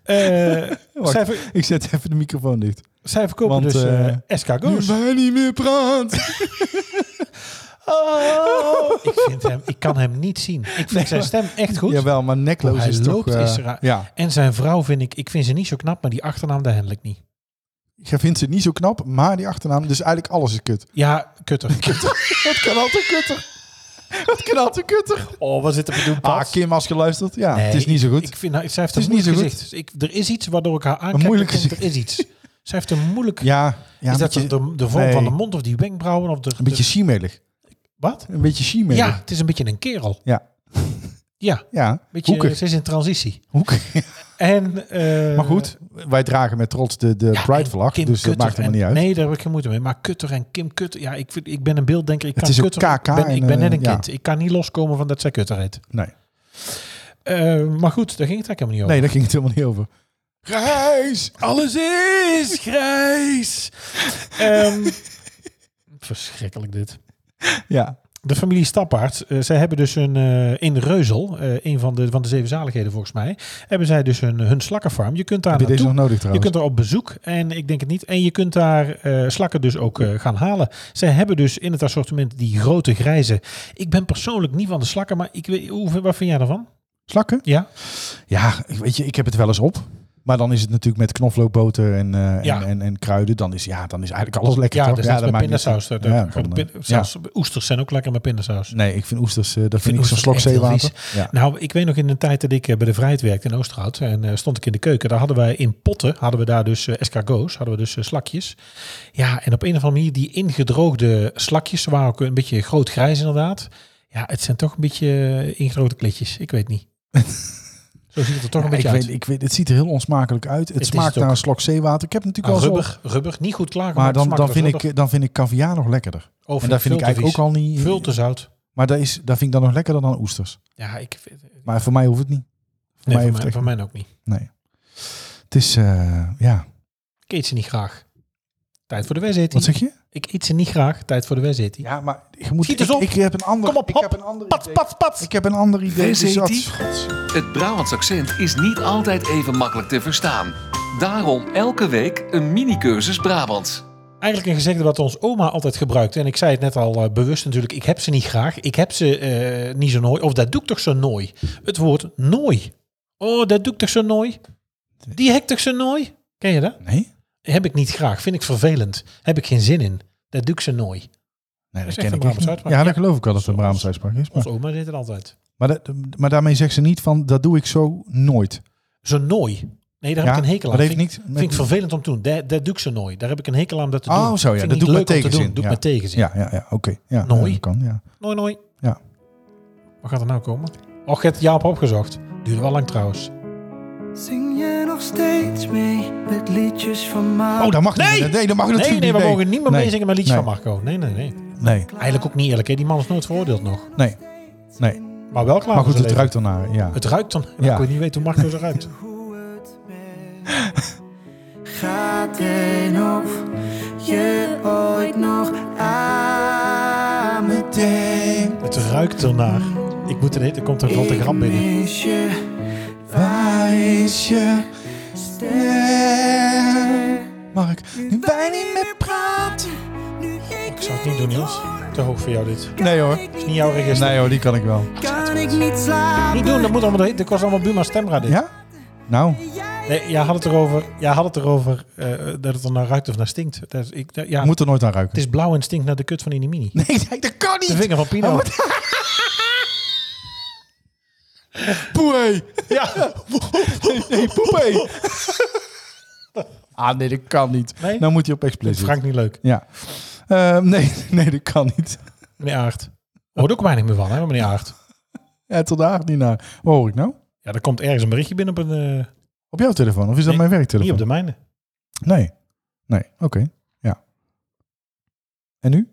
[SPEAKER 3] Eh,
[SPEAKER 2] Wacht.
[SPEAKER 3] zij, ver-
[SPEAKER 2] ik zet even de microfoon dicht.
[SPEAKER 3] zij verkopen
[SPEAKER 2] Want,
[SPEAKER 3] dus
[SPEAKER 2] eh,
[SPEAKER 3] eh escargots.
[SPEAKER 2] mij niet meer praat.
[SPEAKER 3] Ik, vind hem, ik kan hem niet zien. Ik vind zijn stem echt <laughs> goed.
[SPEAKER 2] Jawel, maar nekloos
[SPEAKER 3] Hoe hij
[SPEAKER 2] is
[SPEAKER 3] loopt
[SPEAKER 2] toch... eh,
[SPEAKER 3] is er-
[SPEAKER 2] ja,
[SPEAKER 3] En zijn vrouw vind ik, ik vind ze niet zo knap, maar die achternaam daar handel ik niet.
[SPEAKER 2] jij vindt ze niet zo knap, maar die achternaam. Dus eigenlijk alles is kut.
[SPEAKER 3] Ja, <laughs> kutter.
[SPEAKER 2] Het kan altijd kutter. Het kan altijd kutter.
[SPEAKER 3] Oh, wat zit er bedoeld?
[SPEAKER 2] Ah, Kim, als geluisterd. Ja, het is niet zo goed.
[SPEAKER 3] Ik vind, haar- zij heeft
[SPEAKER 2] Het
[SPEAKER 3] een
[SPEAKER 2] is niet
[SPEAKER 3] moeilijk
[SPEAKER 2] zo
[SPEAKER 3] gezicht. Ik, er is iets waardoor ik haar aankijk.
[SPEAKER 2] moeilijk
[SPEAKER 3] en denk,
[SPEAKER 2] gezicht.
[SPEAKER 3] Er is iets. Zij heeft een moeilijk...
[SPEAKER 2] ja, ja,
[SPEAKER 3] is
[SPEAKER 2] een
[SPEAKER 3] dat
[SPEAKER 2] beetje,
[SPEAKER 3] de, de vorm
[SPEAKER 2] nee.
[SPEAKER 3] van de mond of die wenkbrauwen? Of de,
[SPEAKER 2] een beetje
[SPEAKER 3] de-
[SPEAKER 2] schiemelig.
[SPEAKER 3] wat?
[SPEAKER 2] Een beetje schiemelig.
[SPEAKER 3] Ja, het is een beetje een kerel.
[SPEAKER 2] Ja.
[SPEAKER 3] Ja,
[SPEAKER 2] Ja,
[SPEAKER 3] beetje, eh,
[SPEAKER 2] hoekig.
[SPEAKER 3] ze is in transitie.
[SPEAKER 2] hoekig.
[SPEAKER 3] En, eh,
[SPEAKER 2] <laughs> Maar goed, wij dragen met trots de, de
[SPEAKER 3] Ja, en
[SPEAKER 2] Pride vlag,
[SPEAKER 3] Kim
[SPEAKER 2] dus dat
[SPEAKER 3] Kutter
[SPEAKER 2] maakt helemaal
[SPEAKER 3] en-
[SPEAKER 2] niet uit.
[SPEAKER 3] Nee, daar heb ik geen moeite mee. Maar Kutter en Kim Kutter, ja, ik, vind, ik ben een beelddenker. Ik
[SPEAKER 2] Het
[SPEAKER 3] kan
[SPEAKER 2] is ook
[SPEAKER 3] Kutter,
[SPEAKER 2] KK
[SPEAKER 3] Ik ben, ik ben
[SPEAKER 2] en,
[SPEAKER 3] net
[SPEAKER 2] eh,
[SPEAKER 3] een
[SPEAKER 2] ja.
[SPEAKER 3] kind. Ik kan niet loskomen van dat zij Kutter heet.
[SPEAKER 2] Nee.
[SPEAKER 3] Eh, maar goed, daar ging het eigenlijk helemaal niet over.
[SPEAKER 2] Nee, daar ging het helemaal niet over. Grijs!
[SPEAKER 3] Alles is
[SPEAKER 2] <laughs>
[SPEAKER 3] grijs. Ehm, verschrikkelijk dit.
[SPEAKER 2] Ja,
[SPEAKER 3] De familie Stappaard, eh, zij hebben dus hun, eh, in Reuzel, eh, een van de, van de zeven zaligheden volgens mij, hebben zij dus hun, hun slakkenfarm. Je kunt daar
[SPEAKER 2] heb je deze
[SPEAKER 3] naartoe.
[SPEAKER 2] nog nodig
[SPEAKER 3] Je
[SPEAKER 2] trouwens?
[SPEAKER 3] kunt er op bezoek en ik denk het niet. En je kunt daar eh, slakken dus ook eh, gaan halen. Ze hebben dus in het assortiment die grote grijze. Ik ben persoonlijk niet van de slakken, maar ik weet, hoe, wat vind jij daarvan?
[SPEAKER 2] Slakken?
[SPEAKER 3] Ja,
[SPEAKER 2] Ja, ik weet je, ik heb het wel eens op. Maar dan is het natuurlijk met knoflookboter en, eh,
[SPEAKER 3] Ja.
[SPEAKER 2] en, en, en kruiden. Dan is, ja, dan is eigenlijk alles lekker,
[SPEAKER 3] ja,
[SPEAKER 2] toch?
[SPEAKER 3] dat is net met
[SPEAKER 2] maakt niet
[SPEAKER 3] pindasaus.
[SPEAKER 2] uit.
[SPEAKER 3] Dat- dat-
[SPEAKER 2] Ja,
[SPEAKER 3] dat-
[SPEAKER 2] dan, eh,
[SPEAKER 3] pin- zelfs Oesters zijn ook lekker met pindasaus.
[SPEAKER 2] Nee, ik vind oesters, eh, dat vind,
[SPEAKER 3] vind
[SPEAKER 2] ik zo'n
[SPEAKER 3] oesters
[SPEAKER 2] slok
[SPEAKER 3] echt heel
[SPEAKER 2] zeewater. Ja.
[SPEAKER 3] Nou, ik weet nog in de tijd dat ik eh, bij de Vrijheid werkte in Oosterhout. En eh, stond ik in de keuken. Daar hadden wij in potten, hadden we daar dus eh, escargots, hadden we dus eh, slakjes. Ja, en op een of andere manier die ingedroogde slakjes. Ze waren ook een beetje groot grijs inderdaad. Ja, het zijn toch een beetje eh, ingedroogde klitjes. Ik
[SPEAKER 2] <laughs>
[SPEAKER 3] weet niet. Zo ziet het er toch een
[SPEAKER 2] ik,
[SPEAKER 3] beetje uit.
[SPEAKER 2] weet, ik weet, het ziet er heel onsmakelijk uit. Het,
[SPEAKER 3] Het is
[SPEAKER 2] smaakt
[SPEAKER 3] het ook.
[SPEAKER 2] naar een slok zeewater. Ik heb het
[SPEAKER 3] Ah,
[SPEAKER 2] natuurlijk wel eens op.
[SPEAKER 3] rubber, rubber, niet goed klaar.
[SPEAKER 2] Maar dan, dan, vind ik, eh, dan vind ik caviar nog lekkerder.
[SPEAKER 3] oh,
[SPEAKER 2] En daar vind ik eigenlijk ook al niet...
[SPEAKER 3] Vul te zout.
[SPEAKER 2] Maar daar, is, daar vind ik dan nog lekkerder dan oesters.
[SPEAKER 3] Ja, ik vind...
[SPEAKER 2] Maar voor mij hoeft het niet. Voor mij
[SPEAKER 3] Nee, voor,
[SPEAKER 2] hoeft
[SPEAKER 3] mij,
[SPEAKER 2] het
[SPEAKER 3] voor
[SPEAKER 2] echt
[SPEAKER 3] mij ook niet.
[SPEAKER 2] niet. Nee. Het is, eh, ja.
[SPEAKER 3] Ik eet ze niet graag. Tijd voor de wedstrijd.
[SPEAKER 2] Wat zeg je?
[SPEAKER 3] Ik eet ze niet graag. Tijd voor de wedstrijd.
[SPEAKER 2] Ja, maar je moet...
[SPEAKER 3] Schiet
[SPEAKER 2] ik,
[SPEAKER 3] eens op.
[SPEAKER 2] ik heb een ander...
[SPEAKER 3] Kom op,
[SPEAKER 2] ik
[SPEAKER 3] hop.
[SPEAKER 2] heb een ander
[SPEAKER 3] Pat,
[SPEAKER 2] idee.
[SPEAKER 3] pat, pat.
[SPEAKER 2] Ik heb een ander idee.
[SPEAKER 1] Wees
[SPEAKER 2] dus dat-
[SPEAKER 1] heet die? Het Brabants accent is niet altijd even makkelijk te verstaan. Daarom elke week een mini-cursus Brabants.
[SPEAKER 3] Eigenlijk een gezegde wat ons oma altijd gebruikte. En ik zei het net al eh, bewust natuurlijk. Ik heb ze niet graag. Ik heb ze eh, niet zo nooi. Of dat doe ik toch zo nooi. Het woord nooi. Oh, dat doe ik toch zo nooi. Die hek toch zo nooi. Ken je dat?
[SPEAKER 2] Nee?
[SPEAKER 3] Heb ik niet graag. Vind ik vervelend. Heb ik geen zin in. Dat doe ik zo nooi.
[SPEAKER 2] Nee, dat,
[SPEAKER 3] echt
[SPEAKER 2] ken
[SPEAKER 3] een
[SPEAKER 2] ik
[SPEAKER 3] Brabants
[SPEAKER 2] echt niet.
[SPEAKER 3] uitspraak.
[SPEAKER 2] Ja, dat
[SPEAKER 3] Ja.
[SPEAKER 2] geloof ik wel dat het een
[SPEAKER 3] Zoals-
[SPEAKER 2] Brabants uitspraak is. Maar,
[SPEAKER 3] Onze oma deed het altijd.
[SPEAKER 2] maar, dat- maar daarmee zegt ze niet van, dat doe ik zo nooit.
[SPEAKER 3] Zo nooi. Nee, daar
[SPEAKER 2] Ja,
[SPEAKER 3] heb ik een hekel aan.
[SPEAKER 2] maar dat heeft
[SPEAKER 3] Vind ik-
[SPEAKER 2] niks
[SPEAKER 3] Vind ik
[SPEAKER 2] met-
[SPEAKER 3] vervelend om te doen. Dat, dat doe ik zo nooit. Daar heb ik een hekel aan dat te
[SPEAKER 2] Oh,
[SPEAKER 3] doen.
[SPEAKER 2] zo, ja.
[SPEAKER 3] Vind
[SPEAKER 2] Dat
[SPEAKER 3] ik
[SPEAKER 2] doe
[SPEAKER 3] niet
[SPEAKER 2] ik met
[SPEAKER 3] leuk om te
[SPEAKER 2] tegenzin.
[SPEAKER 3] doen. Doe
[SPEAKER 2] Ja.
[SPEAKER 3] ik met tegenzin.
[SPEAKER 2] Ja, ja, ja. Oké. Ja,
[SPEAKER 3] Nooi.
[SPEAKER 2] dat kan, ja.
[SPEAKER 3] Nooi, nooi.
[SPEAKER 2] Ja.
[SPEAKER 3] Waar gaat er nou komen? Och, je hebt Jaap opgezocht. Duurde wel lang trouwens.
[SPEAKER 5] Zing je nog steeds mee met liedjes van Marco.
[SPEAKER 2] Oh, dat mag
[SPEAKER 3] Nee!
[SPEAKER 2] niet. Nee, dat mag natuurlijk
[SPEAKER 3] Nee, nee,
[SPEAKER 2] niet.
[SPEAKER 3] we mogen niet meer
[SPEAKER 2] Nee.
[SPEAKER 3] meezingen met liedjes
[SPEAKER 2] Nee.
[SPEAKER 3] van Marco. Nee, nee, nee.
[SPEAKER 2] Nee,
[SPEAKER 3] Eigenlijk ook niet eerlijk, hè? Die man is nooit veroordeeld nog.
[SPEAKER 2] nee, nee.
[SPEAKER 3] Maar wel klaar
[SPEAKER 2] Maar goed, het
[SPEAKER 3] voor zijn
[SPEAKER 2] ruikt ernaar. Ja.
[SPEAKER 3] leven. Het ruikt dan.
[SPEAKER 2] Ja.
[SPEAKER 3] Ik weet niet weten hoe Marco ze ruikt.
[SPEAKER 5] hoe het met gaat en of je ooit nog aan me denkt.
[SPEAKER 3] Het ruikt ernaar. Ik moet er eten, komt er valt een grap binnen.
[SPEAKER 5] Ik mis je, waar is je ster?
[SPEAKER 2] Mark, nu wij niet meer praten.
[SPEAKER 3] Ik zou het niet doen, Niels. Te hoog voor jou dit.
[SPEAKER 2] Nee hoor.
[SPEAKER 3] is niet jouw register.
[SPEAKER 2] Nee hoor, die kan ik wel.
[SPEAKER 5] Kan ik niet slapen?
[SPEAKER 3] Niet doen, dat moet allemaal. Dit was allemaal Buma Stemra dit.
[SPEAKER 2] Ja? Nou,
[SPEAKER 3] Nee, jij had het erover, jij had het erover eh, dat het er naar ruikt of naar stinkt. Dat is- ik, dat- ja,
[SPEAKER 2] moet er nooit aan ruiken.
[SPEAKER 3] Het is <laughs> blauw en stinkt naar de kut van Inimini.
[SPEAKER 2] Nee, nee, dat kan
[SPEAKER 3] De
[SPEAKER 2] niet.
[SPEAKER 3] vinger van Pino.
[SPEAKER 2] Poei.
[SPEAKER 3] Ja.
[SPEAKER 2] Nee, poepé. ah, nee, dat kan niet.
[SPEAKER 3] Nee?
[SPEAKER 2] Nou moet hij op
[SPEAKER 3] Dit
[SPEAKER 2] explicit.
[SPEAKER 3] is Frank niet leuk.
[SPEAKER 2] Ja. Ehm, nee, <laughs> nee, dat kan niet.
[SPEAKER 3] Meneer Aart. Hoort ook weinig meer van, hè, meneer Aart.
[SPEAKER 2] Ja, tot daar niet naar. Wat hoor ik nou?
[SPEAKER 3] Ja, er komt ergens een berichtje binnen op een... eh,
[SPEAKER 2] Op jouw telefoon? Of is dat
[SPEAKER 3] Nee,
[SPEAKER 2] mijn
[SPEAKER 3] niet
[SPEAKER 2] werktelefoon?
[SPEAKER 3] op de mijne.
[SPEAKER 2] Nee. Nee, oké. Ja. En nu?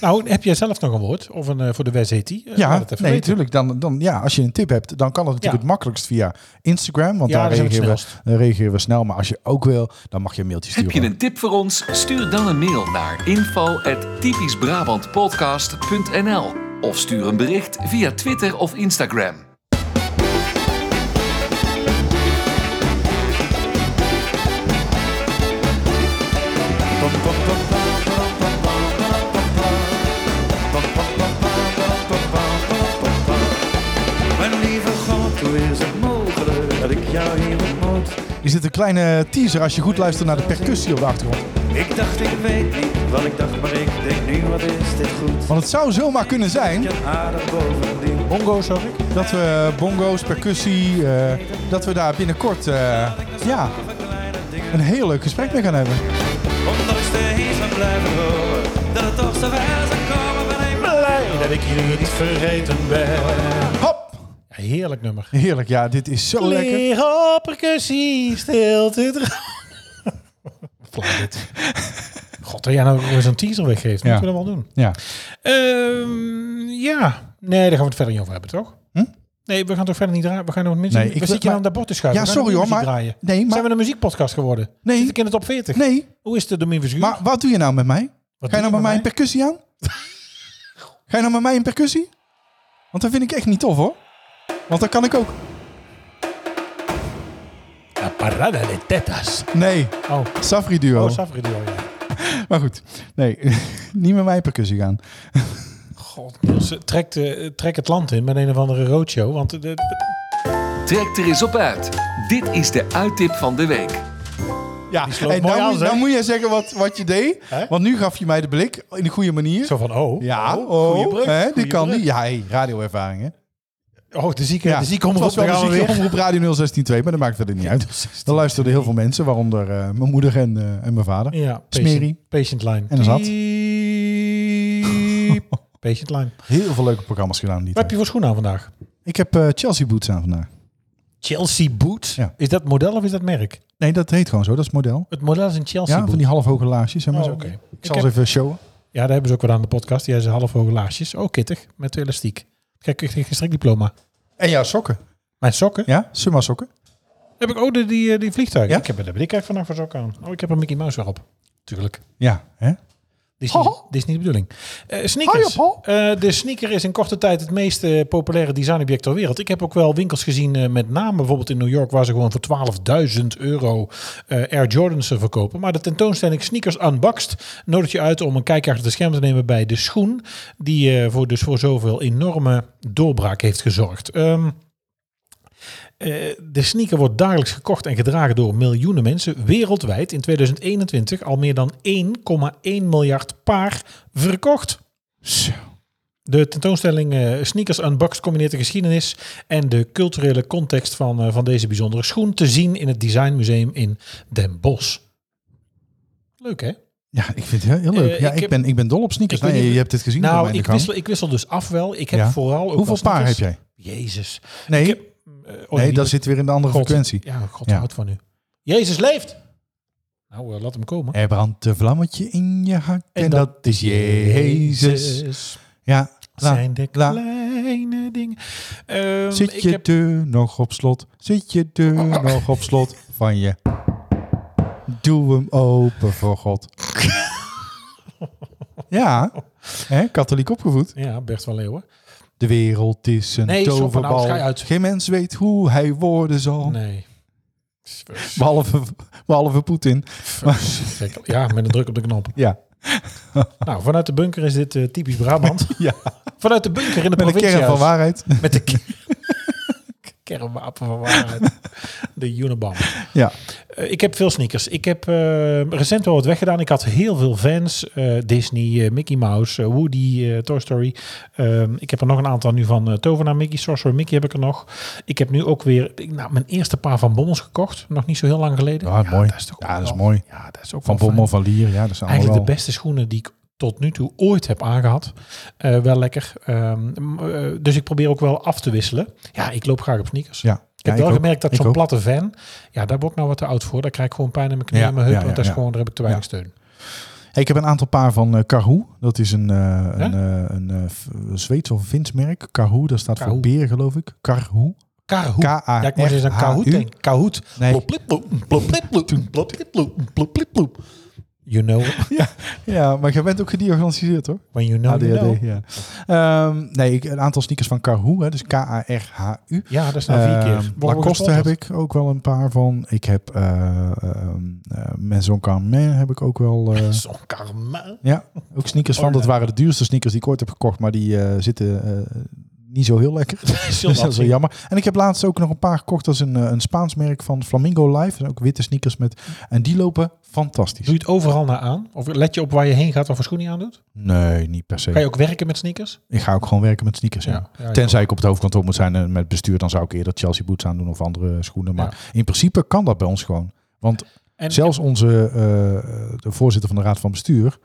[SPEAKER 3] Nou, heb jij zelf nog een woord? Of een, eh, voor de WZT?
[SPEAKER 2] Ja,
[SPEAKER 3] dat even
[SPEAKER 2] nee,
[SPEAKER 3] weten.
[SPEAKER 2] natuurlijk. Dan, dan, ja, als je een tip hebt, dan kan dat natuurlijk het
[SPEAKER 3] Ja.
[SPEAKER 2] makkelijkst via Instagram. Want
[SPEAKER 3] Ja,
[SPEAKER 2] daar
[SPEAKER 3] dat is het
[SPEAKER 2] reageren we,
[SPEAKER 3] snelst.
[SPEAKER 2] daar reageren we snel. Maar als je ook wil, dan mag je een mailtje
[SPEAKER 1] Heb
[SPEAKER 2] sturen.
[SPEAKER 1] je een tip voor ons? Stuur dan een mail naar info@typischbrabantpodcast.nl of stuur een bericht via Twitter of Instagram.
[SPEAKER 6] Mijn lieve God, hoe is het mogelijk dat ik jou hier ontmoet?
[SPEAKER 2] Is dit een kleine teaser als je goed luistert naar de percussie op de achtergrond?
[SPEAKER 6] Ik dacht, ik weet niet wat ik dacht, maar ik denk nu, wat is dit goed?
[SPEAKER 2] Want het zou zomaar kunnen zijn
[SPEAKER 6] Je aardig bovendien.
[SPEAKER 3] Bongo, zag ik.
[SPEAKER 2] dat we bongo's, percussie, eh, dat we daar binnenkort eh, ja, een heel leuk gesprek mee gaan hebben.
[SPEAKER 6] Ondanks de hees van blijven horen, dat het toch zo ver zou komen, ben ik blij.
[SPEAKER 3] Dat ik jullie niet vergeten ben.
[SPEAKER 2] Hop!
[SPEAKER 3] Heerlijk nummer.
[SPEAKER 2] Heerlijk, ja, dit is zo lekker.
[SPEAKER 3] Leer op percussie, stilte dra- Flauw dit. God, dat jij nou ook weer zo'n teaser weggeeft. Moeten we dat wel doen.
[SPEAKER 2] Ja.
[SPEAKER 3] Ehm, ja. Nee, daar gaan we het verder niet over hebben, toch?
[SPEAKER 2] Hm?
[SPEAKER 3] Nee, we gaan toch verder niet draaien? We gaan nog muziek...
[SPEAKER 2] Nee, ik
[SPEAKER 3] we
[SPEAKER 2] wil-
[SPEAKER 3] zitten
[SPEAKER 2] maar-
[SPEAKER 3] aan dat bord te schuiven.
[SPEAKER 2] Ja,
[SPEAKER 3] We gaan
[SPEAKER 2] sorry
[SPEAKER 3] nog
[SPEAKER 2] hoor,
[SPEAKER 3] muziek
[SPEAKER 2] maar-
[SPEAKER 3] Draaien.
[SPEAKER 2] nee, maar-
[SPEAKER 3] Zijn we een muziekpodcast geworden?
[SPEAKER 2] Nee.
[SPEAKER 3] Zit ik in de top 40?
[SPEAKER 2] Nee,
[SPEAKER 3] Hoe is de Domien Verschuur?
[SPEAKER 2] maar wat doe je nou met mij?
[SPEAKER 3] Wat
[SPEAKER 2] Ga je
[SPEAKER 3] doe
[SPEAKER 2] nou met mij een
[SPEAKER 3] met
[SPEAKER 2] percussie
[SPEAKER 3] <laughs>
[SPEAKER 2] aan? Ga je nou met mij een percussie? Want dat vind ik echt niet tof hoor. Want dat kan ik ook.
[SPEAKER 3] La parada de tetas.
[SPEAKER 2] Nee,
[SPEAKER 3] Oh,
[SPEAKER 2] Safri duo.
[SPEAKER 3] oh Safri Duo, ja.
[SPEAKER 2] maar goed, nee, <laughs> niet met mij percussie gaan.
[SPEAKER 3] God, Niels, trek, de, eh, trek het land in met een of andere roadshow. Want eh, de, de-
[SPEAKER 1] Trek er eens op uit. Dit is de uittip van de week.
[SPEAKER 2] Ja,
[SPEAKER 3] sloot
[SPEAKER 2] en
[SPEAKER 3] mooi
[SPEAKER 2] dan,
[SPEAKER 3] aan,
[SPEAKER 2] moet,
[SPEAKER 3] zeg.
[SPEAKER 2] dan moet jij zeggen wat, wat je deed.
[SPEAKER 3] Hè?
[SPEAKER 2] Want nu gaf je mij de blik in de goede manier.
[SPEAKER 3] zo van, oh.
[SPEAKER 2] ja,
[SPEAKER 3] oh,
[SPEAKER 2] oh,
[SPEAKER 3] goeie brug,
[SPEAKER 2] hè, die
[SPEAKER 3] goeie
[SPEAKER 2] kan
[SPEAKER 3] brug.
[SPEAKER 2] niet. Ja, hey, radioervaring hè.
[SPEAKER 3] Oh, de zieke,
[SPEAKER 2] Ja,
[SPEAKER 3] de zieke omroep,
[SPEAKER 2] Het was
[SPEAKER 3] daar
[SPEAKER 2] wel
[SPEAKER 3] gaan
[SPEAKER 2] de
[SPEAKER 3] we
[SPEAKER 2] zieke
[SPEAKER 3] weer.
[SPEAKER 2] omroep Radio 0162, maar dat maakt verder niet
[SPEAKER 3] <laughs>
[SPEAKER 2] uit. Dan luisterden heel veel mensen, waaronder eh, mijn moeder en, eh, en mijn vader.
[SPEAKER 3] Ja,
[SPEAKER 2] Smerie.
[SPEAKER 3] patient, patient line.
[SPEAKER 2] En zat.
[SPEAKER 3] Patient line.
[SPEAKER 2] Heel veel leuke programma's gedaan die
[SPEAKER 3] Wat heb
[SPEAKER 2] tijd.
[SPEAKER 3] je voor schoenen aan vandaag?
[SPEAKER 2] Ik heb eh, Chelsea boots aan vandaag.
[SPEAKER 3] Chelsea boots.
[SPEAKER 2] Ja.
[SPEAKER 3] Is dat model of is dat merk?
[SPEAKER 2] Nee, dat heet gewoon zo. Dat is het model.
[SPEAKER 3] Het model is een Chelsea
[SPEAKER 2] Ja,
[SPEAKER 3] boot.
[SPEAKER 2] van die halfhoge laarsjes. Zeg maar
[SPEAKER 3] Oh,
[SPEAKER 2] zo.
[SPEAKER 3] oké.
[SPEAKER 2] Ik
[SPEAKER 3] Ik
[SPEAKER 2] zal
[SPEAKER 3] heb-
[SPEAKER 2] ze even showen.
[SPEAKER 3] Ja, daar hebben ze ook wel aan de podcast. Die hebben ze half hoge laarsjes. Oh, kittig. Met elastiek. Kijk, ik kreeg geen strikdiploma.
[SPEAKER 2] En ja, sokken.
[SPEAKER 3] Mijn sokken?
[SPEAKER 2] Ja, Summa sokken.
[SPEAKER 3] Heb ik ook de, die, eh, die vliegtuigen?
[SPEAKER 2] Ja?
[SPEAKER 3] Ik heb, daar ben ik eigenlijk vandaag voor sokken aan. Oh, ik heb een Mickey Mouse weer op. Tuurlijk.
[SPEAKER 2] Ja, hè?
[SPEAKER 3] Dit is, niet,
[SPEAKER 2] Haha.
[SPEAKER 3] dit is niet de bedoeling. Eh, sneakers.
[SPEAKER 2] Hoi, Paul.
[SPEAKER 3] Eh, de sneaker is in korte tijd het meest eh, populaire designobject ter wereld. Ik heb ook wel winkels gezien, eh, met name bijvoorbeeld in New York, waar ze gewoon voor 12.000 euro eh, Air Jordans eh, verkopen. Maar de tentoonstelling Sneakers Unboxed nodigt je uit om een kijkje achter de scherm te nemen bij de schoen, die eh, voor, dus voor zoveel enorme doorbraak heeft gezorgd. Ehm, eh, de sneaker wordt dagelijks gekocht en gedragen door miljoenen mensen wereldwijd. In 2021 al meer dan 1,1 miljard paar verkocht. De tentoonstelling eh, Sneakers Unboxed combineert de geschiedenis en de culturele context van, eh, van deze bijzondere schoen te zien in het Designmuseum in Den Bosch. Leuk hè?
[SPEAKER 2] Ja, ik vind het heel, heel leuk.
[SPEAKER 3] Eh,
[SPEAKER 2] ja,
[SPEAKER 3] ik
[SPEAKER 2] ik,
[SPEAKER 3] heb-
[SPEAKER 2] ben, ik ben dol op sneakers.
[SPEAKER 3] Ik weet
[SPEAKER 2] Nee,
[SPEAKER 3] niet-
[SPEAKER 2] je hebt dit gezien. voor mij
[SPEAKER 3] nou,
[SPEAKER 2] in de
[SPEAKER 3] ik
[SPEAKER 2] gang.
[SPEAKER 3] wissel, ik wissel dus af wel. Ik heb
[SPEAKER 2] Ja.
[SPEAKER 3] vooral ook
[SPEAKER 2] Hoeveel
[SPEAKER 3] wel
[SPEAKER 2] paar heb
[SPEAKER 3] sneakers.
[SPEAKER 2] jij?
[SPEAKER 3] Jezus.
[SPEAKER 2] Nee,
[SPEAKER 3] Ik heb, eh, oh,
[SPEAKER 2] nee
[SPEAKER 3] die-
[SPEAKER 2] dat zit weer in de andere
[SPEAKER 3] God.
[SPEAKER 2] frequentie.
[SPEAKER 3] Ja, God
[SPEAKER 2] Ja.
[SPEAKER 3] houdt van u. Jezus leeft! Nou, eh, laat hem komen.
[SPEAKER 2] Er brandt een vlammetje in je hart en, dat, is Jezus. Ja, la-
[SPEAKER 3] Zijn de
[SPEAKER 2] la-
[SPEAKER 3] kleine dingen. Ehm, ik
[SPEAKER 2] Zit je
[SPEAKER 3] heb-
[SPEAKER 2] deur nog op slot? Zit je deur
[SPEAKER 3] <laughs>
[SPEAKER 2] nog op slot van je? Doe hem open voor
[SPEAKER 3] <laughs>
[SPEAKER 2] God. ja, hè, katholiek opgevoed.
[SPEAKER 3] Ja, Bert van Leeuwen.
[SPEAKER 2] De wereld is een
[SPEAKER 3] Nee, Sjoerd, nou,
[SPEAKER 2] toverbal.
[SPEAKER 3] schei uit.
[SPEAKER 2] Geen mens weet hoe hij worden zal.
[SPEAKER 3] Nee.
[SPEAKER 2] Behalve, behalve Poetin.
[SPEAKER 3] Verschrikkelijk. Ja, met een druk op de knop.
[SPEAKER 2] Ja,
[SPEAKER 3] Nou, vanuit de bunker is dit eh, typisch Brabant.
[SPEAKER 2] <laughs> ja.
[SPEAKER 3] Vanuit de bunker in de
[SPEAKER 2] met een kern van
[SPEAKER 3] provinciehuis.
[SPEAKER 2] waarheid.
[SPEAKER 3] Met de ke- <laughs> kernwapen van waarheid. De Unabomb.
[SPEAKER 2] Ja.
[SPEAKER 3] Eh, ik heb veel sneakers. Ik heb eh, recent wel wat weggedaan. Ik had heel veel fans. Disney, eh, Mickey Mouse, eh, Woody, eh, Toy Story. Ehm, ik heb er nog een aantal nu van eh, Tovenaar Mickey, Sorcerer Mickey heb ik er nog. Ik heb nu ook weer ik- nou, mijn eerste paar van Bommels gekocht. Nog niet zo heel lang geleden.
[SPEAKER 2] Ja, Ah, mooi.
[SPEAKER 3] Dat is toch
[SPEAKER 2] Ja,
[SPEAKER 3] ook
[SPEAKER 2] dat is
[SPEAKER 3] wel-
[SPEAKER 2] mooi.
[SPEAKER 3] Ja, dat is ook
[SPEAKER 2] Van
[SPEAKER 3] wel fijn.
[SPEAKER 2] Bommel, van Lier. Ja, dat zijn allemaal
[SPEAKER 3] Eigenlijk de
[SPEAKER 2] Nou, wel.
[SPEAKER 3] beste schoenen die ik tot nu toe ooit heb aangehad. Eh, wel lekker. Ehm, m- eh, dus ik probeer ook wel af te wisselen. Ja, ik loop graag op sneakers.
[SPEAKER 2] Ja.
[SPEAKER 3] Ik heb
[SPEAKER 2] Ja,
[SPEAKER 3] wel
[SPEAKER 2] ook.
[SPEAKER 3] gemerkt dat
[SPEAKER 2] Ik
[SPEAKER 3] zo'n
[SPEAKER 2] ook.
[SPEAKER 3] platte van, ja, daar word ik nou wat te oud voor. Daar krijg ik gewoon pijn in mijn knieën
[SPEAKER 2] Ja,
[SPEAKER 3] en mijn heup,
[SPEAKER 2] ja,
[SPEAKER 3] want
[SPEAKER 2] ja,
[SPEAKER 3] dat is
[SPEAKER 2] ja.
[SPEAKER 3] gewoon, daar heb ik te weinig steun.
[SPEAKER 2] Hey, ik heb een aantal paar van eh Carhu. Dat is een, eh een, eh, een eh, F- Zweeds of Fins merk. Carhu, dat staat
[SPEAKER 3] Carhu.
[SPEAKER 2] voor beer, geloof ik. Carhu.
[SPEAKER 3] Kahoot.
[SPEAKER 2] K-A-R-H-U.
[SPEAKER 3] Ja, ik moest eens aan Kahoot denken. Kahoot.
[SPEAKER 2] Nee.
[SPEAKER 3] Plop, plip, plop, plop, plip, plop, plop, plip, plop, plop, plip, plop. You know,
[SPEAKER 2] Ja, maar jij bent ook gediagnosticeerd, hoor.
[SPEAKER 3] when you know,
[SPEAKER 2] ADHD,
[SPEAKER 3] you know.
[SPEAKER 2] ja. Ehm, nee, ik, een aantal sneakers van Carhu, hè, dus K-A-R-H-U.
[SPEAKER 3] Ja, dat is nou vier keer.
[SPEAKER 2] Ehm,
[SPEAKER 3] Worden we
[SPEAKER 2] Lacoste
[SPEAKER 3] gesponsord?
[SPEAKER 2] heb ik ook wel een paar van. Ik heb eh ehm eh, Maison Carmen heb ik ook wel. eh,
[SPEAKER 3] Zo'n karma.
[SPEAKER 2] ja, ook sneakers van. Dat waren de duurste sneakers die ik ooit heb gekocht, maar die eh, zitten eh, niet zo heel
[SPEAKER 3] <laughs>
[SPEAKER 2] lekker. Dus dat is wel jammer. En ik heb laatst ook nog een paar gekocht. Dat is een, eh, een Spaans merk van Flamingo Live. En ook witte sneakers met. En die lopen fantastisch.
[SPEAKER 3] Doe je het overal naar aan? Of let je op waar je heen gaat, wat voor schoenen je aandoet?
[SPEAKER 2] Nee, niet per se.
[SPEAKER 3] Kan je ook werken met sneakers?
[SPEAKER 2] Ik ga ook gewoon werken met sneakers. Ja.
[SPEAKER 3] Ja, ja, ik
[SPEAKER 2] Tenzij ik op het hoofdkantoor moet zijn en met bestuur, dan zou ik eerder Chelsea boots aandoen of andere schoenen. Maar in principe kan dat bij ons gewoon. Want
[SPEAKER 3] En
[SPEAKER 2] zelfs onze eh, de voorzitter van de raad van bestuur,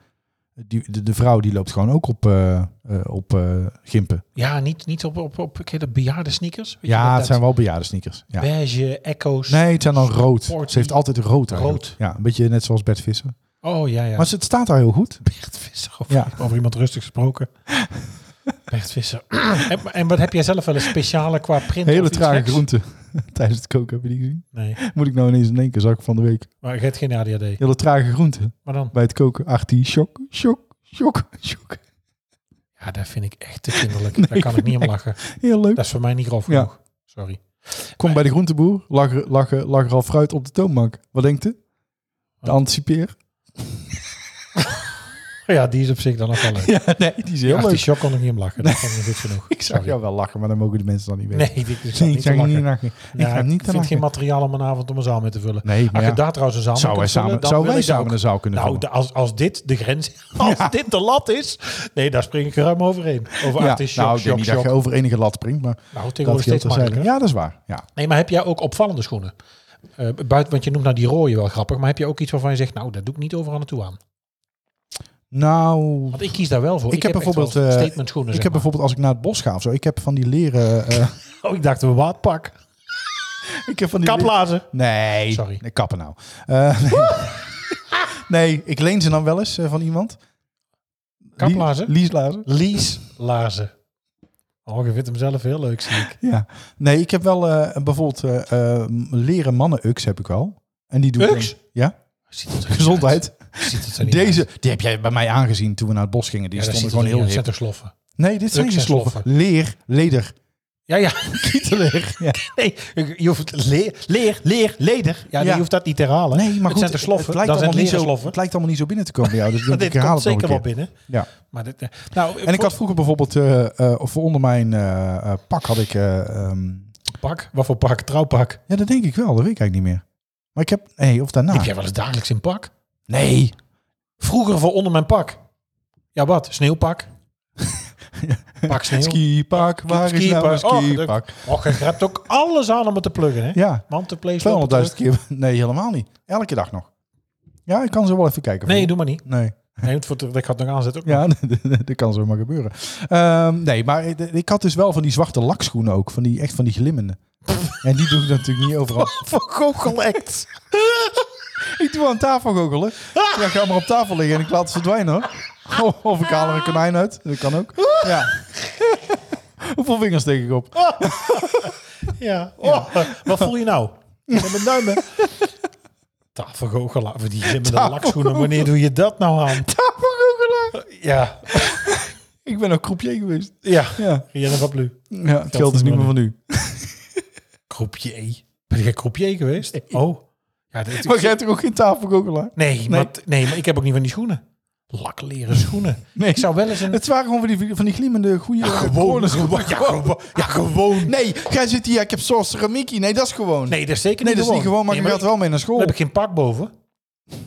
[SPEAKER 2] die, de, de vrouw die loopt gewoon ook op, eh, eh, op eh, gimpen.
[SPEAKER 3] ja, niet, niet op, op, op ken je dat bejaarde sneakers. Weet je
[SPEAKER 2] Ja,
[SPEAKER 3] dat-
[SPEAKER 2] het zijn wel bejaarde sneakers.
[SPEAKER 3] dat
[SPEAKER 2] Ja.
[SPEAKER 3] Beige, echo's.
[SPEAKER 2] Nee, het zijn dan rood.
[SPEAKER 3] Sporty.
[SPEAKER 2] Ze heeft altijd rood. eigenlijk.
[SPEAKER 3] Rood.
[SPEAKER 2] Ja, een beetje net zoals Bert Visser.
[SPEAKER 3] Oh ja, ja.
[SPEAKER 2] Maar ze- het staat daar heel goed.
[SPEAKER 3] Bert Visser. Over,
[SPEAKER 2] Ja.
[SPEAKER 3] over iemand rustig gesproken. <laughs> Bert Visser. <clears throat> en, en wat heb jij zelf wel een speciale qua print? of
[SPEAKER 2] Hele
[SPEAKER 3] iets
[SPEAKER 2] trage
[SPEAKER 3] geks?
[SPEAKER 2] groenten. <laughs> Tijdens het koken heb je die gezien.
[SPEAKER 3] Nee,
[SPEAKER 2] Moet ik nou ineens in één keer zak van de week.
[SPEAKER 3] maar je hebt geen ADHD.
[SPEAKER 2] Hele trage groenten.
[SPEAKER 3] Maar dan?
[SPEAKER 2] bij het koken. Ach, die shock, shock, shock, shock.
[SPEAKER 3] Ja, dat vind ik
[SPEAKER 2] <laughs>
[SPEAKER 3] echt te kinderlijk.
[SPEAKER 2] Nee,
[SPEAKER 3] Daar kan ik niet om
[SPEAKER 2] nee.
[SPEAKER 3] lachen.
[SPEAKER 2] Heel leuk.
[SPEAKER 3] Dat is voor mij niet grof
[SPEAKER 2] Ja.
[SPEAKER 3] genoeg. Sorry.
[SPEAKER 2] Kom bij de groenteboer, lag er, lag, er, lag er al fruit op de toonbank. Wat denkt u?
[SPEAKER 3] Oh.
[SPEAKER 2] De anticipeer?
[SPEAKER 3] Ja, die is op zich dan nog wel
[SPEAKER 2] <laughs>
[SPEAKER 3] leuk.
[SPEAKER 2] Ja, nee, die is
[SPEAKER 3] <laughs> Ja, die shock kon ik niet om lachen. Dat vond ik niet goed genoeg.
[SPEAKER 2] <laughs> Ik zag
[SPEAKER 3] Sorry.
[SPEAKER 2] jou wel lachen, maar dan mogen de mensen dan niet weten.
[SPEAKER 3] Nee, ik, <laughs> ik zat
[SPEAKER 2] Nee, ik
[SPEAKER 3] niet te
[SPEAKER 2] zag je
[SPEAKER 3] lachen.
[SPEAKER 2] niet lachen. Ik
[SPEAKER 3] Ja,
[SPEAKER 2] ga niet te
[SPEAKER 3] vind
[SPEAKER 2] lachen.
[SPEAKER 3] geen materiaal om een avond om een zaal mee te vullen.
[SPEAKER 2] Nee, maar
[SPEAKER 3] Als je
[SPEAKER 2] ja,
[SPEAKER 3] daar trouwens een zaal mee
[SPEAKER 2] zou wij
[SPEAKER 3] kunt
[SPEAKER 2] samen,
[SPEAKER 3] vullen, dan
[SPEAKER 2] zou
[SPEAKER 3] wil
[SPEAKER 2] wij
[SPEAKER 3] ik dat
[SPEAKER 2] samen
[SPEAKER 3] ook.
[SPEAKER 2] een zaal kunnen
[SPEAKER 3] Nou,
[SPEAKER 2] vullen?
[SPEAKER 3] de- als, als dit de grens
[SPEAKER 2] <laughs>
[SPEAKER 3] als dit de lat is, nee, daar spring ik ruim overheen. Over
[SPEAKER 2] Ja,
[SPEAKER 3] artiest, shock,
[SPEAKER 2] nou, ik denk
[SPEAKER 3] shock,
[SPEAKER 2] niet dat
[SPEAKER 3] shock.
[SPEAKER 2] je over enige lat springt, maar
[SPEAKER 3] Nou,
[SPEAKER 2] dat
[SPEAKER 3] tegenwoordig
[SPEAKER 2] geldt
[SPEAKER 3] steeds
[SPEAKER 2] te zeggen.
[SPEAKER 3] makkelijker.
[SPEAKER 2] Ja, dat is waar. Ja.
[SPEAKER 3] Nee, maar heb jij ook opvallende schoenen? Eh, buiten, want je noemt nou die rode wel grappig, maar heb je ook iets waarvan je zegt, nou, dat doe ik niet overal naartoe aan.
[SPEAKER 2] Nou,
[SPEAKER 3] Want ik kies daar wel voor.
[SPEAKER 2] Ik heb
[SPEAKER 3] echt wel
[SPEAKER 2] bijvoorbeeld, eh,
[SPEAKER 3] statement schoenen.
[SPEAKER 2] ik heb bijvoorbeeld als ik naar het bos ga of zo, ik heb van die leren... eh, <laughs>
[SPEAKER 3] oh, ik dacht een waadpak.
[SPEAKER 2] ik heb van die leren-
[SPEAKER 3] Kaplazen.
[SPEAKER 2] Nee.
[SPEAKER 3] Sorry.
[SPEAKER 2] Nee, kappen nou. Eh, <laughs> nee. nee, ik leen ze dan wel eens eh, van iemand.
[SPEAKER 3] Kaplazen?
[SPEAKER 2] Lie- Lieslazen.
[SPEAKER 3] Lies lazen. Oh, je vindt hem zelf heel leuk, zie ik.
[SPEAKER 2] Ja. Nee, ik heb wel eh, bijvoorbeeld eh, eh, leren mannen-ux heb ik wel. En die doe ik
[SPEAKER 3] Ux?
[SPEAKER 2] dan- Ja,
[SPEAKER 3] Ziet het er niet
[SPEAKER 2] gezondheid.
[SPEAKER 3] uit. Ziet het er niet uit.
[SPEAKER 2] Deze, die heb jij bij mij aangezien toen we naar het bos gingen. Die
[SPEAKER 3] Ja, dat
[SPEAKER 2] stonden
[SPEAKER 3] ziet
[SPEAKER 2] gewoon
[SPEAKER 3] er niet
[SPEAKER 2] heel
[SPEAKER 3] uit.
[SPEAKER 2] hip.
[SPEAKER 3] Het zijn toch sloffen?
[SPEAKER 2] Nee, dit zijn
[SPEAKER 3] Ux
[SPEAKER 2] geen
[SPEAKER 3] zijn
[SPEAKER 2] sloffen.
[SPEAKER 3] sloffen.
[SPEAKER 2] Leer, leder,
[SPEAKER 3] Ja, ja. <laughs>
[SPEAKER 2] kieteler. Ja.
[SPEAKER 3] Nee, je hoeft leer, leer, leer, leder. Ja,
[SPEAKER 2] Ja.
[SPEAKER 3] je hoeft dat niet te herhalen.
[SPEAKER 2] Nee, maar
[SPEAKER 3] het
[SPEAKER 2] goed,
[SPEAKER 3] zijn de sloffen.
[SPEAKER 2] het
[SPEAKER 3] Dat
[SPEAKER 2] lijkt,
[SPEAKER 3] zijn
[SPEAKER 2] allemaal niet
[SPEAKER 3] leren
[SPEAKER 2] zo,
[SPEAKER 3] sloffen.
[SPEAKER 2] het lijkt allemaal niet zo binnen te komen bij jou.
[SPEAKER 3] <laughs>
[SPEAKER 2] Dus ik denk,
[SPEAKER 3] Dit
[SPEAKER 2] ik herhaal
[SPEAKER 3] komt
[SPEAKER 2] het nog een
[SPEAKER 3] zeker wel
[SPEAKER 2] keer.
[SPEAKER 3] binnen.
[SPEAKER 2] Ja.
[SPEAKER 3] Maar dit, eh, nou,
[SPEAKER 2] En ik had vroeger bijvoorbeeld, eh, eh, of onder mijn eh, eh, pak had ik eh, ehm,
[SPEAKER 3] pak. Wat voor pak? Trouwpak.
[SPEAKER 2] Ja, dat denk ik wel. Dat weet ik eigenlijk niet meer. Maar ik heb... Nee, of daarna.
[SPEAKER 3] Heb jij wel eens dagelijks een pak?
[SPEAKER 2] Nee.
[SPEAKER 3] Vroeger voor onder mijn pak. Ja, wat?
[SPEAKER 2] <laughs>
[SPEAKER 3] Sneeuwpak? pak sneeuw.
[SPEAKER 2] Skipak, waar is nou
[SPEAKER 3] Skipak.
[SPEAKER 2] mijn
[SPEAKER 3] Oh,
[SPEAKER 2] skipak?
[SPEAKER 3] Och, je hebt ook alles aan om het te pluggen, hè?
[SPEAKER 2] Ja,
[SPEAKER 3] Want de play
[SPEAKER 2] 200.000 keer. <laughs> Nee, helemaal niet. Elke dag nog. Ja, ik kan zo wel even kijken.
[SPEAKER 3] Nee, doe maar niet.
[SPEAKER 2] Nee.
[SPEAKER 3] Nee, want voor het- ik had nog aanzet ook. nog.
[SPEAKER 2] Ja, <laughs> dat kan zomaar gebeuren. Ehm, nee, maar ik- ik had dus wel van die zwarte lakschoenen ook. Van die, echt van die <laughs> glimmende. En die doe ik natuurlijk niet overal.
[SPEAKER 3] Van Google Act.
[SPEAKER 2] <laughs> Ik Ik doe aan tafel goochelen. Ja, ga maar op tafel liggen en ik laat het verdwijnen hoor. Of- Of ik haal er een konijn uit. Dat kan ook. Ja. <laughs> Hoeveel vingers steek ik op?
[SPEAKER 3] Ja. Oh, Wat voel je nou? Met mijn duimen. Tafelgoochelaar. Of die zit met een lakschoenen. Wanneer doe je dat nou aan?
[SPEAKER 2] Tafelgoochelaar.
[SPEAKER 3] Ja.
[SPEAKER 2] Ik ben ook groepje geweest.
[SPEAKER 3] Ja.
[SPEAKER 2] Ja.
[SPEAKER 3] Rianne van Blu.
[SPEAKER 2] ja het geld is niet meer van nu.
[SPEAKER 3] Groepje. E. Ben jij groepje E geweest? Oh. Ja, dat,
[SPEAKER 2] Maar jij hebt toch ook geen tafelgoochelaar?
[SPEAKER 3] nee, Maar, nee, maar ik heb ook niet van die schoenen. Lakleren schoenen.
[SPEAKER 2] <laughs> Nee.
[SPEAKER 3] Ik zou wel eens een...
[SPEAKER 2] Het waren gewoon van die, van die glimmende goede... gewone schoenen. <laughs>
[SPEAKER 3] ja, gewoon. Ja, gewoon.
[SPEAKER 2] Nee, jij zit hier, ik heb Sorcerer Mickey. Nee, dat is gewoon.
[SPEAKER 3] Nee, dat is zeker
[SPEAKER 2] Nee,
[SPEAKER 3] niet
[SPEAKER 2] dat is niet gewoon, maar
[SPEAKER 3] Nee,
[SPEAKER 2] je gaat
[SPEAKER 3] ik-
[SPEAKER 2] wel mee naar
[SPEAKER 3] Dan
[SPEAKER 2] school.
[SPEAKER 3] heb ik geen pak boven.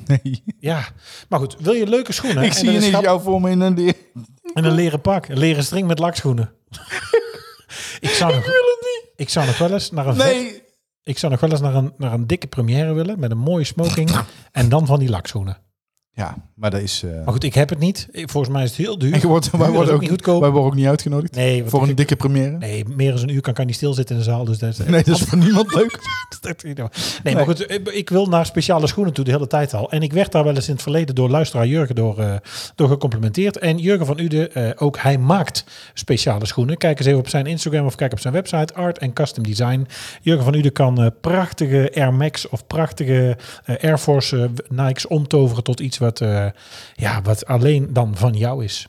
[SPEAKER 2] Nee.
[SPEAKER 3] Ja. Maar goed, wil je leuke schoenen?
[SPEAKER 2] Ik
[SPEAKER 3] en
[SPEAKER 2] zie
[SPEAKER 3] dan
[SPEAKER 2] je
[SPEAKER 3] is
[SPEAKER 2] niet
[SPEAKER 3] grap-
[SPEAKER 2] jou voor me in een deur.
[SPEAKER 3] <laughs> En
[SPEAKER 2] Oh.
[SPEAKER 3] een leren pak. Een leren string met
[SPEAKER 2] <laughs>
[SPEAKER 3] lakschoenen. ik, zou nog, ik zou nog wel eens naar een, vet-
[SPEAKER 2] Nee,
[SPEAKER 3] ik zou nog wel eens naar een, naar een dikke première willen. Met een mooie
[SPEAKER 2] <laughs>
[SPEAKER 3] smoking. en dan van die lakschoenen.
[SPEAKER 2] Ja, maar dat is. eh,
[SPEAKER 3] Maar goed, ik heb het niet. Ik- Volgens mij is het heel duur.
[SPEAKER 2] en je wordt, <laughs> wij,
[SPEAKER 3] dat is
[SPEAKER 2] worden
[SPEAKER 3] ook
[SPEAKER 2] ook,
[SPEAKER 3] niet goedkoop.
[SPEAKER 2] wij worden ook niet uitgenodigd
[SPEAKER 3] nee, wat
[SPEAKER 2] voor een
[SPEAKER 3] ik-
[SPEAKER 2] dikke première. <laughs> Nee,
[SPEAKER 3] Nee, meer dan een uur kan ik niet stilzitten in de zaal. Dus dat is,
[SPEAKER 2] dat is voor niemand leuk.
[SPEAKER 3] <laughs> Dat- Nee, maar goed, ik- ik wil naar speciale schoenen toe de hele tijd al. En ik werd daar wel eens in het verleden door luisteraar Jurgen door, eh, door gecomplimenteerd. En Jurgen van Uden, eh, ook hij maakt speciale schoenen. Kijk eens even op zijn Instagram of kijk op zijn website Art en Custom Design. Jurgen van Uden kan eh, prachtige Air Max of prachtige eh, Air Force eh, Nikes omtoveren tot iets wat, eh, ja, wat alleen dan van jou is.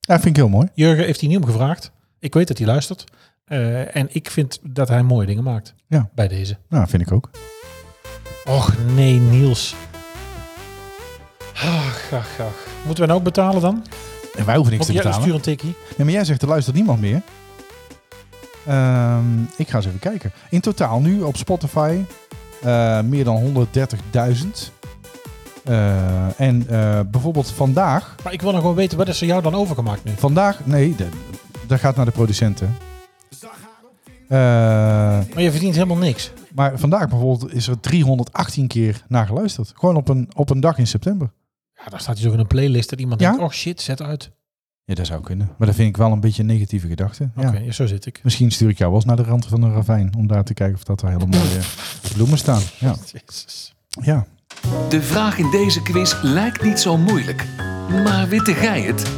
[SPEAKER 2] Ja, vind ik heel mooi.
[SPEAKER 3] Jurgen heeft hij niet om gevraagd. Ik weet dat hij luistert. Eh, en ik vind dat hij mooie dingen maakt
[SPEAKER 2] Ja.
[SPEAKER 3] bij deze.
[SPEAKER 2] Nou, vind ik ook.
[SPEAKER 3] Och nee, Niels. Ach, ach, ach. Moeten we nou ook betalen dan?
[SPEAKER 2] En wij hoeven niks
[SPEAKER 3] Want
[SPEAKER 2] te
[SPEAKER 3] jij
[SPEAKER 2] betalen.
[SPEAKER 3] stuur een tikkie.
[SPEAKER 2] Nee, maar jij zegt er luistert niemand meer. Ehm, ik ga eens even kijken. In totaal nu op Spotify eh, meer dan 130.000. Eh, en eh, bijvoorbeeld vandaag.
[SPEAKER 3] Maar ik wil nog wel weten, wat is er jou dan overgemaakt nu?
[SPEAKER 2] Vandaag, nee, de- dat gaat naar de producenten. Eh.
[SPEAKER 3] Maar je verdient helemaal niks.
[SPEAKER 2] Maar vandaag bijvoorbeeld is er 318 keer naar geluisterd. Gewoon op een, op een dag in september.
[SPEAKER 3] Ja, dan staat hij toch in een playlist dat iemand
[SPEAKER 2] Ja?
[SPEAKER 3] denkt, oh shit, zet uit.
[SPEAKER 2] Ja, dat zou kunnen. Maar dat vind ik wel een beetje een negatieve gedachte.
[SPEAKER 3] Oké,
[SPEAKER 2] Ja.
[SPEAKER 3] ja, zo zit ik.
[SPEAKER 2] Misschien stuur ik jou wel eens naar de rand van een ravijn. Om daar te kijken of dat er hele mooie bloemen staan. Ja.
[SPEAKER 3] Jezus.
[SPEAKER 2] ja.
[SPEAKER 1] De vraag in deze quiz lijkt niet zo moeilijk. Maar witte gij het?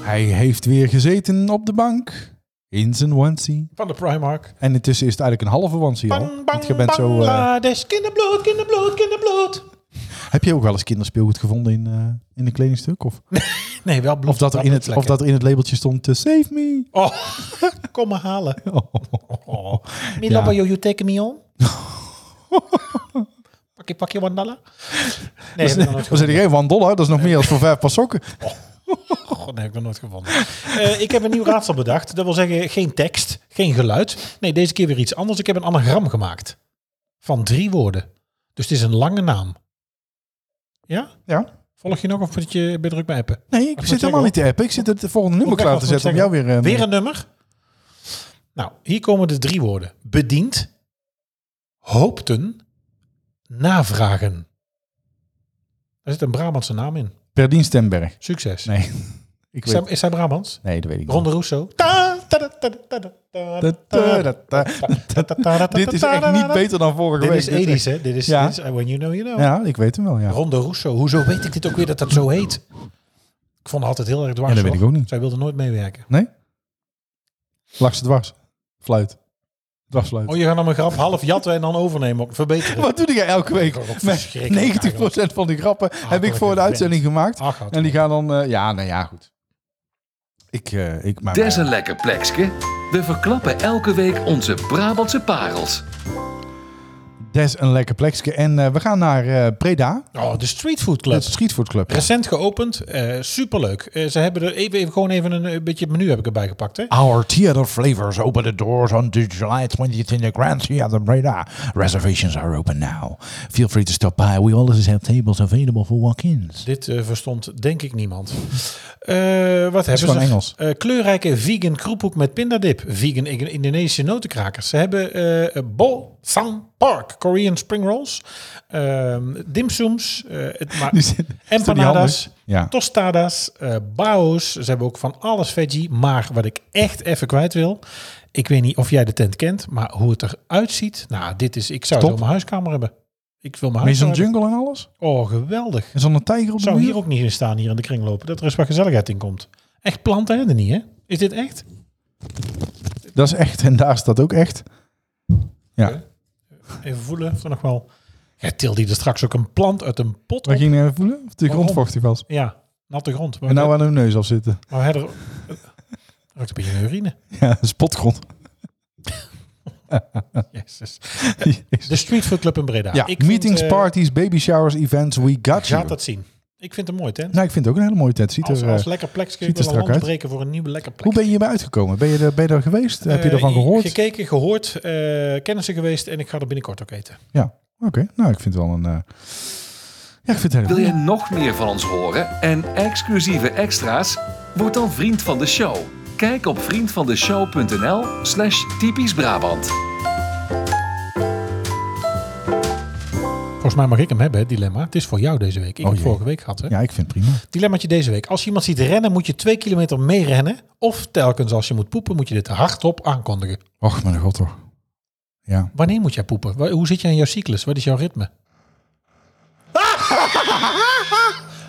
[SPEAKER 2] Hij heeft weer gezeten op de bank. In zijn onesie.
[SPEAKER 3] Van de Primark.
[SPEAKER 2] En intussen is het eigenlijk een halve onesie al.
[SPEAKER 3] Bang,
[SPEAKER 2] Want
[SPEAKER 3] bang,
[SPEAKER 2] je bent zo, eh,
[SPEAKER 3] Bangladesh. Kinderbloed, kinderbloed, kinderbloed.
[SPEAKER 2] heb je ook wel eens kinderspeelgoed gevonden in, eh, in een kledingstuk? Of,
[SPEAKER 3] Nee, wel bloed.
[SPEAKER 2] of, dat er in het, of dat er in het labeltje stond, to save me.
[SPEAKER 3] Oh, <laughs> kom me halen.
[SPEAKER 2] <laughs> Oh.
[SPEAKER 3] Me
[SPEAKER 2] Ja.
[SPEAKER 3] lover, you, you take me
[SPEAKER 2] <laughs>
[SPEAKER 3] on. pakje,
[SPEAKER 2] <laughs>
[SPEAKER 3] pakje, wandala. Nee, heb ik nog nooit
[SPEAKER 2] We zitten
[SPEAKER 3] gevonden.
[SPEAKER 2] geen one dollar, dat is nog meer dan voor vijf paar sokken.
[SPEAKER 3] God, nee, heb ik nog nooit gevonden. <laughs> Eh, ik heb een nieuw raadsel bedacht. Dat wil zeggen, geen tekst, geen geluid. Nee, deze keer weer iets anders. Ik heb een anagram gemaakt. Van drie woorden. Dus het is een lange naam. Ja?
[SPEAKER 2] Ja.
[SPEAKER 3] Volg je nog of moet je ben je druk bij appen?
[SPEAKER 2] Nee, ik
[SPEAKER 3] moet
[SPEAKER 2] zit helemaal
[SPEAKER 3] zeggen,
[SPEAKER 2] niet te appen. Ik zit het volgende nummer
[SPEAKER 3] Moet ik
[SPEAKER 2] klaar te
[SPEAKER 3] even wat
[SPEAKER 2] zetten om jou
[SPEAKER 3] zeggen?
[SPEAKER 2] weer... eh,
[SPEAKER 3] Weer een nummer. Nou, hier komen de drie woorden. Bediend, hoopten, navragen. Daar zit een Brabantse naam in.
[SPEAKER 2] Per Dienstenberg.
[SPEAKER 3] Succes.
[SPEAKER 2] Nee, <laughs> ik
[SPEAKER 3] Is, hij,
[SPEAKER 2] weet...
[SPEAKER 3] is hij Brabants?
[SPEAKER 2] Nee, dat weet ik niet.
[SPEAKER 3] Ronde Rousseau. Ta, ta, ta, ta, ta, ta,
[SPEAKER 2] Da,
[SPEAKER 3] ta,
[SPEAKER 2] da, da, da.
[SPEAKER 3] ta, ta, ta, ta,
[SPEAKER 2] Dit is echt niet beter dan vorige
[SPEAKER 3] Dit
[SPEAKER 2] week.
[SPEAKER 3] is edisch, hè? Dit is,
[SPEAKER 2] Ja.
[SPEAKER 3] dit is eh, When You Know You Know.
[SPEAKER 2] Ja, ik weet hem wel, ja.
[SPEAKER 3] Ronde Rousseau. Hoezo weet ik dit ook weer dat dat zo heet? Ik vond het altijd heel erg dwars.
[SPEAKER 2] Ja, dat weet
[SPEAKER 3] hoor.
[SPEAKER 2] ik ook niet.
[SPEAKER 3] Zij wilde nooit meewerken.
[SPEAKER 2] Nee? Lachse dwars. Fluit. Dwarsfluit.
[SPEAKER 3] Oh, je gaat dan een grap half jatten en dan overnemen. Verbeteren.
[SPEAKER 2] Wat doe jij elke week?
[SPEAKER 3] Oh, Wat
[SPEAKER 2] Met 90%
[SPEAKER 3] verschrikkelijk
[SPEAKER 2] van die grappen heb ik
[SPEAKER 3] Achterlijk
[SPEAKER 2] voor de
[SPEAKER 3] vent.
[SPEAKER 2] uitzending gemaakt.
[SPEAKER 3] Ach, gaat
[SPEAKER 2] En die gaan dan... eh, Ja, nou ja, goed. Ik... eh, ik maar,
[SPEAKER 1] Des een lekker plekske. We verklappen elke week onze Brabantse parels.
[SPEAKER 2] Des een lekker plekje. En eh, we gaan naar eh, Breda.
[SPEAKER 3] Oh, de Street Food Club.
[SPEAKER 2] Het Streetfood Club.
[SPEAKER 3] Recent geopend. eh, superleuk. Eh, ze hebben er even, even- gewoon even een, eh, beetje het menu heb ik erbij gepakt.
[SPEAKER 2] Ah,
[SPEAKER 3] Hè?
[SPEAKER 4] Our theater flavors open the doors on July 20th in the Grand Theater Breda. Reservations are open now. Feel free to stop by. We always have tables available for walk-ins.
[SPEAKER 3] Dit eh, verstond denk ik niemand. Eh, wat hebben
[SPEAKER 2] gewoon
[SPEAKER 3] ze?
[SPEAKER 2] Engels.
[SPEAKER 3] Eh, kleurrijke vegan kroephoek met pindadip. Vegan Ig- Indonesische notenkrakers. Ze hebben eh Bol Sang Park. Korean spring rolls. ehm dimsums. eh, het,
[SPEAKER 2] <laughs>
[SPEAKER 3] maar,
[SPEAKER 2] Die zit-
[SPEAKER 3] empanadas.
[SPEAKER 2] handig? Ja.
[SPEAKER 3] Tostadas. eh bao's. Ze hebben ook van alles veggie. Maar wat ik echt even kwijt wil... Ik weet niet of jij de tent kent, maar hoe het eruit ziet. Nou, dit is, ik zou
[SPEAKER 2] Top.
[SPEAKER 3] het wel mijn huiskamer hebben. Ik wil mijn
[SPEAKER 2] Met zo'n
[SPEAKER 3] huiskamer
[SPEAKER 2] jungle en alles?
[SPEAKER 3] hebben. Oh, geweldig.
[SPEAKER 2] En zo'n tijger op de
[SPEAKER 3] Zou
[SPEAKER 2] muur?
[SPEAKER 3] hier ook niet in staan, hier in de kring lopen. Dat er eens wat gezelligheid in komt. Echt planten en er niet, hè? Is dit echt?
[SPEAKER 2] Dat is echt. En daar staat ook echt. Ja.
[SPEAKER 3] Even voelen of er nog wel... Ja, tilde die er dus straks ook een plant uit een pot
[SPEAKER 2] Wat
[SPEAKER 3] op?
[SPEAKER 2] ging je even voelen? Of de
[SPEAKER 3] Waarom?
[SPEAKER 2] grond vochtig was.
[SPEAKER 3] Ja, natte grond. Maar,
[SPEAKER 2] En nou aan hun neus afzitten. <laughs>
[SPEAKER 3] maar hij er... Ruikt een beetje naar urine.
[SPEAKER 2] Ja, spotgrond. <laughs>
[SPEAKER 3] Jezus. De Street Food Club in Breda.
[SPEAKER 2] Ja,
[SPEAKER 3] Dus Ik vind,
[SPEAKER 2] meetings,
[SPEAKER 3] eh,
[SPEAKER 2] parties, baby showers, events, we got you.
[SPEAKER 3] Gaat dat zien. Ik vind het mooi, tent.
[SPEAKER 2] Nou, ik vind het ook een hele mooie tent. Ziet
[SPEAKER 3] als,
[SPEAKER 2] er, eh,
[SPEAKER 3] als lekker plekje. Ik
[SPEAKER 2] ziet er
[SPEAKER 3] wil een
[SPEAKER 2] strak
[SPEAKER 3] land
[SPEAKER 2] uit.
[SPEAKER 3] breken voor een nieuwe lekker plek.
[SPEAKER 2] hoe ben je hierbij uitgekomen? Ben je er, ben je er geweest? Heb je
[SPEAKER 3] Eh,
[SPEAKER 2] ervan gehoord?
[SPEAKER 3] Gekeken, gehoord, eh, kennissen geweest en ik ga er binnenkort ook eten.
[SPEAKER 2] Ja, oké. Nou, ik vind het wel een... eh, Ja, ik vind het
[SPEAKER 1] Wil
[SPEAKER 2] heel
[SPEAKER 1] je nog meer van ons horen en exclusieve extra's? Word dan vriend van de show. Kijk op vriendvandeshow.nl slash typisch Brabant.
[SPEAKER 3] Volgens mij mag ik hem hebben, het dilemma. Het is voor jou deze week. Ik heb
[SPEAKER 2] Oh jee.
[SPEAKER 3] vorige week gehad. Hè?
[SPEAKER 2] Ja, ik vind het prima.
[SPEAKER 3] Dilemmaatje deze week. Als je iemand ziet rennen, moet je twee kilometer mee rennen. Of telkens als je moet poepen, moet je dit hardop aankondigen.
[SPEAKER 2] Och, mijn god toch. Ja.
[SPEAKER 3] Wanneer moet jij poepen? Wa- Hoe zit jij in jouw cyclus? Wat is jouw
[SPEAKER 2] <laughs>
[SPEAKER 3] ritme?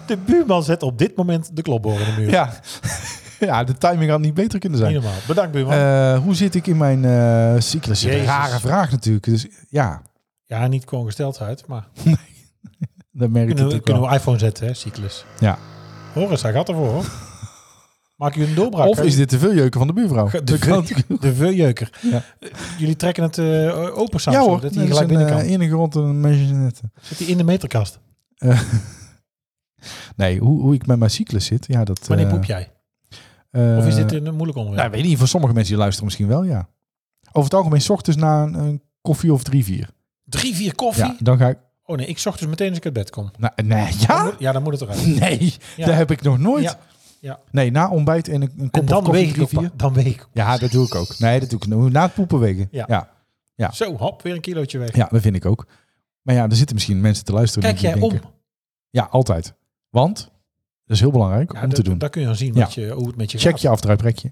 [SPEAKER 3] De buurman zet op dit moment de klopboren in de muur.
[SPEAKER 2] Ja. <laughs> ja, de timing had niet beter kunnen
[SPEAKER 3] Niet
[SPEAKER 2] zijn.
[SPEAKER 3] normaal. Bedankt, buurman.
[SPEAKER 2] Eh, hoe zit ik in mijn eh, cyclus? Dat is Een
[SPEAKER 3] Jezus.
[SPEAKER 2] rare vraag natuurlijk. Dus ja,
[SPEAKER 3] ja, niet gewoon gesteldheid, maar
[SPEAKER 2] dat merk ik
[SPEAKER 3] kunnen we,
[SPEAKER 2] natuurlijk
[SPEAKER 3] kunnen
[SPEAKER 2] wel.
[SPEAKER 3] we iPhone zetten, hè, cyclus.
[SPEAKER 2] Ja.
[SPEAKER 3] Hoor eens, hij gaat ervoor.
[SPEAKER 2] <laughs>
[SPEAKER 3] Hoor. Maak je een doorbraak.
[SPEAKER 2] Of
[SPEAKER 3] hè?
[SPEAKER 2] is dit de veeljeuken van de buurvrouw?
[SPEAKER 3] de,
[SPEAKER 2] Dat kan natuurlijk.
[SPEAKER 3] veu- de veujeuker.
[SPEAKER 2] Ja.
[SPEAKER 3] Eh, Jullie trekken het eh, open samen,
[SPEAKER 2] Ja hoor,
[SPEAKER 3] zodat hij gelijk binnen kan.
[SPEAKER 2] eh, in de grond een mentionette.
[SPEAKER 3] Zit hij in de meterkast?
[SPEAKER 2] Nee, hoe, hoe ik met mijn cyclus zit, ja dat...
[SPEAKER 3] Wanneer
[SPEAKER 2] eh,
[SPEAKER 3] poep jij?
[SPEAKER 2] eh,
[SPEAKER 3] Of is dit een moeilijk
[SPEAKER 2] Nou,
[SPEAKER 3] onderwerp?
[SPEAKER 2] weet niet, voor sommige mensen die luisteren misschien wel, ja. Over het algemeen, 's ochtends na een, een koffie of drie, vier.
[SPEAKER 3] Drie, vier koffie?
[SPEAKER 2] Ja, dan ga ik...
[SPEAKER 3] Oh nee, ik zocht dus meteen als ik uit bed kom.
[SPEAKER 2] Nou, nee,
[SPEAKER 3] Dan
[SPEAKER 2] ja?
[SPEAKER 3] moet- ja, dan moet het eruit.
[SPEAKER 2] <laughs> Nee,
[SPEAKER 3] Ja.
[SPEAKER 2] dat heb ik nog nooit.
[SPEAKER 3] Ja. Ja.
[SPEAKER 2] Nee, na ontbijt en een, een kop
[SPEAKER 3] En
[SPEAKER 2] of
[SPEAKER 3] dan
[SPEAKER 2] koffie,
[SPEAKER 3] weeg ik
[SPEAKER 2] drie,
[SPEAKER 3] ook
[SPEAKER 2] vier.
[SPEAKER 3] pa- Dan weeg ik.
[SPEAKER 2] Ja, dat doe ik ook. Nee, dat doe ik nog- na het poepen wegen.
[SPEAKER 3] Ja.
[SPEAKER 2] Ja. Ja.
[SPEAKER 3] <laughs> Zo, hop, weer een kilootje weg.
[SPEAKER 2] dat vind ik ook. Maar ja, er zitten misschien mensen te luisteren.
[SPEAKER 3] Kijk
[SPEAKER 2] die
[SPEAKER 3] jij om.
[SPEAKER 2] denken- Ja, altijd. Want, dat is heel belangrijk
[SPEAKER 3] Ja,
[SPEAKER 2] om te
[SPEAKER 3] dat-
[SPEAKER 2] doen.
[SPEAKER 3] Daar kun je dan zien
[SPEAKER 2] Ja.
[SPEAKER 3] wat je, hoe het met je
[SPEAKER 2] Check
[SPEAKER 3] gaat.
[SPEAKER 2] je afdruiprekje.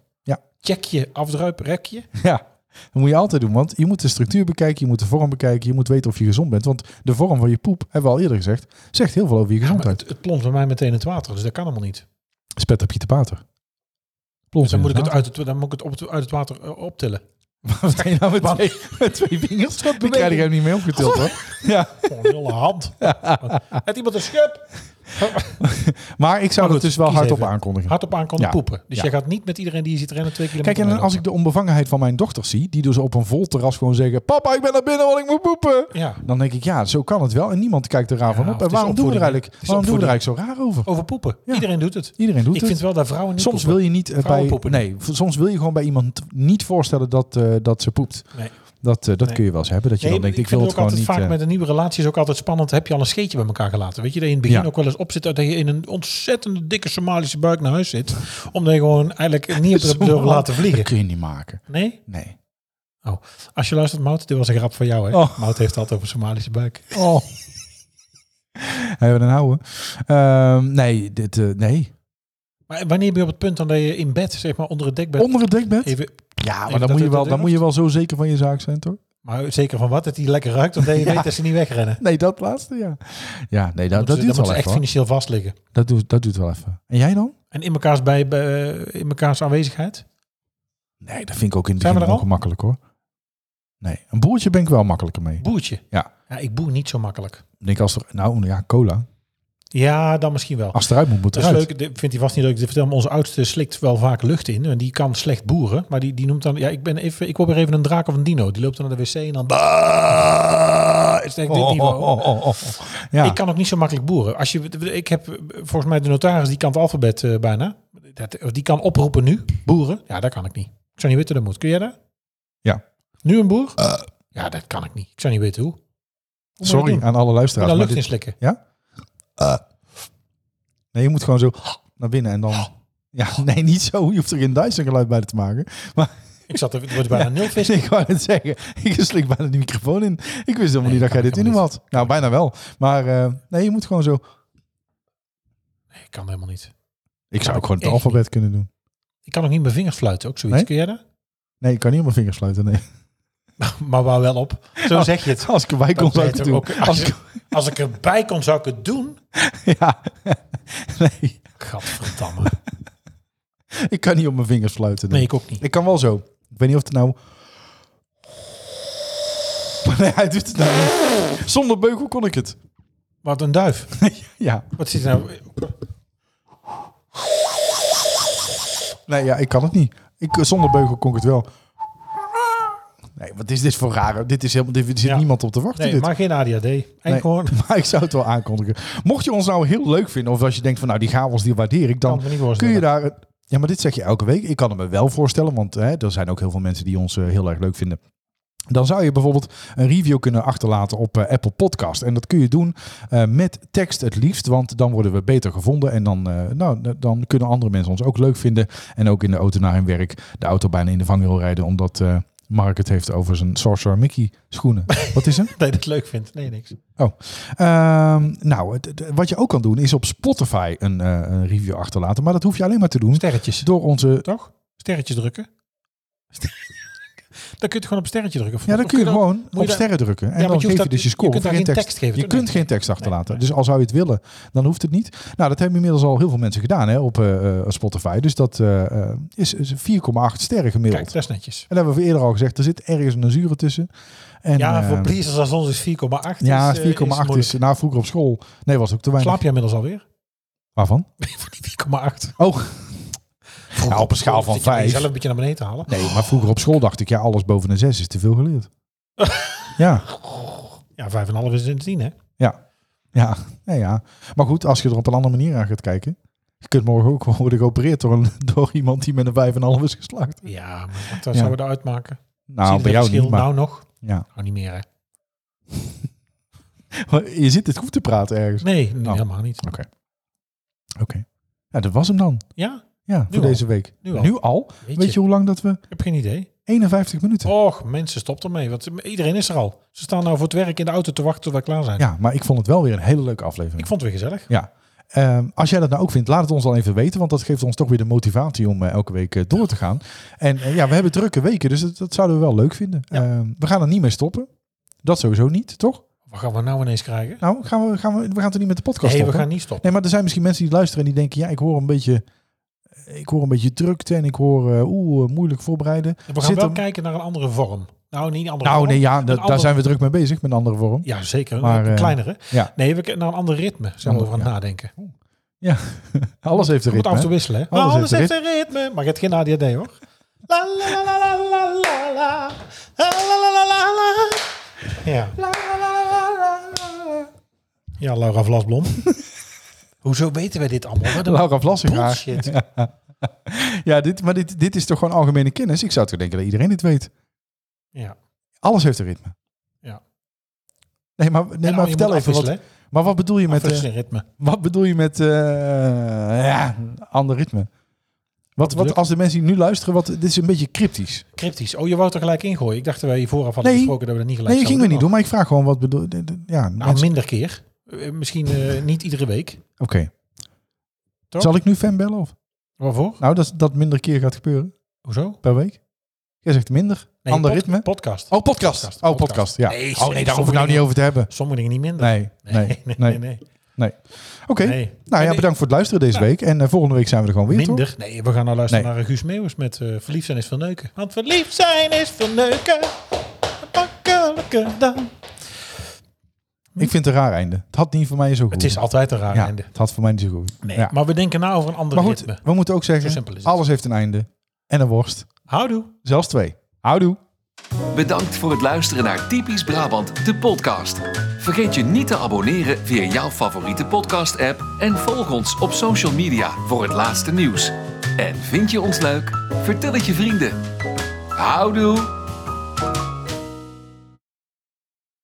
[SPEAKER 3] Check je afdruip, rekje.
[SPEAKER 2] <laughs> Ja, dat moet je altijd doen. Want je moet de structuur bekijken, je moet de vorm bekijken, je moet weten of je gezond bent. Want de vorm van je poep, hebben we al eerder gezegd, zegt heel veel over je
[SPEAKER 3] Maar
[SPEAKER 2] gezondheid.
[SPEAKER 3] het, het plompt bij mij meteen in het water, dus dat kan allemaal niet.
[SPEAKER 2] Spet op je te
[SPEAKER 3] <laughs>
[SPEAKER 2] pater.
[SPEAKER 3] Dus
[SPEAKER 2] Plons
[SPEAKER 3] dan moet ik het,
[SPEAKER 2] inderdaad.
[SPEAKER 3] uit het, dan moet ik het op het, uit het water eh, optillen.
[SPEAKER 2] <laughs> Wat ben je nou met twee, met <laughs> twee vingers? Die krijg ik hem niet mee opgetild hoor.
[SPEAKER 3] Gewoon een hele
[SPEAKER 2] <laughs>
[SPEAKER 3] hand. Heeft iemand een schep?
[SPEAKER 2] Maar ik zou
[SPEAKER 3] Maar
[SPEAKER 2] het
[SPEAKER 3] goed,
[SPEAKER 2] dus wel
[SPEAKER 3] kies
[SPEAKER 2] hardop
[SPEAKER 3] even.
[SPEAKER 2] aankondigen.
[SPEAKER 3] Hardop aan kan
[SPEAKER 2] Ja.
[SPEAKER 3] poepen. Dus
[SPEAKER 2] Ja.
[SPEAKER 3] jij gaat niet met iedereen die je ziet rennen twee kilometer.
[SPEAKER 2] Kijk, en dan als ik de onbevangenheid van mijn dochter zie, die dus op een vol terras gewoon zeggen: Papa, ik ben naar binnen, want ik moet poepen.
[SPEAKER 3] Ja.
[SPEAKER 2] Dan denk ik, ja, zo kan het wel. En niemand kijkt er raar
[SPEAKER 3] Ja,
[SPEAKER 2] van op.
[SPEAKER 3] of het
[SPEAKER 2] En
[SPEAKER 3] is
[SPEAKER 2] waarom doen we er
[SPEAKER 3] opvoeding, hè? Het
[SPEAKER 2] eigenlijk,
[SPEAKER 3] is
[SPEAKER 2] waarom doen we er eigenlijk zo raar over?
[SPEAKER 3] Over poepen.
[SPEAKER 2] Ja.
[SPEAKER 3] Iedereen doet het.
[SPEAKER 2] Iedereen doet
[SPEAKER 3] ik
[SPEAKER 2] het.
[SPEAKER 3] vind wel dat vrouwen niet
[SPEAKER 2] Soms wil je niet eh,
[SPEAKER 3] Vrouwen
[SPEAKER 2] bij
[SPEAKER 3] poepen
[SPEAKER 2] nee, v- soms wil je gewoon bij iemand niet voorstellen dat, eh, dat ze poept.
[SPEAKER 3] Nee.
[SPEAKER 2] Dat, eh, dat
[SPEAKER 3] Nee.
[SPEAKER 2] kun je wel eens hebben. Dat je dan denkt, ik,
[SPEAKER 3] vind
[SPEAKER 2] wil het
[SPEAKER 3] ook
[SPEAKER 2] gewoon
[SPEAKER 3] altijd
[SPEAKER 2] niet.
[SPEAKER 3] vaak
[SPEAKER 2] eh,
[SPEAKER 3] met een nieuwe relatie is ook altijd spannend. Heb je al een scheetje bij elkaar gelaten? Weet je, dat je in het begin
[SPEAKER 2] Ja.
[SPEAKER 3] ook wel eens opzit dat je in een ontzettende dikke Somalische buik naar huis zit. Omdat je gewoon eigenlijk niet op
[SPEAKER 2] <laughs>
[SPEAKER 3] de
[SPEAKER 2] Zo,
[SPEAKER 3] deur
[SPEAKER 2] man.
[SPEAKER 3] laten
[SPEAKER 2] dat
[SPEAKER 3] vliegen.
[SPEAKER 2] kun je niet maken.
[SPEAKER 3] Nee?
[SPEAKER 2] Nee.
[SPEAKER 3] Als je luistert, Mout, dit was een grap van jou, hè?
[SPEAKER 2] Oh.
[SPEAKER 3] Mout heeft het altijd over Somalische buik.
[SPEAKER 2] Oh. Hebben we een ouwe. Ehm, nee, dit, eh, nee.
[SPEAKER 3] Maar wanneer ben je op het punt dan dat je in bed, zeg maar onder het dekbed,
[SPEAKER 2] Onder het dekbed?
[SPEAKER 3] even
[SPEAKER 2] ja, maar
[SPEAKER 3] even dat
[SPEAKER 2] dan moet, je
[SPEAKER 3] het-
[SPEAKER 2] wel,
[SPEAKER 3] dat
[SPEAKER 2] dan moet je wel zo zeker van je zaak zijn, toch?
[SPEAKER 3] Maar zeker van wat? Dat die lekker ruikt, omdat je
[SPEAKER 2] Ja.
[SPEAKER 3] weet dat ze niet wegrennen.
[SPEAKER 2] Nee, dat laatste, ja. Ja, nee, dat, dat
[SPEAKER 3] Moeten ze-
[SPEAKER 2] duurt
[SPEAKER 3] dan
[SPEAKER 2] wel
[SPEAKER 3] moeten ze
[SPEAKER 2] even.
[SPEAKER 3] echt
[SPEAKER 2] hoor.
[SPEAKER 3] financieel vast liggen.
[SPEAKER 2] Dat, doet, dat doet wel even. En jij dan?
[SPEAKER 3] En in mekaars, bij, bij- in mekaars aanwezigheid.
[SPEAKER 2] Nee, dat vind ik ook in het
[SPEAKER 3] Zijn we
[SPEAKER 2] begin
[SPEAKER 3] er al?
[SPEAKER 2] ongemakkelijk, hoor. Nee, een boertje ben ik wel makkelijker mee.
[SPEAKER 3] Boertje.
[SPEAKER 2] Ja.
[SPEAKER 3] ja. Ik boer niet zo makkelijk.
[SPEAKER 2] Ik denk als er, nou ja, cola.
[SPEAKER 3] Ja, dan misschien wel.
[SPEAKER 2] Als het eruit moet, moet
[SPEAKER 3] Dat
[SPEAKER 2] het
[SPEAKER 3] is
[SPEAKER 2] eruit.
[SPEAKER 3] leuk. Dit vindt hij vast niet leuk. Dit vertel me, onze oudste slikt wel vaak lucht in. En die kan slecht boeren. Maar die, die noemt dan... Ja, ik, ben even, ik word weer even een draak of een dino. Die loopt dan naar de wc en dan... Is het echt dit
[SPEAKER 2] Oh,
[SPEAKER 3] niveau?
[SPEAKER 2] Ja.
[SPEAKER 3] Ik kan ook niet zo makkelijk boeren. Als je, ik heb eh, volgens mij de notaris, die kan het alfabet eh, bijna. Dat, of die kan oproepen nu, boeren. Ja, dat kan ik niet. Ik zou niet weten hoe dat moet. Kun jij dat?
[SPEAKER 2] Ja. Eh.
[SPEAKER 3] Nu een boer? Ja, dat kan ik niet. Ik zou niet weten hoe. Hoe moet ik
[SPEAKER 2] Sorry
[SPEAKER 3] doen?
[SPEAKER 2] aan alle
[SPEAKER 3] Moet
[SPEAKER 2] luisteraars.
[SPEAKER 3] daar
[SPEAKER 2] maar
[SPEAKER 3] lucht in
[SPEAKER 2] dit-
[SPEAKER 3] slikken.
[SPEAKER 2] nee, je moet gewoon zo naar binnen en dan... Ja, nee, niet zo. Je hoeft er geen Dyson geluid bij te maken. Maar
[SPEAKER 3] Ik zat er, het wordt bijna nul vis.
[SPEAKER 2] ik wou het zeggen. Ik slik bijna die microfoon in. Ik wist helemaal niet dat jij dit in hem had. Nou, bijna wel. Maar eh, nee, je moet gewoon zo...
[SPEAKER 3] Nee, ik kan helemaal niet.
[SPEAKER 2] Ik zou ook gewoon het
[SPEAKER 3] echt
[SPEAKER 2] alfabet kunnen doen.
[SPEAKER 3] Ik kan ook niet mijn vingers fluiten, ook zoiets.
[SPEAKER 2] Nee?
[SPEAKER 3] Kun jij dat?
[SPEAKER 2] Nee, ik kan niet op mijn vingers sluiten. Nee. <laughs>
[SPEAKER 3] Maar waar wel op. Zo zeg je het.
[SPEAKER 2] Als Oh. ik erbij kon, zou ik het
[SPEAKER 3] Dat
[SPEAKER 2] doen.
[SPEAKER 3] ook- als, ik, als ik erbij kon, zou ik het doen.
[SPEAKER 2] <laughs> Ja. nee,
[SPEAKER 3] Gadverdamme.
[SPEAKER 2] ik kan niet op mijn vingers sluiten.
[SPEAKER 3] Nee, ik ook niet.
[SPEAKER 2] Ik kan wel zo. Ik weet niet of het nou... <laughs> Nee, hij doet het nou niet. Zonder beugel kon ik het. <laughs>
[SPEAKER 3] Wat een duif.
[SPEAKER 2] Ja.
[SPEAKER 3] Wat zit er nou?
[SPEAKER 2] Nee, ja, ik kan het niet. Ik, eh, zonder beugel kon ik het wel. Nee, wat is dit voor raar? Dit is helemaal... Dit, er zit
[SPEAKER 3] Ja.
[SPEAKER 2] niemand op te wachten.
[SPEAKER 3] Nee,
[SPEAKER 2] dit.
[SPEAKER 3] maar geen ADHD. En <laughs> gewoon...
[SPEAKER 2] <laughs> Maar ik zou het wel aankondigen. Mocht je ons nou heel leuk vinden, of als je denkt van nou die gavels die waardeer ik,
[SPEAKER 3] Kan
[SPEAKER 2] dan
[SPEAKER 3] het me niet
[SPEAKER 2] kun
[SPEAKER 3] voorstellen.
[SPEAKER 2] je daar. een- Ja, maar dit zeg je elke week. Ik kan het me wel voorstellen, want hè, er zijn ook heel veel mensen die ons eh, heel erg leuk vinden. Dan zou je bijvoorbeeld een review kunnen achterlaten op eh, Apple Podcast. En dat kun je doen eh, met tekst het liefst, want dan worden we beter gevonden. En dan, eh, nou, d- dan kunnen andere mensen ons ook leuk vinden. En ook in de auto naar hun werk de auto bijna in de vangrail rijden, omdat eh, Mark het heeft over zijn Sorcerer Mickey schoenen. Wat is hem?
[SPEAKER 3] Dat je het leuk vindt. Nee, niks.
[SPEAKER 2] Ehm, nou, het- het- wat je ook kan doen is op Spotify een, eh, een review achterlaten. Maar dat hoef je alleen maar te doen
[SPEAKER 3] Sterretjes.
[SPEAKER 2] door onze...
[SPEAKER 3] Toch? Sterretjes drukken. <laughs> dan kun je het gewoon op sterretje drukken. Of-
[SPEAKER 2] Ja, dan
[SPEAKER 3] of
[SPEAKER 2] kun je
[SPEAKER 3] dat-
[SPEAKER 2] gewoon
[SPEAKER 3] je
[SPEAKER 2] op
[SPEAKER 3] dat-
[SPEAKER 2] sterren drukken. En
[SPEAKER 3] Ja,
[SPEAKER 2] dan
[SPEAKER 3] want je
[SPEAKER 2] geef
[SPEAKER 3] hoeft
[SPEAKER 2] je
[SPEAKER 3] dat-
[SPEAKER 2] dus je
[SPEAKER 3] je
[SPEAKER 2] score.
[SPEAKER 3] kunt
[SPEAKER 2] Of
[SPEAKER 3] daar geen tekst geven,
[SPEAKER 2] Je
[SPEAKER 3] toch?
[SPEAKER 2] kunt
[SPEAKER 3] Nee.
[SPEAKER 2] geen tekst achterlaten. Dus al zou je het willen, dan hoeft het niet. Nou, dat hebben inmiddels al heel veel mensen gedaan hè, op eh, eh, Spotify. Dus dat eh, eh, is is 4,8 sterren gemiddeld.
[SPEAKER 3] Kijk, dat is netjes.
[SPEAKER 2] En dat hebben we eerder al gezegd. Er zit ergens een zure tussen. En,
[SPEAKER 3] Ja,
[SPEAKER 2] eh,
[SPEAKER 3] voor pleasers als ons is 4,8.
[SPEAKER 2] Ja,
[SPEAKER 3] is, eh,
[SPEAKER 2] 4,8 is,
[SPEAKER 3] moeilijk.
[SPEAKER 2] na vroeger op school. Nee, was ook te weinig.
[SPEAKER 3] Slaap je inmiddels alweer?
[SPEAKER 2] Waarvan?
[SPEAKER 3] Van die 4,8.
[SPEAKER 2] Oh. Nou, op een schaal van
[SPEAKER 3] Zit je bij
[SPEAKER 2] 5.
[SPEAKER 3] jezelf een beetje naar beneden te halen.
[SPEAKER 2] Nee, maar vroeger op school dacht ik, ja, alles boven een 6 is te veel
[SPEAKER 3] <laughs>
[SPEAKER 2] geleerd. ja,
[SPEAKER 3] Ja, 5,5 is een 10, hè?
[SPEAKER 2] ja, ja, ja. Maar goed, als je er op een andere manier aan gaat kijken. Je kunt morgen ook gewoon worden geopereerd door, een, <laughs> door iemand die met een 5,5 is geslaagd.
[SPEAKER 3] Ja, maar wat eh,
[SPEAKER 2] Ja.
[SPEAKER 3] zouden we eruit maken? Zie
[SPEAKER 2] Nou,
[SPEAKER 3] je
[SPEAKER 2] bij
[SPEAKER 3] dat
[SPEAKER 2] jou niet,
[SPEAKER 3] verschil?
[SPEAKER 2] maar
[SPEAKER 3] Nou nog?
[SPEAKER 2] Ja.
[SPEAKER 3] Nou, niet meer, hè?
[SPEAKER 2] je zit dit goed te praten ergens.
[SPEAKER 3] Nee, nee,
[SPEAKER 2] Oh.
[SPEAKER 3] helemaal niet.
[SPEAKER 2] Oké. Ja, dat was hem dan.
[SPEAKER 3] Ja?
[SPEAKER 2] Ja, voor
[SPEAKER 3] al.
[SPEAKER 2] deze week.
[SPEAKER 3] Nu al. Weet,
[SPEAKER 2] Weet je hoe lang dat we...
[SPEAKER 3] Ik heb geen idee.
[SPEAKER 2] 51 minuten.
[SPEAKER 3] Och, mensen, stop ermee. Want iedereen is er al. Ze staan nou voor het werk in de auto te wachten tot wij klaar zijn.
[SPEAKER 2] Ja, maar ik vond het wel weer een hele leuke aflevering.
[SPEAKER 3] Ik vond het weer gezellig.
[SPEAKER 2] Ehm, als jij dat nou ook vindt, laat het ons dan even weten. Want dat geeft ons toch weer de motivatie om eh, elke week eh, door te gaan. En eh, ja, we hebben drukke weken, dus dat, dat zouden we wel leuk vinden. Ehm, we gaan er niet mee stoppen. Dat sowieso niet, toch?
[SPEAKER 3] Wat gaan we nou ineens krijgen?
[SPEAKER 2] Nou, gaan we, gaan we, we gaan toch niet met de podcast
[SPEAKER 3] Nee, we
[SPEAKER 2] stoppen?
[SPEAKER 3] gaan niet stoppen.
[SPEAKER 2] Nee, maar er zijn misschien mensen die luisteren en die denken... ja, ik hoor een beetje, ik hoor een beetje drukte en ik hoor eh, oeh, eh, moeilijk voorbereiden.
[SPEAKER 3] we gaan
[SPEAKER 2] Zit
[SPEAKER 3] wel
[SPEAKER 2] hem-
[SPEAKER 3] kijken naar een andere vorm. Nou, niet een andere
[SPEAKER 2] Nou
[SPEAKER 3] vorm.
[SPEAKER 2] nee, ja,
[SPEAKER 3] een
[SPEAKER 2] dat, daar
[SPEAKER 3] andere-
[SPEAKER 2] zijn we druk mee bezig met een andere vorm.
[SPEAKER 3] Ja, zeker.
[SPEAKER 2] Maar,
[SPEAKER 3] een
[SPEAKER 2] eh, nou,
[SPEAKER 3] kleinere.
[SPEAKER 2] ja.
[SPEAKER 3] Nee, we kunnen naar een ander ritme zijn we
[SPEAKER 2] Ander-
[SPEAKER 3] over aan het nadenken. We
[SPEAKER 2] Alles heeft een
[SPEAKER 3] moeten af en toe
[SPEAKER 2] ritme. Oh,
[SPEAKER 3] wisselen. Hè?
[SPEAKER 2] Alles
[SPEAKER 3] Alles,
[SPEAKER 2] heeft
[SPEAKER 3] heeft een ritme. Maar je hebt geen ADHD hoor. La, la, la, la, la, la, la, la. La, la, la, la, la, la. Ja. Ja, Laura Vlasblom. <laughs> Hoezo weten wij dit allemaal? Wat
[SPEAKER 2] hè?
[SPEAKER 3] een
[SPEAKER 2] Laura Vlassengraag.
[SPEAKER 3] bullshit.
[SPEAKER 2] Ja, dit, maar dit, dit is toch gewoon algemene kennis? Ik zou toch denken dat iedereen dit weet.
[SPEAKER 3] Ja.
[SPEAKER 2] Alles heeft een ritme.
[SPEAKER 3] Ja.
[SPEAKER 2] Nee, maar, nee,
[SPEAKER 3] En
[SPEAKER 2] maar
[SPEAKER 3] nou, je
[SPEAKER 2] vertel
[SPEAKER 3] moet
[SPEAKER 2] even wat.
[SPEAKER 3] afwisselen, hè?
[SPEAKER 2] Maar wat bedoel je met. eh,
[SPEAKER 3] Afwisselen in ritme.
[SPEAKER 2] wat bedoel je met. eh, ja, ander ritme? Wat,
[SPEAKER 3] bedoel
[SPEAKER 2] wat
[SPEAKER 3] ik?
[SPEAKER 2] als de mensen die nu luisteren, wat, dit is een beetje cryptisch.
[SPEAKER 3] Cryptisch. Oh, je wou het er gelijk ingooien. Ik dacht dat wij hier vooraf hadden
[SPEAKER 2] Nee.
[SPEAKER 3] gesproken dat we dat niet gelijk
[SPEAKER 2] nee, dat gingen we niet
[SPEAKER 3] zouden
[SPEAKER 2] doen, maar ik vraag gewoon wat bedoel. d- d- Ja,
[SPEAKER 3] Nou,
[SPEAKER 2] mensen-
[SPEAKER 3] minder keer. Eh, Misschien eh, niet iedere week.
[SPEAKER 2] oké.
[SPEAKER 3] Toch?
[SPEAKER 2] Zal ik nu fan bellen? Of?
[SPEAKER 3] Waarvoor?
[SPEAKER 2] Nou, dat dat minder keer gaat gebeuren
[SPEAKER 3] Hoezo?
[SPEAKER 2] per week. Jij zegt minder.
[SPEAKER 3] Nee,
[SPEAKER 2] ander
[SPEAKER 3] pod-
[SPEAKER 2] ritme.
[SPEAKER 3] Podcast.
[SPEAKER 2] oh, podcast.
[SPEAKER 3] podcast,
[SPEAKER 2] Oh, podcast.
[SPEAKER 3] podcast.
[SPEAKER 2] Ja.
[SPEAKER 3] Nee,
[SPEAKER 2] oh, nee, daar hoef ik nou
[SPEAKER 3] sommige
[SPEAKER 2] niet over te hebben.
[SPEAKER 3] Sommige dingen niet minder.
[SPEAKER 2] Nee, nee, nee.
[SPEAKER 3] nee.
[SPEAKER 2] Oké.
[SPEAKER 3] Nee.
[SPEAKER 2] Nou ja,
[SPEAKER 3] Nee.
[SPEAKER 2] bedankt voor het luisteren deze
[SPEAKER 3] Ja.
[SPEAKER 2] week. En eh, volgende week zijn we er gewoon weer, toch?
[SPEAKER 3] Minder. Nee, we gaan nou luisteren
[SPEAKER 2] Nee.
[SPEAKER 3] naar Guus Meeuwis met eh, Verliefd zijn is van neuken. Want verliefd zijn is van neuken. Makkelijker dan.
[SPEAKER 2] Ik vind het een raar einde. Het had niet voor mij zo goed.
[SPEAKER 3] Het is altijd een raar
[SPEAKER 2] ja,
[SPEAKER 3] einde.
[SPEAKER 2] Het had voor mij niet zo goed.
[SPEAKER 3] Nee,
[SPEAKER 2] Ja.
[SPEAKER 3] maar we denken na over een ander
[SPEAKER 2] Maar goed,
[SPEAKER 3] ritme.
[SPEAKER 2] we moeten ook
[SPEAKER 3] Zo
[SPEAKER 2] zeggen,
[SPEAKER 3] simpel is het.
[SPEAKER 2] alles heeft een einde. En een worst.
[SPEAKER 3] Houdoe.
[SPEAKER 2] Zelfs twee. Houdoe.
[SPEAKER 1] Bedankt voor het luisteren naar Typisch Brabant, de podcast. Vergeet je niet te abonneren via jouw favoriete podcast-app en volg ons op social media voor het laatste nieuws. En vind je ons leuk? Vertel het je vrienden. Houdoe!